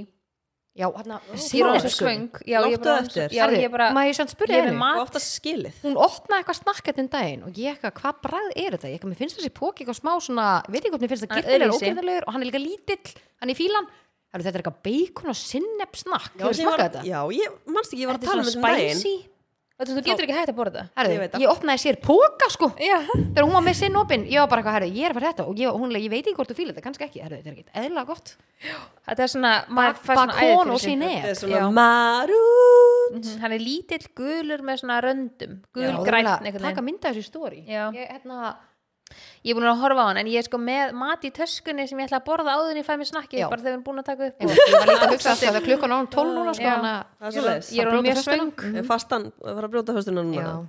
[SPEAKER 1] Já, hann að
[SPEAKER 2] ég er orðin svo svöng já, ég er bara
[SPEAKER 3] Láttu
[SPEAKER 2] orðin svo-
[SPEAKER 3] eftir.
[SPEAKER 2] já, ég er bara,
[SPEAKER 1] Má ég samt
[SPEAKER 2] ég
[SPEAKER 1] spyrja
[SPEAKER 2] er með
[SPEAKER 1] henni
[SPEAKER 3] Þú
[SPEAKER 2] mat
[SPEAKER 3] átt að skilið.
[SPEAKER 1] Hún opnaði eitthvað snakkað um daginn og ég eitthvað, hvað bragð er þetta? Ég eitthvað, mér finnst þessi póki eitthvað smá svona, ég veit ekki hvort mér finnst
[SPEAKER 2] Hann
[SPEAKER 1] það
[SPEAKER 2] er
[SPEAKER 1] girtilegur og
[SPEAKER 2] öðruvísi.
[SPEAKER 1] ógirtilegur og hann er líka lítill, hann er í fílan Heru, Þetta er eitthvað bacon og sinnepp snakk
[SPEAKER 3] Já,
[SPEAKER 1] Hefur
[SPEAKER 3] ég var,
[SPEAKER 1] smakað þetta?
[SPEAKER 3] já, ég mannst ekki, ég var að
[SPEAKER 2] þetta
[SPEAKER 3] tala
[SPEAKER 2] er
[SPEAKER 3] um
[SPEAKER 2] svona
[SPEAKER 3] þetta um daginn
[SPEAKER 2] spicy Þetta, þú getur ekki hægt að borða það
[SPEAKER 1] Herðu,
[SPEAKER 3] Ég veit
[SPEAKER 1] ég,
[SPEAKER 3] það.
[SPEAKER 1] opnaði sér póka sko
[SPEAKER 2] já,
[SPEAKER 1] þegar hún var með sinn opinn, ég var bara eitthvað, herðu, ég er að fara þetta og ég, hún, ég veit ekki hvort þú fílar þetta, kannski ekki, herðu, þetta er ekki eðla gott
[SPEAKER 2] þetta er svona maður fær svona æði
[SPEAKER 1] bakón
[SPEAKER 2] fyrir
[SPEAKER 1] og
[SPEAKER 2] sér.
[SPEAKER 1] sinnepp
[SPEAKER 3] Þetta er svona
[SPEAKER 2] Já.
[SPEAKER 3] marút
[SPEAKER 2] Mhm, hann er lítill gulur með svona röndum
[SPEAKER 1] Já, og
[SPEAKER 2] gulgræn
[SPEAKER 1] það er
[SPEAKER 2] einhvern
[SPEAKER 1] að taka
[SPEAKER 2] veginn
[SPEAKER 1] mynda þessu stóri
[SPEAKER 2] Já.
[SPEAKER 1] ég, hérna,
[SPEAKER 2] ég er búin að horfa á hann en ég er sko með mat í töskunni sem ég ætla að borða áður en ég fæ mér snakkið
[SPEAKER 1] Já.
[SPEAKER 2] bara þegar við erum búin að taka upp
[SPEAKER 1] ég var líka að hugsa að það er klukkan án 12 núna sko,
[SPEAKER 2] Já.
[SPEAKER 1] hana,
[SPEAKER 3] Það er svoleiðis.
[SPEAKER 2] ég er
[SPEAKER 1] Bara
[SPEAKER 2] orðin mjög
[SPEAKER 1] brjóta föstuna.
[SPEAKER 2] svöng
[SPEAKER 3] Ég fastan, það var að brjóta höstunum núna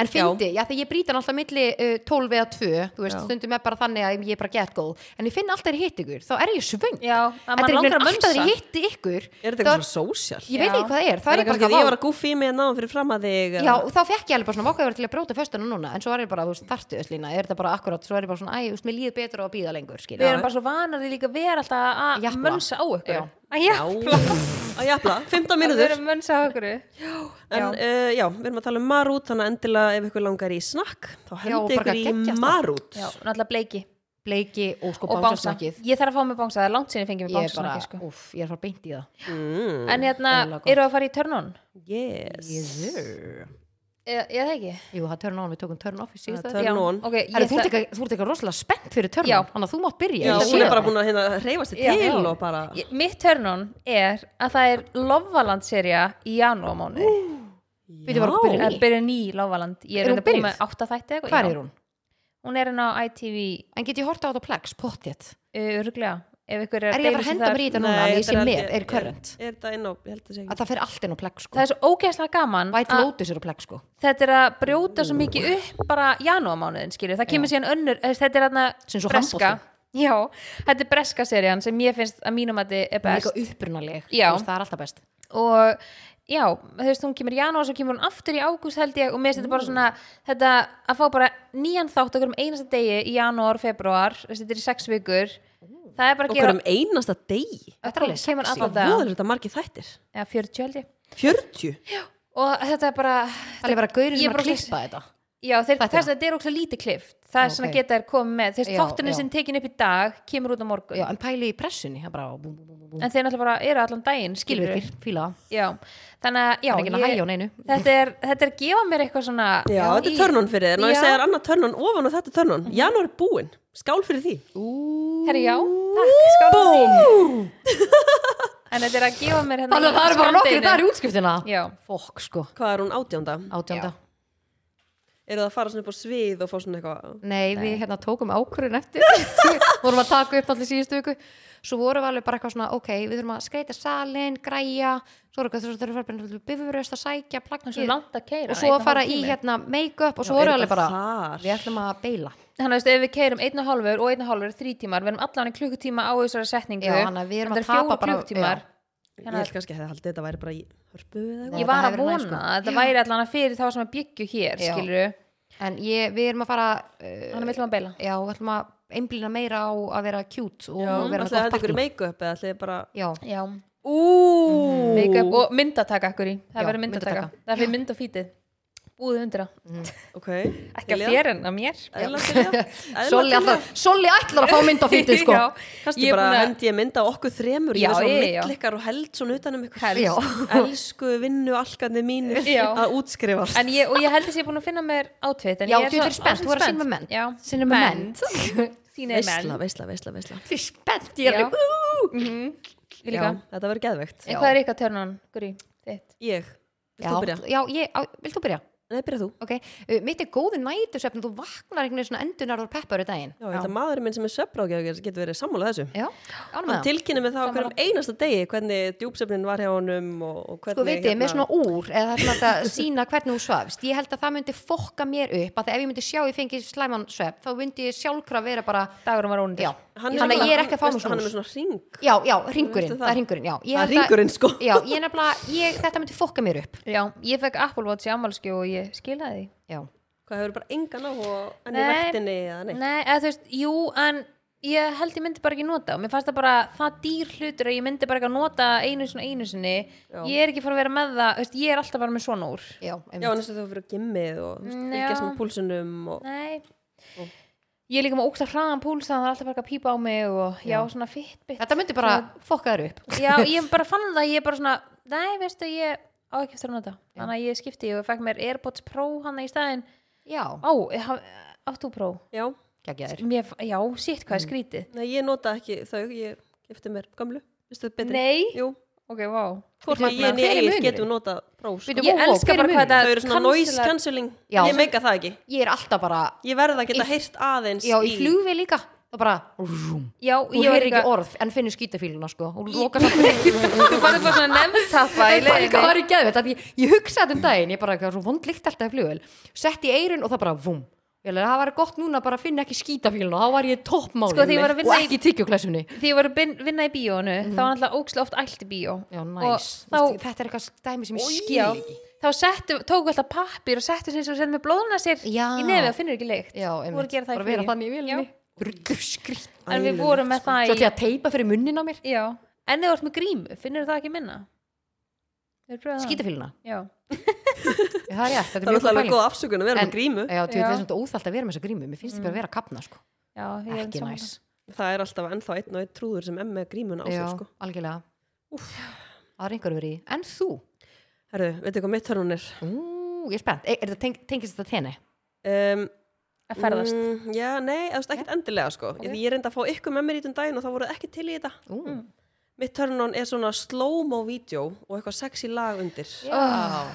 [SPEAKER 1] en fyndi, já þegar ég brýta alltaf milli uh, 12 eða 2, þú veist,
[SPEAKER 3] Já.
[SPEAKER 1] stundum er bara þannig að ég er bara get góð, en ég finn alltaf þegar ég hitt ykkur, þá er ég svöng
[SPEAKER 2] já,
[SPEAKER 1] þetta
[SPEAKER 2] að mann
[SPEAKER 1] er einhvern
[SPEAKER 2] langar
[SPEAKER 1] veginn alltaf
[SPEAKER 2] að
[SPEAKER 1] þegar
[SPEAKER 2] munsa
[SPEAKER 1] ég hitti ykkur
[SPEAKER 3] Er þetta
[SPEAKER 1] þá-
[SPEAKER 3] eitthvað svona sósjál?
[SPEAKER 1] ég veit
[SPEAKER 2] Já.
[SPEAKER 1] ekki hvað það er, þá
[SPEAKER 3] Það
[SPEAKER 1] er
[SPEAKER 3] er
[SPEAKER 1] ég bara
[SPEAKER 3] kannski að
[SPEAKER 1] eitthvað,
[SPEAKER 3] ég
[SPEAKER 1] vá,
[SPEAKER 3] var að gúfi í mig náðum fyrir fram að þig
[SPEAKER 1] Já, og þá fekk ég alveg bara svona vakaði verið til að brjóta föstuna núna en svo var ég bara, þú veist, þartu öll lína er þetta bara akkurat, svo er ég bara svona, æ, þú veist, mér líður betur á að býða lengur, skilja
[SPEAKER 2] við erum bara svo vanar því líka að vera alltaf að
[SPEAKER 1] Japla.
[SPEAKER 2] mönsa á ykkur
[SPEAKER 1] Já.
[SPEAKER 2] að já,
[SPEAKER 3] Á jafla, 15
[SPEAKER 2] að vera
[SPEAKER 3] mínútur
[SPEAKER 2] að mönsa á ykkur
[SPEAKER 3] En uh, já, við erum að tala um marút Þannig að endilega ef ykkur langar í snakk Þá
[SPEAKER 1] og
[SPEAKER 3] hendi
[SPEAKER 1] bara
[SPEAKER 3] ykkur
[SPEAKER 1] geggjast
[SPEAKER 3] í
[SPEAKER 1] það.
[SPEAKER 3] marút
[SPEAKER 2] já, náttúrulega bleiki
[SPEAKER 1] bleiki og sko
[SPEAKER 2] og bánsa,
[SPEAKER 1] bánsasnakkið
[SPEAKER 2] ég þarf að fá mér bánsa það er langt sinni fengið mér
[SPEAKER 1] ég er
[SPEAKER 2] bánsa
[SPEAKER 1] bara,
[SPEAKER 2] sko.
[SPEAKER 1] úff, ég er að fara beint í það
[SPEAKER 3] Mm,
[SPEAKER 2] en hérna,
[SPEAKER 1] Ótrúlega gott.
[SPEAKER 2] eru að fara í törnun?
[SPEAKER 3] Yes
[SPEAKER 1] Jéður
[SPEAKER 2] ég það ekki
[SPEAKER 1] Jú, það törn án, við tókum törn off í síðust
[SPEAKER 3] Það er
[SPEAKER 2] Já,
[SPEAKER 3] nón.
[SPEAKER 2] ok, ég
[SPEAKER 1] Herri, þú ert
[SPEAKER 2] ætla-
[SPEAKER 1] eitthvað- þú ert eitthvað rosalega spennt fyrir törn
[SPEAKER 2] Já.
[SPEAKER 1] án Þannig að þú mátt byrja
[SPEAKER 3] Já,
[SPEAKER 1] ég ætla að
[SPEAKER 3] hún
[SPEAKER 1] sé
[SPEAKER 3] er bara
[SPEAKER 1] það.
[SPEAKER 3] búin að hérna reyfast þig
[SPEAKER 2] Já.
[SPEAKER 3] til
[SPEAKER 2] Já.
[SPEAKER 3] og bara
[SPEAKER 2] Ég- mitt törnun er að það er Lovaland-serja í janúamónu
[SPEAKER 1] Bíddu, var hún byrjuð
[SPEAKER 2] það
[SPEAKER 1] ný?
[SPEAKER 2] byrja ný Lovaland ég
[SPEAKER 1] Er
[SPEAKER 2] er
[SPEAKER 1] hún
[SPEAKER 2] reyndar búin
[SPEAKER 1] byrjuð?
[SPEAKER 2] með 8 þætti eitthvað,
[SPEAKER 1] Hvar
[SPEAKER 2] já.
[SPEAKER 1] er hún?
[SPEAKER 2] hún er hérna á ITV
[SPEAKER 1] En get ég horta á þetta plex, pottet
[SPEAKER 2] öruglega Eh, ef ykkur er
[SPEAKER 1] Er ég að fara að
[SPEAKER 2] deilist um
[SPEAKER 1] henda
[SPEAKER 2] það-
[SPEAKER 1] mér í þetta núna
[SPEAKER 3] Nei,
[SPEAKER 1] að ég
[SPEAKER 3] þetta
[SPEAKER 1] sé
[SPEAKER 3] held
[SPEAKER 1] með,
[SPEAKER 3] ég-
[SPEAKER 1] er current
[SPEAKER 3] Er þetta inn á, ég held að segja
[SPEAKER 1] Að það fer allt inn á plex sko
[SPEAKER 2] það er svo ógeðslega gaman
[SPEAKER 1] White
[SPEAKER 2] að
[SPEAKER 1] Lotus er á plex sko
[SPEAKER 2] þetta er að brjóta svo mikið upp bara janúamánuðin skilju, það kemur síðan önnur eh, þetta er hérna
[SPEAKER 1] Sem svo
[SPEAKER 2] breska
[SPEAKER 1] handbolti.
[SPEAKER 2] já, þetta er breska serían sem ég finnst að mínum að þetta er
[SPEAKER 1] Hún er
[SPEAKER 2] best
[SPEAKER 1] Líka upprunaleg, þú
[SPEAKER 2] Já.
[SPEAKER 1] veist, það er alltaf best
[SPEAKER 2] og já, þú veist, hún kemur í janúar svo kemur hún aftur í ágúst held ég og mér finnst þetta bara svona, þetta að fá bara nýjan þátt okkur um einasta degi í janúar, februar, þú veist, þetta er í sex vikur það er bara að
[SPEAKER 3] Okkur
[SPEAKER 2] gera
[SPEAKER 3] um einasta degi
[SPEAKER 1] Þetta er alveg
[SPEAKER 2] Fólk kemur
[SPEAKER 1] sexy.
[SPEAKER 2] alla
[SPEAKER 3] Hvað
[SPEAKER 2] daga,
[SPEAKER 3] er þetta margir þættir?
[SPEAKER 2] eða 40 held ég
[SPEAKER 3] 40?
[SPEAKER 2] og þetta er bara
[SPEAKER 1] Það er bara gaurið
[SPEAKER 2] Ég
[SPEAKER 1] sem
[SPEAKER 2] er
[SPEAKER 1] að
[SPEAKER 2] bara-
[SPEAKER 1] klippa þetta
[SPEAKER 2] já, þeir,
[SPEAKER 1] Þættina.
[SPEAKER 2] þess að þetta er okkur lítið klift það er
[SPEAKER 1] Já,
[SPEAKER 2] svona
[SPEAKER 1] ok.
[SPEAKER 2] geta þær komið með þeir
[SPEAKER 1] Já, já.
[SPEAKER 2] þáttunni sem tekin upp í dag kemur út á morgun
[SPEAKER 1] Já, en pæli í pressunni, það er bara bú, bú, bú, bú, bú.
[SPEAKER 2] en þeir náttúrulega bara eru allan daginn skilurðu.
[SPEAKER 1] Skilvirkir, fíla það.
[SPEAKER 2] já, þannig að já,
[SPEAKER 1] Það er ekki að
[SPEAKER 2] ég-
[SPEAKER 1] hægja á neinu.
[SPEAKER 2] þetta er, þetta er að gefa mér eitthvað svona
[SPEAKER 3] Já, þetta er
[SPEAKER 2] í-
[SPEAKER 3] törnun fyrir þér. Ná ég
[SPEAKER 2] Já.
[SPEAKER 3] segja þér annað törnun ofan og þetta törnun. Janúar er búinn. Skál fyrir því.
[SPEAKER 2] Herri, já, takk, skála
[SPEAKER 3] Búm!
[SPEAKER 2] En þetta er að gefa mér hérna
[SPEAKER 1] Þannig að það eru bara nokkri
[SPEAKER 2] skammdeginu.
[SPEAKER 1] dagar í útskiptina
[SPEAKER 2] Já,
[SPEAKER 1] Fokk sko,
[SPEAKER 3] Hvað er hún átjánda?
[SPEAKER 1] átjönda
[SPEAKER 2] Já.
[SPEAKER 3] Eru það að fara svona upp á svið og fá svona eitthvað?
[SPEAKER 1] Nei, við hérna tókum ákvörðun eftir (laughs) vorum að taka upp allir síðustu viku svo vorum við alveg bara eitthvað svona ok, við þurfum að skreita salin, græja svo erum við þurfum að fara bara bifuröst að sækja
[SPEAKER 2] það er svo
[SPEAKER 1] plaggið
[SPEAKER 2] langt að keira
[SPEAKER 1] og svo að fara í hérna make-up og svo
[SPEAKER 3] Já,
[SPEAKER 1] vorum
[SPEAKER 3] er
[SPEAKER 1] við alveg
[SPEAKER 3] þetta
[SPEAKER 1] bara
[SPEAKER 3] þar?
[SPEAKER 1] við ætlum að beila
[SPEAKER 2] Þannig að ef við keirum einn og hálfur og einn og hálfur er þrý tímar Við erum allan í klukkutíma á þessari setningu
[SPEAKER 1] Já, þannig að við erum að
[SPEAKER 2] Þetta eru
[SPEAKER 1] tapa bara-
[SPEAKER 2] fjórir klukkutímar
[SPEAKER 1] já.
[SPEAKER 3] Ég held kannski að það haldið þetta væri bara í hörpu eða
[SPEAKER 1] Nei.
[SPEAKER 3] eitthvað.
[SPEAKER 2] Ég
[SPEAKER 1] þetta hefur verið
[SPEAKER 2] var að vona
[SPEAKER 1] næs, sko.
[SPEAKER 2] að þetta væri allan að fyrir þá sem að byggju hér,
[SPEAKER 1] Já.
[SPEAKER 2] skilur
[SPEAKER 1] en ég, við erum að fara uh,
[SPEAKER 2] Þannig að við ætlum að beila
[SPEAKER 1] já, við ætlum að einblýna meira á að vera cute og, og vera gott
[SPEAKER 3] Ætli það ykkur
[SPEAKER 1] partí
[SPEAKER 3] make-up eða ætli þið bara
[SPEAKER 1] já,
[SPEAKER 2] já,
[SPEAKER 3] Úúúú
[SPEAKER 2] Mhm, make-up og myndataka akkur í
[SPEAKER 1] Já,
[SPEAKER 2] það verður myndataka,
[SPEAKER 1] myndataka.
[SPEAKER 2] það fyrir mynd og fítið búið hundra,
[SPEAKER 3] Ok
[SPEAKER 2] ekki að þér en að mér
[SPEAKER 3] Æðla byrja
[SPEAKER 1] (laughs) Solli ætlar, Solli ætlar að fá mynd á
[SPEAKER 2] (laughs)
[SPEAKER 1] fyndið sko
[SPEAKER 2] Já,
[SPEAKER 3] Kannski
[SPEAKER 2] ég er
[SPEAKER 3] bara
[SPEAKER 2] búin að
[SPEAKER 3] hendi ég mynda okkur þremur
[SPEAKER 2] Já,
[SPEAKER 3] Ég er svo
[SPEAKER 2] ég- já.
[SPEAKER 3] mill ykkar og held svona utanum ykkur
[SPEAKER 1] Já.
[SPEAKER 3] Elsku vinnu alkarnir mínir
[SPEAKER 2] (laughs) Já.
[SPEAKER 3] að útskrifast
[SPEAKER 2] En ég, og ég held að ég er búin að finna mér átfitt
[SPEAKER 1] Já, þú er spennt, þú er að sinna með menn
[SPEAKER 2] Já,
[SPEAKER 1] Sinna með menn
[SPEAKER 2] Sýna
[SPEAKER 3] Veisla,
[SPEAKER 2] menn
[SPEAKER 3] veisla, veisla, veisla
[SPEAKER 1] Þú er spennt, ég er
[SPEAKER 2] Já.
[SPEAKER 1] alveg "Ú."
[SPEAKER 2] Ég líka.
[SPEAKER 3] Já, Þetta verður geðvegt
[SPEAKER 2] En hvað er ykkar törnun, Guri? Þitt
[SPEAKER 3] Ég, vilt þú
[SPEAKER 1] Já,
[SPEAKER 3] byrja?
[SPEAKER 1] já, ég, á, vilt þú byrja?
[SPEAKER 3] Nei, byrja þú
[SPEAKER 1] Ok, uh, mitt er góði nætursvefn Þú vaknar einhvern veginn svona endunar og peppar í daginn
[SPEAKER 3] Já, þetta maðurinn minn sem er söprákjafgjör getur verið sammála þessu
[SPEAKER 1] Já, ánum
[SPEAKER 3] Hann
[SPEAKER 1] með það
[SPEAKER 3] tilkynni mig það okkur um einasta degi hvernig djúpsefnin var hjá honum og, og
[SPEAKER 1] Sko
[SPEAKER 3] hvernig hérna,
[SPEAKER 1] veitir, með svona úr, eða það er svona að sína hvernig hún svefst, ég held að það myndi fokka mér upp, að ef ég myndi sjá ég fengi slæman svefn, þá myndi ég sjálfkrafa vera bara,
[SPEAKER 2] dagurum var ónundur
[SPEAKER 1] já, þannig að ég er ekki að fá mér
[SPEAKER 3] svona Hann er
[SPEAKER 1] svona
[SPEAKER 3] með svona hring
[SPEAKER 1] Já, já, ringurinn,
[SPEAKER 3] Veistu
[SPEAKER 1] það
[SPEAKER 3] það?
[SPEAKER 1] er ringurinn, já Ég
[SPEAKER 3] Það er
[SPEAKER 1] held að-
[SPEAKER 3] hringurinn, sko.
[SPEAKER 1] Já, ég nefnilega, ég, þetta myndi fokka mér upp
[SPEAKER 2] Já, ég fekk Apple Watch í ammálskju og ég skilaði
[SPEAKER 1] Já,
[SPEAKER 3] Hvað hefur bara engan áhuga enn í
[SPEAKER 2] Nei.
[SPEAKER 3] vaktinni eða
[SPEAKER 2] því
[SPEAKER 3] neitt
[SPEAKER 2] Nei, eða þú veist, jú, en ég held ég myndi bara ekki nota og mér fannst það bara það dýr hlutur að ég myndi bara ekki að nota einu sinni og einu sinni
[SPEAKER 3] Já.
[SPEAKER 2] ég er ekki fara að vera með það, þú veist, ég er alltaf bara með svona úr
[SPEAKER 1] já,
[SPEAKER 3] Já,
[SPEAKER 1] einmitt
[SPEAKER 3] en þess að þú fyrir að gimmið og þú veist,
[SPEAKER 2] Já.
[SPEAKER 3] fylgjast með púlsunum og
[SPEAKER 2] Nei
[SPEAKER 3] Ó.
[SPEAKER 2] Ég er líka með ógsta hraðan púls þannig að það er alltaf bara að pípa á mig og já, svona
[SPEAKER 1] (laughs)
[SPEAKER 2] fitbit
[SPEAKER 1] Þetta myndi bara fokka þér upp
[SPEAKER 2] Já, ég bara fann það, ég bara svona Nei, veistu, ég á ekki eftir að nota Þannig að ég skipti og fekk mér AirPods Pro hana í staðinn
[SPEAKER 1] Já,
[SPEAKER 2] Á, ég haf- áttu Pro
[SPEAKER 3] Já,
[SPEAKER 1] geggja þér
[SPEAKER 2] Mér, Já, sitt hvað er skrítið
[SPEAKER 3] nei, ég nota ekki þau, ég gifti mér gömlu Vistu það betri?
[SPEAKER 2] Nei,
[SPEAKER 3] Jú,
[SPEAKER 2] ok, vá
[SPEAKER 3] hvorki
[SPEAKER 1] magnað.
[SPEAKER 3] ég
[SPEAKER 1] Hver er
[SPEAKER 3] neitt
[SPEAKER 1] munurinn?
[SPEAKER 3] getum nota prós
[SPEAKER 1] Bíddu, vó,
[SPEAKER 3] Þau
[SPEAKER 2] Ég
[SPEAKER 1] vó,
[SPEAKER 2] elska
[SPEAKER 1] hver er
[SPEAKER 2] bara hvað
[SPEAKER 1] munurinn?
[SPEAKER 2] þetta
[SPEAKER 3] eru svona noise
[SPEAKER 2] cancelar-
[SPEAKER 3] cancelling
[SPEAKER 1] Já.
[SPEAKER 3] Ég meika það ekki
[SPEAKER 1] Ég er alltaf bara,
[SPEAKER 3] Ég verð að geta
[SPEAKER 1] Í-
[SPEAKER 3] heyrt aðeins
[SPEAKER 1] já, í flugvi líka Það bara, rúm,
[SPEAKER 2] Já,
[SPEAKER 1] þú
[SPEAKER 2] ég var
[SPEAKER 1] heyrir
[SPEAKER 2] líka
[SPEAKER 1] ekki orð En finnur skítafíluna, sko Og loka það
[SPEAKER 2] Þú farið bara svona nefntappa í
[SPEAKER 1] Það er
[SPEAKER 2] leiðinni
[SPEAKER 1] líka var í geðvett að ég, ég hugsaði þetta um daginn, ég bara, það var svo vondlíkt alltaf í flugvel Sett í eirun og það bara, vum Ég leið, það var gott núna bara að finna ekki skítafílun og þá var ég toppmálið
[SPEAKER 2] Sko, þegar ég var
[SPEAKER 1] og
[SPEAKER 2] að vinna í-
[SPEAKER 1] ekki í tyggjóklæsunni
[SPEAKER 2] Því ég var að bin- vinna í bíónu þá var alltaf ógstlega oft allt í bíó
[SPEAKER 1] Já, næs, Þú
[SPEAKER 2] Og þá
[SPEAKER 1] veist, þetta er eitthvað dæmi sem ég
[SPEAKER 2] Oj,
[SPEAKER 1] skil
[SPEAKER 2] já.
[SPEAKER 1] ekki
[SPEAKER 2] þá settu, tóku alltaf pappir og settu sem sem sem með blóðuna sér
[SPEAKER 1] Já.
[SPEAKER 2] í nefið og finnur ekki lykt
[SPEAKER 1] Já,
[SPEAKER 2] Þú voru
[SPEAKER 1] einmitt,
[SPEAKER 2] að gera það
[SPEAKER 1] bara
[SPEAKER 2] í
[SPEAKER 1] vera
[SPEAKER 2] flugi.
[SPEAKER 1] þannig í vélinni Brullur skrýtt
[SPEAKER 2] Já. en við vorum með það
[SPEAKER 1] Svo til
[SPEAKER 2] í
[SPEAKER 1] að teipa fyrir munnin á mér
[SPEAKER 2] já. en þið vart með grímu, finnur það ekki minna skýta
[SPEAKER 1] Skítafíluna,
[SPEAKER 2] já.
[SPEAKER 1] það er rétt, þetta er mjög góð
[SPEAKER 3] Það er alltaf alveg
[SPEAKER 1] pæling
[SPEAKER 3] góð afsökun að vera
[SPEAKER 1] En-
[SPEAKER 3] með grímu
[SPEAKER 1] Já, til
[SPEAKER 2] Já.
[SPEAKER 1] þess að þetta óþallt að vera með þessa grímu Mér finnst þetta bara að vera að kapna, sko
[SPEAKER 2] Já, ég er
[SPEAKER 1] Ekki
[SPEAKER 2] sammála.
[SPEAKER 1] næs
[SPEAKER 3] Það er alltaf ennþá einn og einn trúður sem emmi að grímuna á
[SPEAKER 1] Já,
[SPEAKER 3] sig sko.
[SPEAKER 1] algjörlega
[SPEAKER 3] Úff.
[SPEAKER 1] Það er einhverju verið í En þú?
[SPEAKER 3] Herru, veitu hvað mitt hörnun er?
[SPEAKER 1] Ú, ég er spennt Er er þetta teng- tengist þetta tenni?
[SPEAKER 3] Um,
[SPEAKER 2] að ferðast
[SPEAKER 3] Mm, já, nei, þú veist, ekkert endilega sko okay. Ég reyndi að fá ykkur með mér í þetta um daginn og þá voruð ekki til í þetta
[SPEAKER 1] Ú,
[SPEAKER 2] Mm.
[SPEAKER 3] Mitt törnun er svona slow-mo vídeo og eitthvað sexy lag undir
[SPEAKER 1] já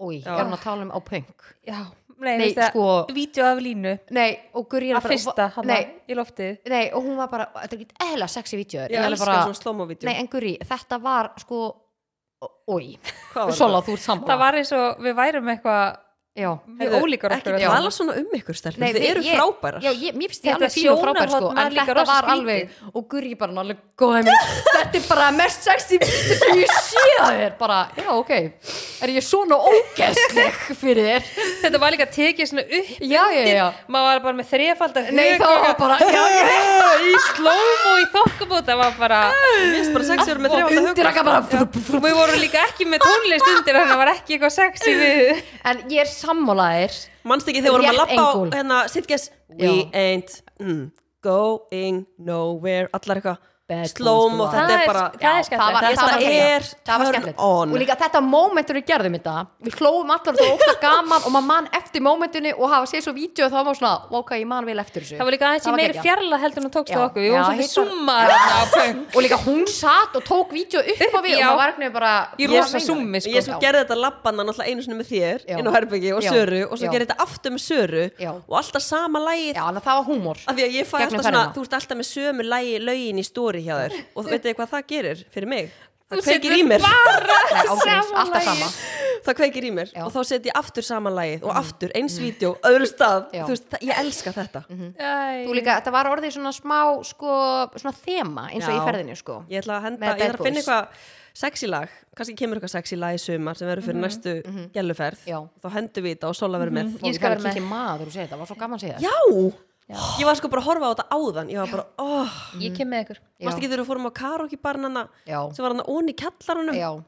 [SPEAKER 1] Új,
[SPEAKER 3] Já.
[SPEAKER 1] er hún að tala um á punk?
[SPEAKER 2] Ah. já, nei,
[SPEAKER 1] Nei, sko-
[SPEAKER 2] vídeo af línu
[SPEAKER 1] Nei, og Guri er
[SPEAKER 2] að fyrsta, hann
[SPEAKER 1] Nei,
[SPEAKER 2] í loftið
[SPEAKER 1] nei, og hún var bara Þetta er ekki eðla sexy vídeo
[SPEAKER 3] Ég elskar bara... svona slow-mo vídeo
[SPEAKER 1] Nei, en Guri, þetta var sko Új,
[SPEAKER 3] Hvað var
[SPEAKER 1] Sola,
[SPEAKER 3] þetta?
[SPEAKER 1] þú ert sammála
[SPEAKER 2] það var eins og við værum eitthvað
[SPEAKER 1] Já
[SPEAKER 2] mjög
[SPEAKER 3] Heyrðu,
[SPEAKER 2] ólíkar okkur
[SPEAKER 3] Ekki
[SPEAKER 1] Já.
[SPEAKER 3] tala svona um ykkur stelpur,
[SPEAKER 1] Nei,
[SPEAKER 3] þið
[SPEAKER 1] við-
[SPEAKER 3] eru
[SPEAKER 1] ég-
[SPEAKER 3] frábærar
[SPEAKER 1] Já, ég, mér finnst þið
[SPEAKER 2] Þetta
[SPEAKER 1] alveg fín og
[SPEAKER 2] sjónarhorn
[SPEAKER 1] frábær sko,
[SPEAKER 2] var
[SPEAKER 1] en
[SPEAKER 2] líka
[SPEAKER 1] þetta
[SPEAKER 2] rosa
[SPEAKER 1] var
[SPEAKER 2] skrítið.
[SPEAKER 1] alveg og Guri bara náttúrulega góða (laughs) mér þetta er bara mest sexy vídeo sem ég sé að þér bara, já ok er ég svona ógæsleg fyrir þér
[SPEAKER 2] þetta var líka tekið svona upp
[SPEAKER 1] já, já, já,
[SPEAKER 2] maður var bara með þrefald
[SPEAKER 1] nei þá var bara já, já,
[SPEAKER 2] í slóm og í þokkabót það var bara,
[SPEAKER 3] Mér finnst bara sexy eru
[SPEAKER 1] og
[SPEAKER 3] með
[SPEAKER 1] undir
[SPEAKER 3] þrjáta hugur
[SPEAKER 1] ekki bara
[SPEAKER 2] við vorum líka ekki með tónlist undir þannig að það var ekki eitthvað sexy við
[SPEAKER 1] en ég er sammálaðir
[SPEAKER 3] Manst ekki þegar vorum að
[SPEAKER 1] Rétt
[SPEAKER 3] labba á
[SPEAKER 1] angle.
[SPEAKER 3] hérna, sitges We ain't mm, going nowhere Allar eitthvað
[SPEAKER 1] Bad
[SPEAKER 3] slow-mo,
[SPEAKER 1] boys do
[SPEAKER 2] that. Það er-
[SPEAKER 3] þetta er bara
[SPEAKER 2] það er skemmtilegt.
[SPEAKER 1] var-
[SPEAKER 3] Þetta
[SPEAKER 1] var skemmtilegt.
[SPEAKER 3] er
[SPEAKER 1] Það var
[SPEAKER 3] turn
[SPEAKER 1] skemmtilegt.
[SPEAKER 3] on.
[SPEAKER 1] og líka þetta momentur við gerðum þetta við hlóum allar og það var ósla gaman og maður mann eftir momentunni og hafa séð svo vídeo og þá var maður svona, ok, ég man vel eftir þessu
[SPEAKER 2] það var líka aðeins í meiri
[SPEAKER 1] geggjað.
[SPEAKER 2] fjarlag heldur en þú tókst
[SPEAKER 1] Já,
[SPEAKER 2] á okkur við
[SPEAKER 1] já,
[SPEAKER 2] vorum
[SPEAKER 1] hitt
[SPEAKER 2] svolítið
[SPEAKER 1] var-
[SPEAKER 2] summar á pöng
[SPEAKER 1] og líka hún satt og tók vídeo upp á við
[SPEAKER 2] Já.
[SPEAKER 1] og maður var ekki bara
[SPEAKER 2] Í
[SPEAKER 1] Ég
[SPEAKER 2] rosa
[SPEAKER 1] meina
[SPEAKER 2] zoom-i,
[SPEAKER 1] það.
[SPEAKER 2] sko.
[SPEAKER 3] Ég svo
[SPEAKER 1] Já.
[SPEAKER 3] gerði þetta labbanna náttúrulega einu sinni með þér
[SPEAKER 1] Já.
[SPEAKER 3] inn á herbyggi og
[SPEAKER 1] Já.
[SPEAKER 3] Söru og
[SPEAKER 1] Já.
[SPEAKER 3] svo gerði þetta aftur með Söru
[SPEAKER 1] Já.
[SPEAKER 3] og alltaf sama lagið
[SPEAKER 1] já, þannig að (laughs) það var húmor
[SPEAKER 3] af því að ég fæ
[SPEAKER 1] Gegnum
[SPEAKER 3] alltaf svona,
[SPEAKER 1] ferðina.
[SPEAKER 3] þú ert alltaf með sömu lagi lögin í stóri hjá
[SPEAKER 1] (laughs)
[SPEAKER 3] þér og þú veitir hvað það gerir fyrir mig
[SPEAKER 2] Þú
[SPEAKER 3] það kveikir í
[SPEAKER 2] setur
[SPEAKER 3] mér,
[SPEAKER 1] Nei, ágríns,
[SPEAKER 2] sama
[SPEAKER 1] alltaf
[SPEAKER 2] lagið.
[SPEAKER 1] sama
[SPEAKER 3] það kveikir í mér
[SPEAKER 1] Já. Mhm.
[SPEAKER 3] og þá set ég aftur sama lagið og aftur eins vídeo, öðru stað
[SPEAKER 1] Já. Mhm.
[SPEAKER 3] þú veist, það- ég elska þetta
[SPEAKER 1] þú líka, þetta var orðið svona smá sko, svona þema eins og
[SPEAKER 3] Já.
[SPEAKER 1] í ferðinu sko.
[SPEAKER 3] ég ætla að henda,
[SPEAKER 1] Með
[SPEAKER 3] ég þarf
[SPEAKER 1] Bad
[SPEAKER 3] að finna
[SPEAKER 1] Boys.
[SPEAKER 3] eitthvað sexy lag, kannski kemur eitthvað sexy lag í sumar sem verður fyrir næstu gelluferð
[SPEAKER 1] Mhm. Já. Mhm.
[SPEAKER 3] þá hendum við þetta og Sola verður með
[SPEAKER 1] Og
[SPEAKER 2] Ég
[SPEAKER 1] ég
[SPEAKER 2] skal
[SPEAKER 1] skal
[SPEAKER 2] vera
[SPEAKER 1] kíkja í maður og segja þetta, það var svo gaman að segja þetta
[SPEAKER 3] já, ég var sko bara að horfa á þetta áðan ég var bara, oh,
[SPEAKER 2] ég kem með ykkur
[SPEAKER 1] Já.
[SPEAKER 3] mást ekki þegar við fórum á karaoke barnana
[SPEAKER 1] já,
[SPEAKER 3] sem var hann onni í kjallaranum
[SPEAKER 1] já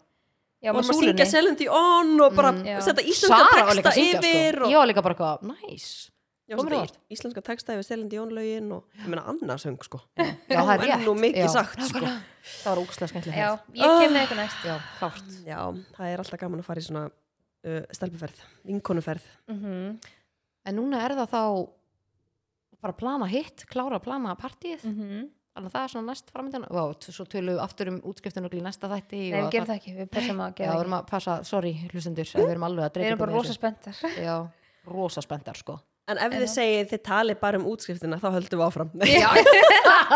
[SPEAKER 2] já,
[SPEAKER 3] og
[SPEAKER 2] með
[SPEAKER 3] maður syngja
[SPEAKER 2] súlunni Mm,
[SPEAKER 3] Selendi On og bara
[SPEAKER 2] já.
[SPEAKER 3] setja íslenska
[SPEAKER 1] var líka
[SPEAKER 3] texta
[SPEAKER 1] að syngja,
[SPEAKER 3] yfir
[SPEAKER 1] sko.
[SPEAKER 3] og,
[SPEAKER 1] ég var líka bara eitthvað, næs
[SPEAKER 3] já,
[SPEAKER 1] komur á
[SPEAKER 3] setja
[SPEAKER 1] óvart.
[SPEAKER 3] í- íslenska texta yfir Selendi On lögin og ég meina annarsöng sko
[SPEAKER 1] (laughs) já, það er
[SPEAKER 3] Nú
[SPEAKER 1] rétt
[SPEAKER 3] nú mikið
[SPEAKER 1] já,
[SPEAKER 3] sagt sko
[SPEAKER 1] nákvæmlega. það var ógstlega skemmtileg
[SPEAKER 2] já,
[SPEAKER 1] hefð.
[SPEAKER 2] ég kem með ykkur næst
[SPEAKER 1] já, klárt
[SPEAKER 3] já, það er alltaf gaman að fara í svona uh, stelpuferð, vinkonuferð
[SPEAKER 2] Mhm,
[SPEAKER 1] en núna er það þá bara plana hitt, klára að plana partíið
[SPEAKER 2] mhm.
[SPEAKER 1] þannig að það er svona næst framöndan og svo tölum við aftur um útskriftinu í næsta þætti
[SPEAKER 2] nei,
[SPEAKER 1] og
[SPEAKER 2] við gerum það ekki, við passum að
[SPEAKER 1] Já,
[SPEAKER 2] gera
[SPEAKER 1] við
[SPEAKER 2] það
[SPEAKER 1] erum að passa, sorry, hlustendur en við erum alveg að
[SPEAKER 2] ekki. við
[SPEAKER 1] dreita
[SPEAKER 2] erum bara rosa spenntar
[SPEAKER 1] Já, rosa spenntar
[SPEAKER 2] (laughs)
[SPEAKER 1] sko
[SPEAKER 3] en ef
[SPEAKER 2] En
[SPEAKER 3] þið
[SPEAKER 2] já.
[SPEAKER 3] segið þið talið bara um útskriftina þá höldum við
[SPEAKER 2] (laughs)
[SPEAKER 3] áfram
[SPEAKER 2] já (laughs)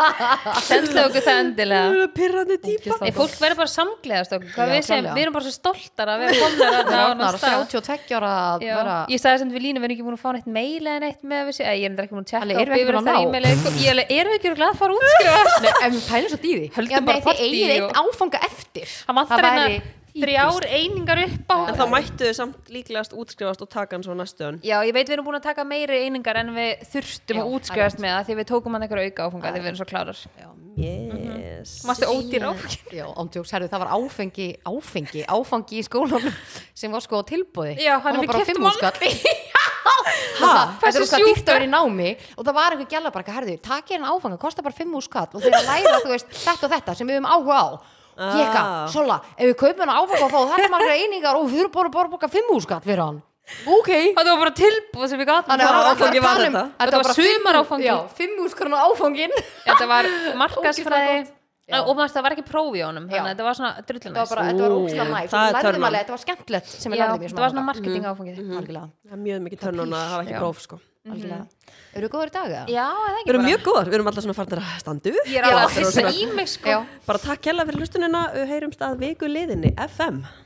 [SPEAKER 2] sendla okkur það endilega
[SPEAKER 3] pyrrandi típa
[SPEAKER 2] Nei, fólk verður bara samgleðast okkur hvað
[SPEAKER 1] Já,
[SPEAKER 2] við sem,
[SPEAKER 1] klárlega.
[SPEAKER 2] við erum bara svo stoltar að við erum (laughs) komnar þarna á
[SPEAKER 1] Ragnar,
[SPEAKER 2] annan stað
[SPEAKER 1] 32 ára að
[SPEAKER 2] Já,
[SPEAKER 1] vera
[SPEAKER 2] ég sagði sem við lína, við erum ekki búin að fá neitt mail eða neitt með þessi, eða ég er enda ekki búin að tjekka
[SPEAKER 1] Alveg, erum við ekki búin að ná?
[SPEAKER 2] að ná? Erum við ekki glad að fara að útskrifa?
[SPEAKER 1] Nei, en pælum svo dýði
[SPEAKER 2] Höldum
[SPEAKER 1] Já,
[SPEAKER 2] bara
[SPEAKER 1] nei,
[SPEAKER 2] partí
[SPEAKER 1] Þið eigið
[SPEAKER 2] og-
[SPEAKER 1] einn áfanga eftir
[SPEAKER 2] Það vantar
[SPEAKER 1] væri
[SPEAKER 2] hérna þrjár einingar upp á
[SPEAKER 3] en þá mættu þau samt líklegast útskrifast og taka hann svo næstu ön
[SPEAKER 2] Já, ég veit við erum búin að taka meiri einingar en við
[SPEAKER 1] Já,
[SPEAKER 2] þurftum að
[SPEAKER 1] það er
[SPEAKER 2] útskrifast
[SPEAKER 1] rétt.
[SPEAKER 2] með það því við tókum hann einhverja auka áfunga því við erum svo klárar Mhm.
[SPEAKER 3] yes
[SPEAKER 2] Mástu ódýr áfungi
[SPEAKER 1] Já, ándjóks, herðu, það var áfengi, áfengi, áfangi í skólanum sem var sko á tilbúði
[SPEAKER 2] Já, hann við keyptum hann.
[SPEAKER 1] Ha, þetta
[SPEAKER 2] Hversu
[SPEAKER 1] er okkar dýrt
[SPEAKER 2] sjúkt
[SPEAKER 1] að vera í námi og það var einhver gæla bara, eitthvað, herðu, takk hérna áfanga, kostar bara 5 úrskatt og þeir að læra, þú veist, þetta og þetta sem við höfum áhuga á og ég eitthvað,
[SPEAKER 3] Ah.
[SPEAKER 1] Sola, ef við kaupum hana áfanga og fá þetta margra einingar og við þurfum bara bara að borga 5 úrskatt fyrir hann ok
[SPEAKER 2] Það var bara tilbúð sem við gátum
[SPEAKER 1] Þannig að
[SPEAKER 3] Hvaða
[SPEAKER 1] hann ætlar að
[SPEAKER 3] áfangi var
[SPEAKER 1] tala um-
[SPEAKER 3] þetta?
[SPEAKER 1] Þetta
[SPEAKER 2] Þetta var
[SPEAKER 1] bara fimm-
[SPEAKER 2] sumaráfangi.
[SPEAKER 1] Já, 5 úrskarna áfangin
[SPEAKER 2] Þetta (laughs) var markasfræði
[SPEAKER 1] Ógeðslega gott. Já.
[SPEAKER 2] og maður það var ekki prófi í honum
[SPEAKER 1] Já.
[SPEAKER 2] þannig að þetta var svona
[SPEAKER 1] Þetta var
[SPEAKER 2] drullinæs
[SPEAKER 1] bara, þetta var
[SPEAKER 3] Ú,
[SPEAKER 1] ógstlega næst
[SPEAKER 3] það er
[SPEAKER 1] Við lærðum
[SPEAKER 3] törnun.
[SPEAKER 1] alveg, þetta var skemmtilegt sem við
[SPEAKER 2] Já,
[SPEAKER 1] lærðum í
[SPEAKER 2] þetta var svona
[SPEAKER 1] svona
[SPEAKER 2] marketing áfangið
[SPEAKER 1] Algjörlega,
[SPEAKER 3] það er mjög mikið tönnun að hafa
[SPEAKER 2] Já.
[SPEAKER 3] ekki próf sko
[SPEAKER 1] algjörlega Eru góður í dag eða?
[SPEAKER 2] Já, eða ekki
[SPEAKER 3] við erum
[SPEAKER 2] bara
[SPEAKER 3] mjög góðar, við erum alltaf svona farnar að standu
[SPEAKER 2] Ég er
[SPEAKER 1] Já,
[SPEAKER 2] alveg að
[SPEAKER 3] þetta er
[SPEAKER 2] hissa
[SPEAKER 3] svona-
[SPEAKER 2] í mig sko
[SPEAKER 1] Já,
[SPEAKER 3] bara takk hella fyrir hlustunina, við heyrumst að viku liðinni FM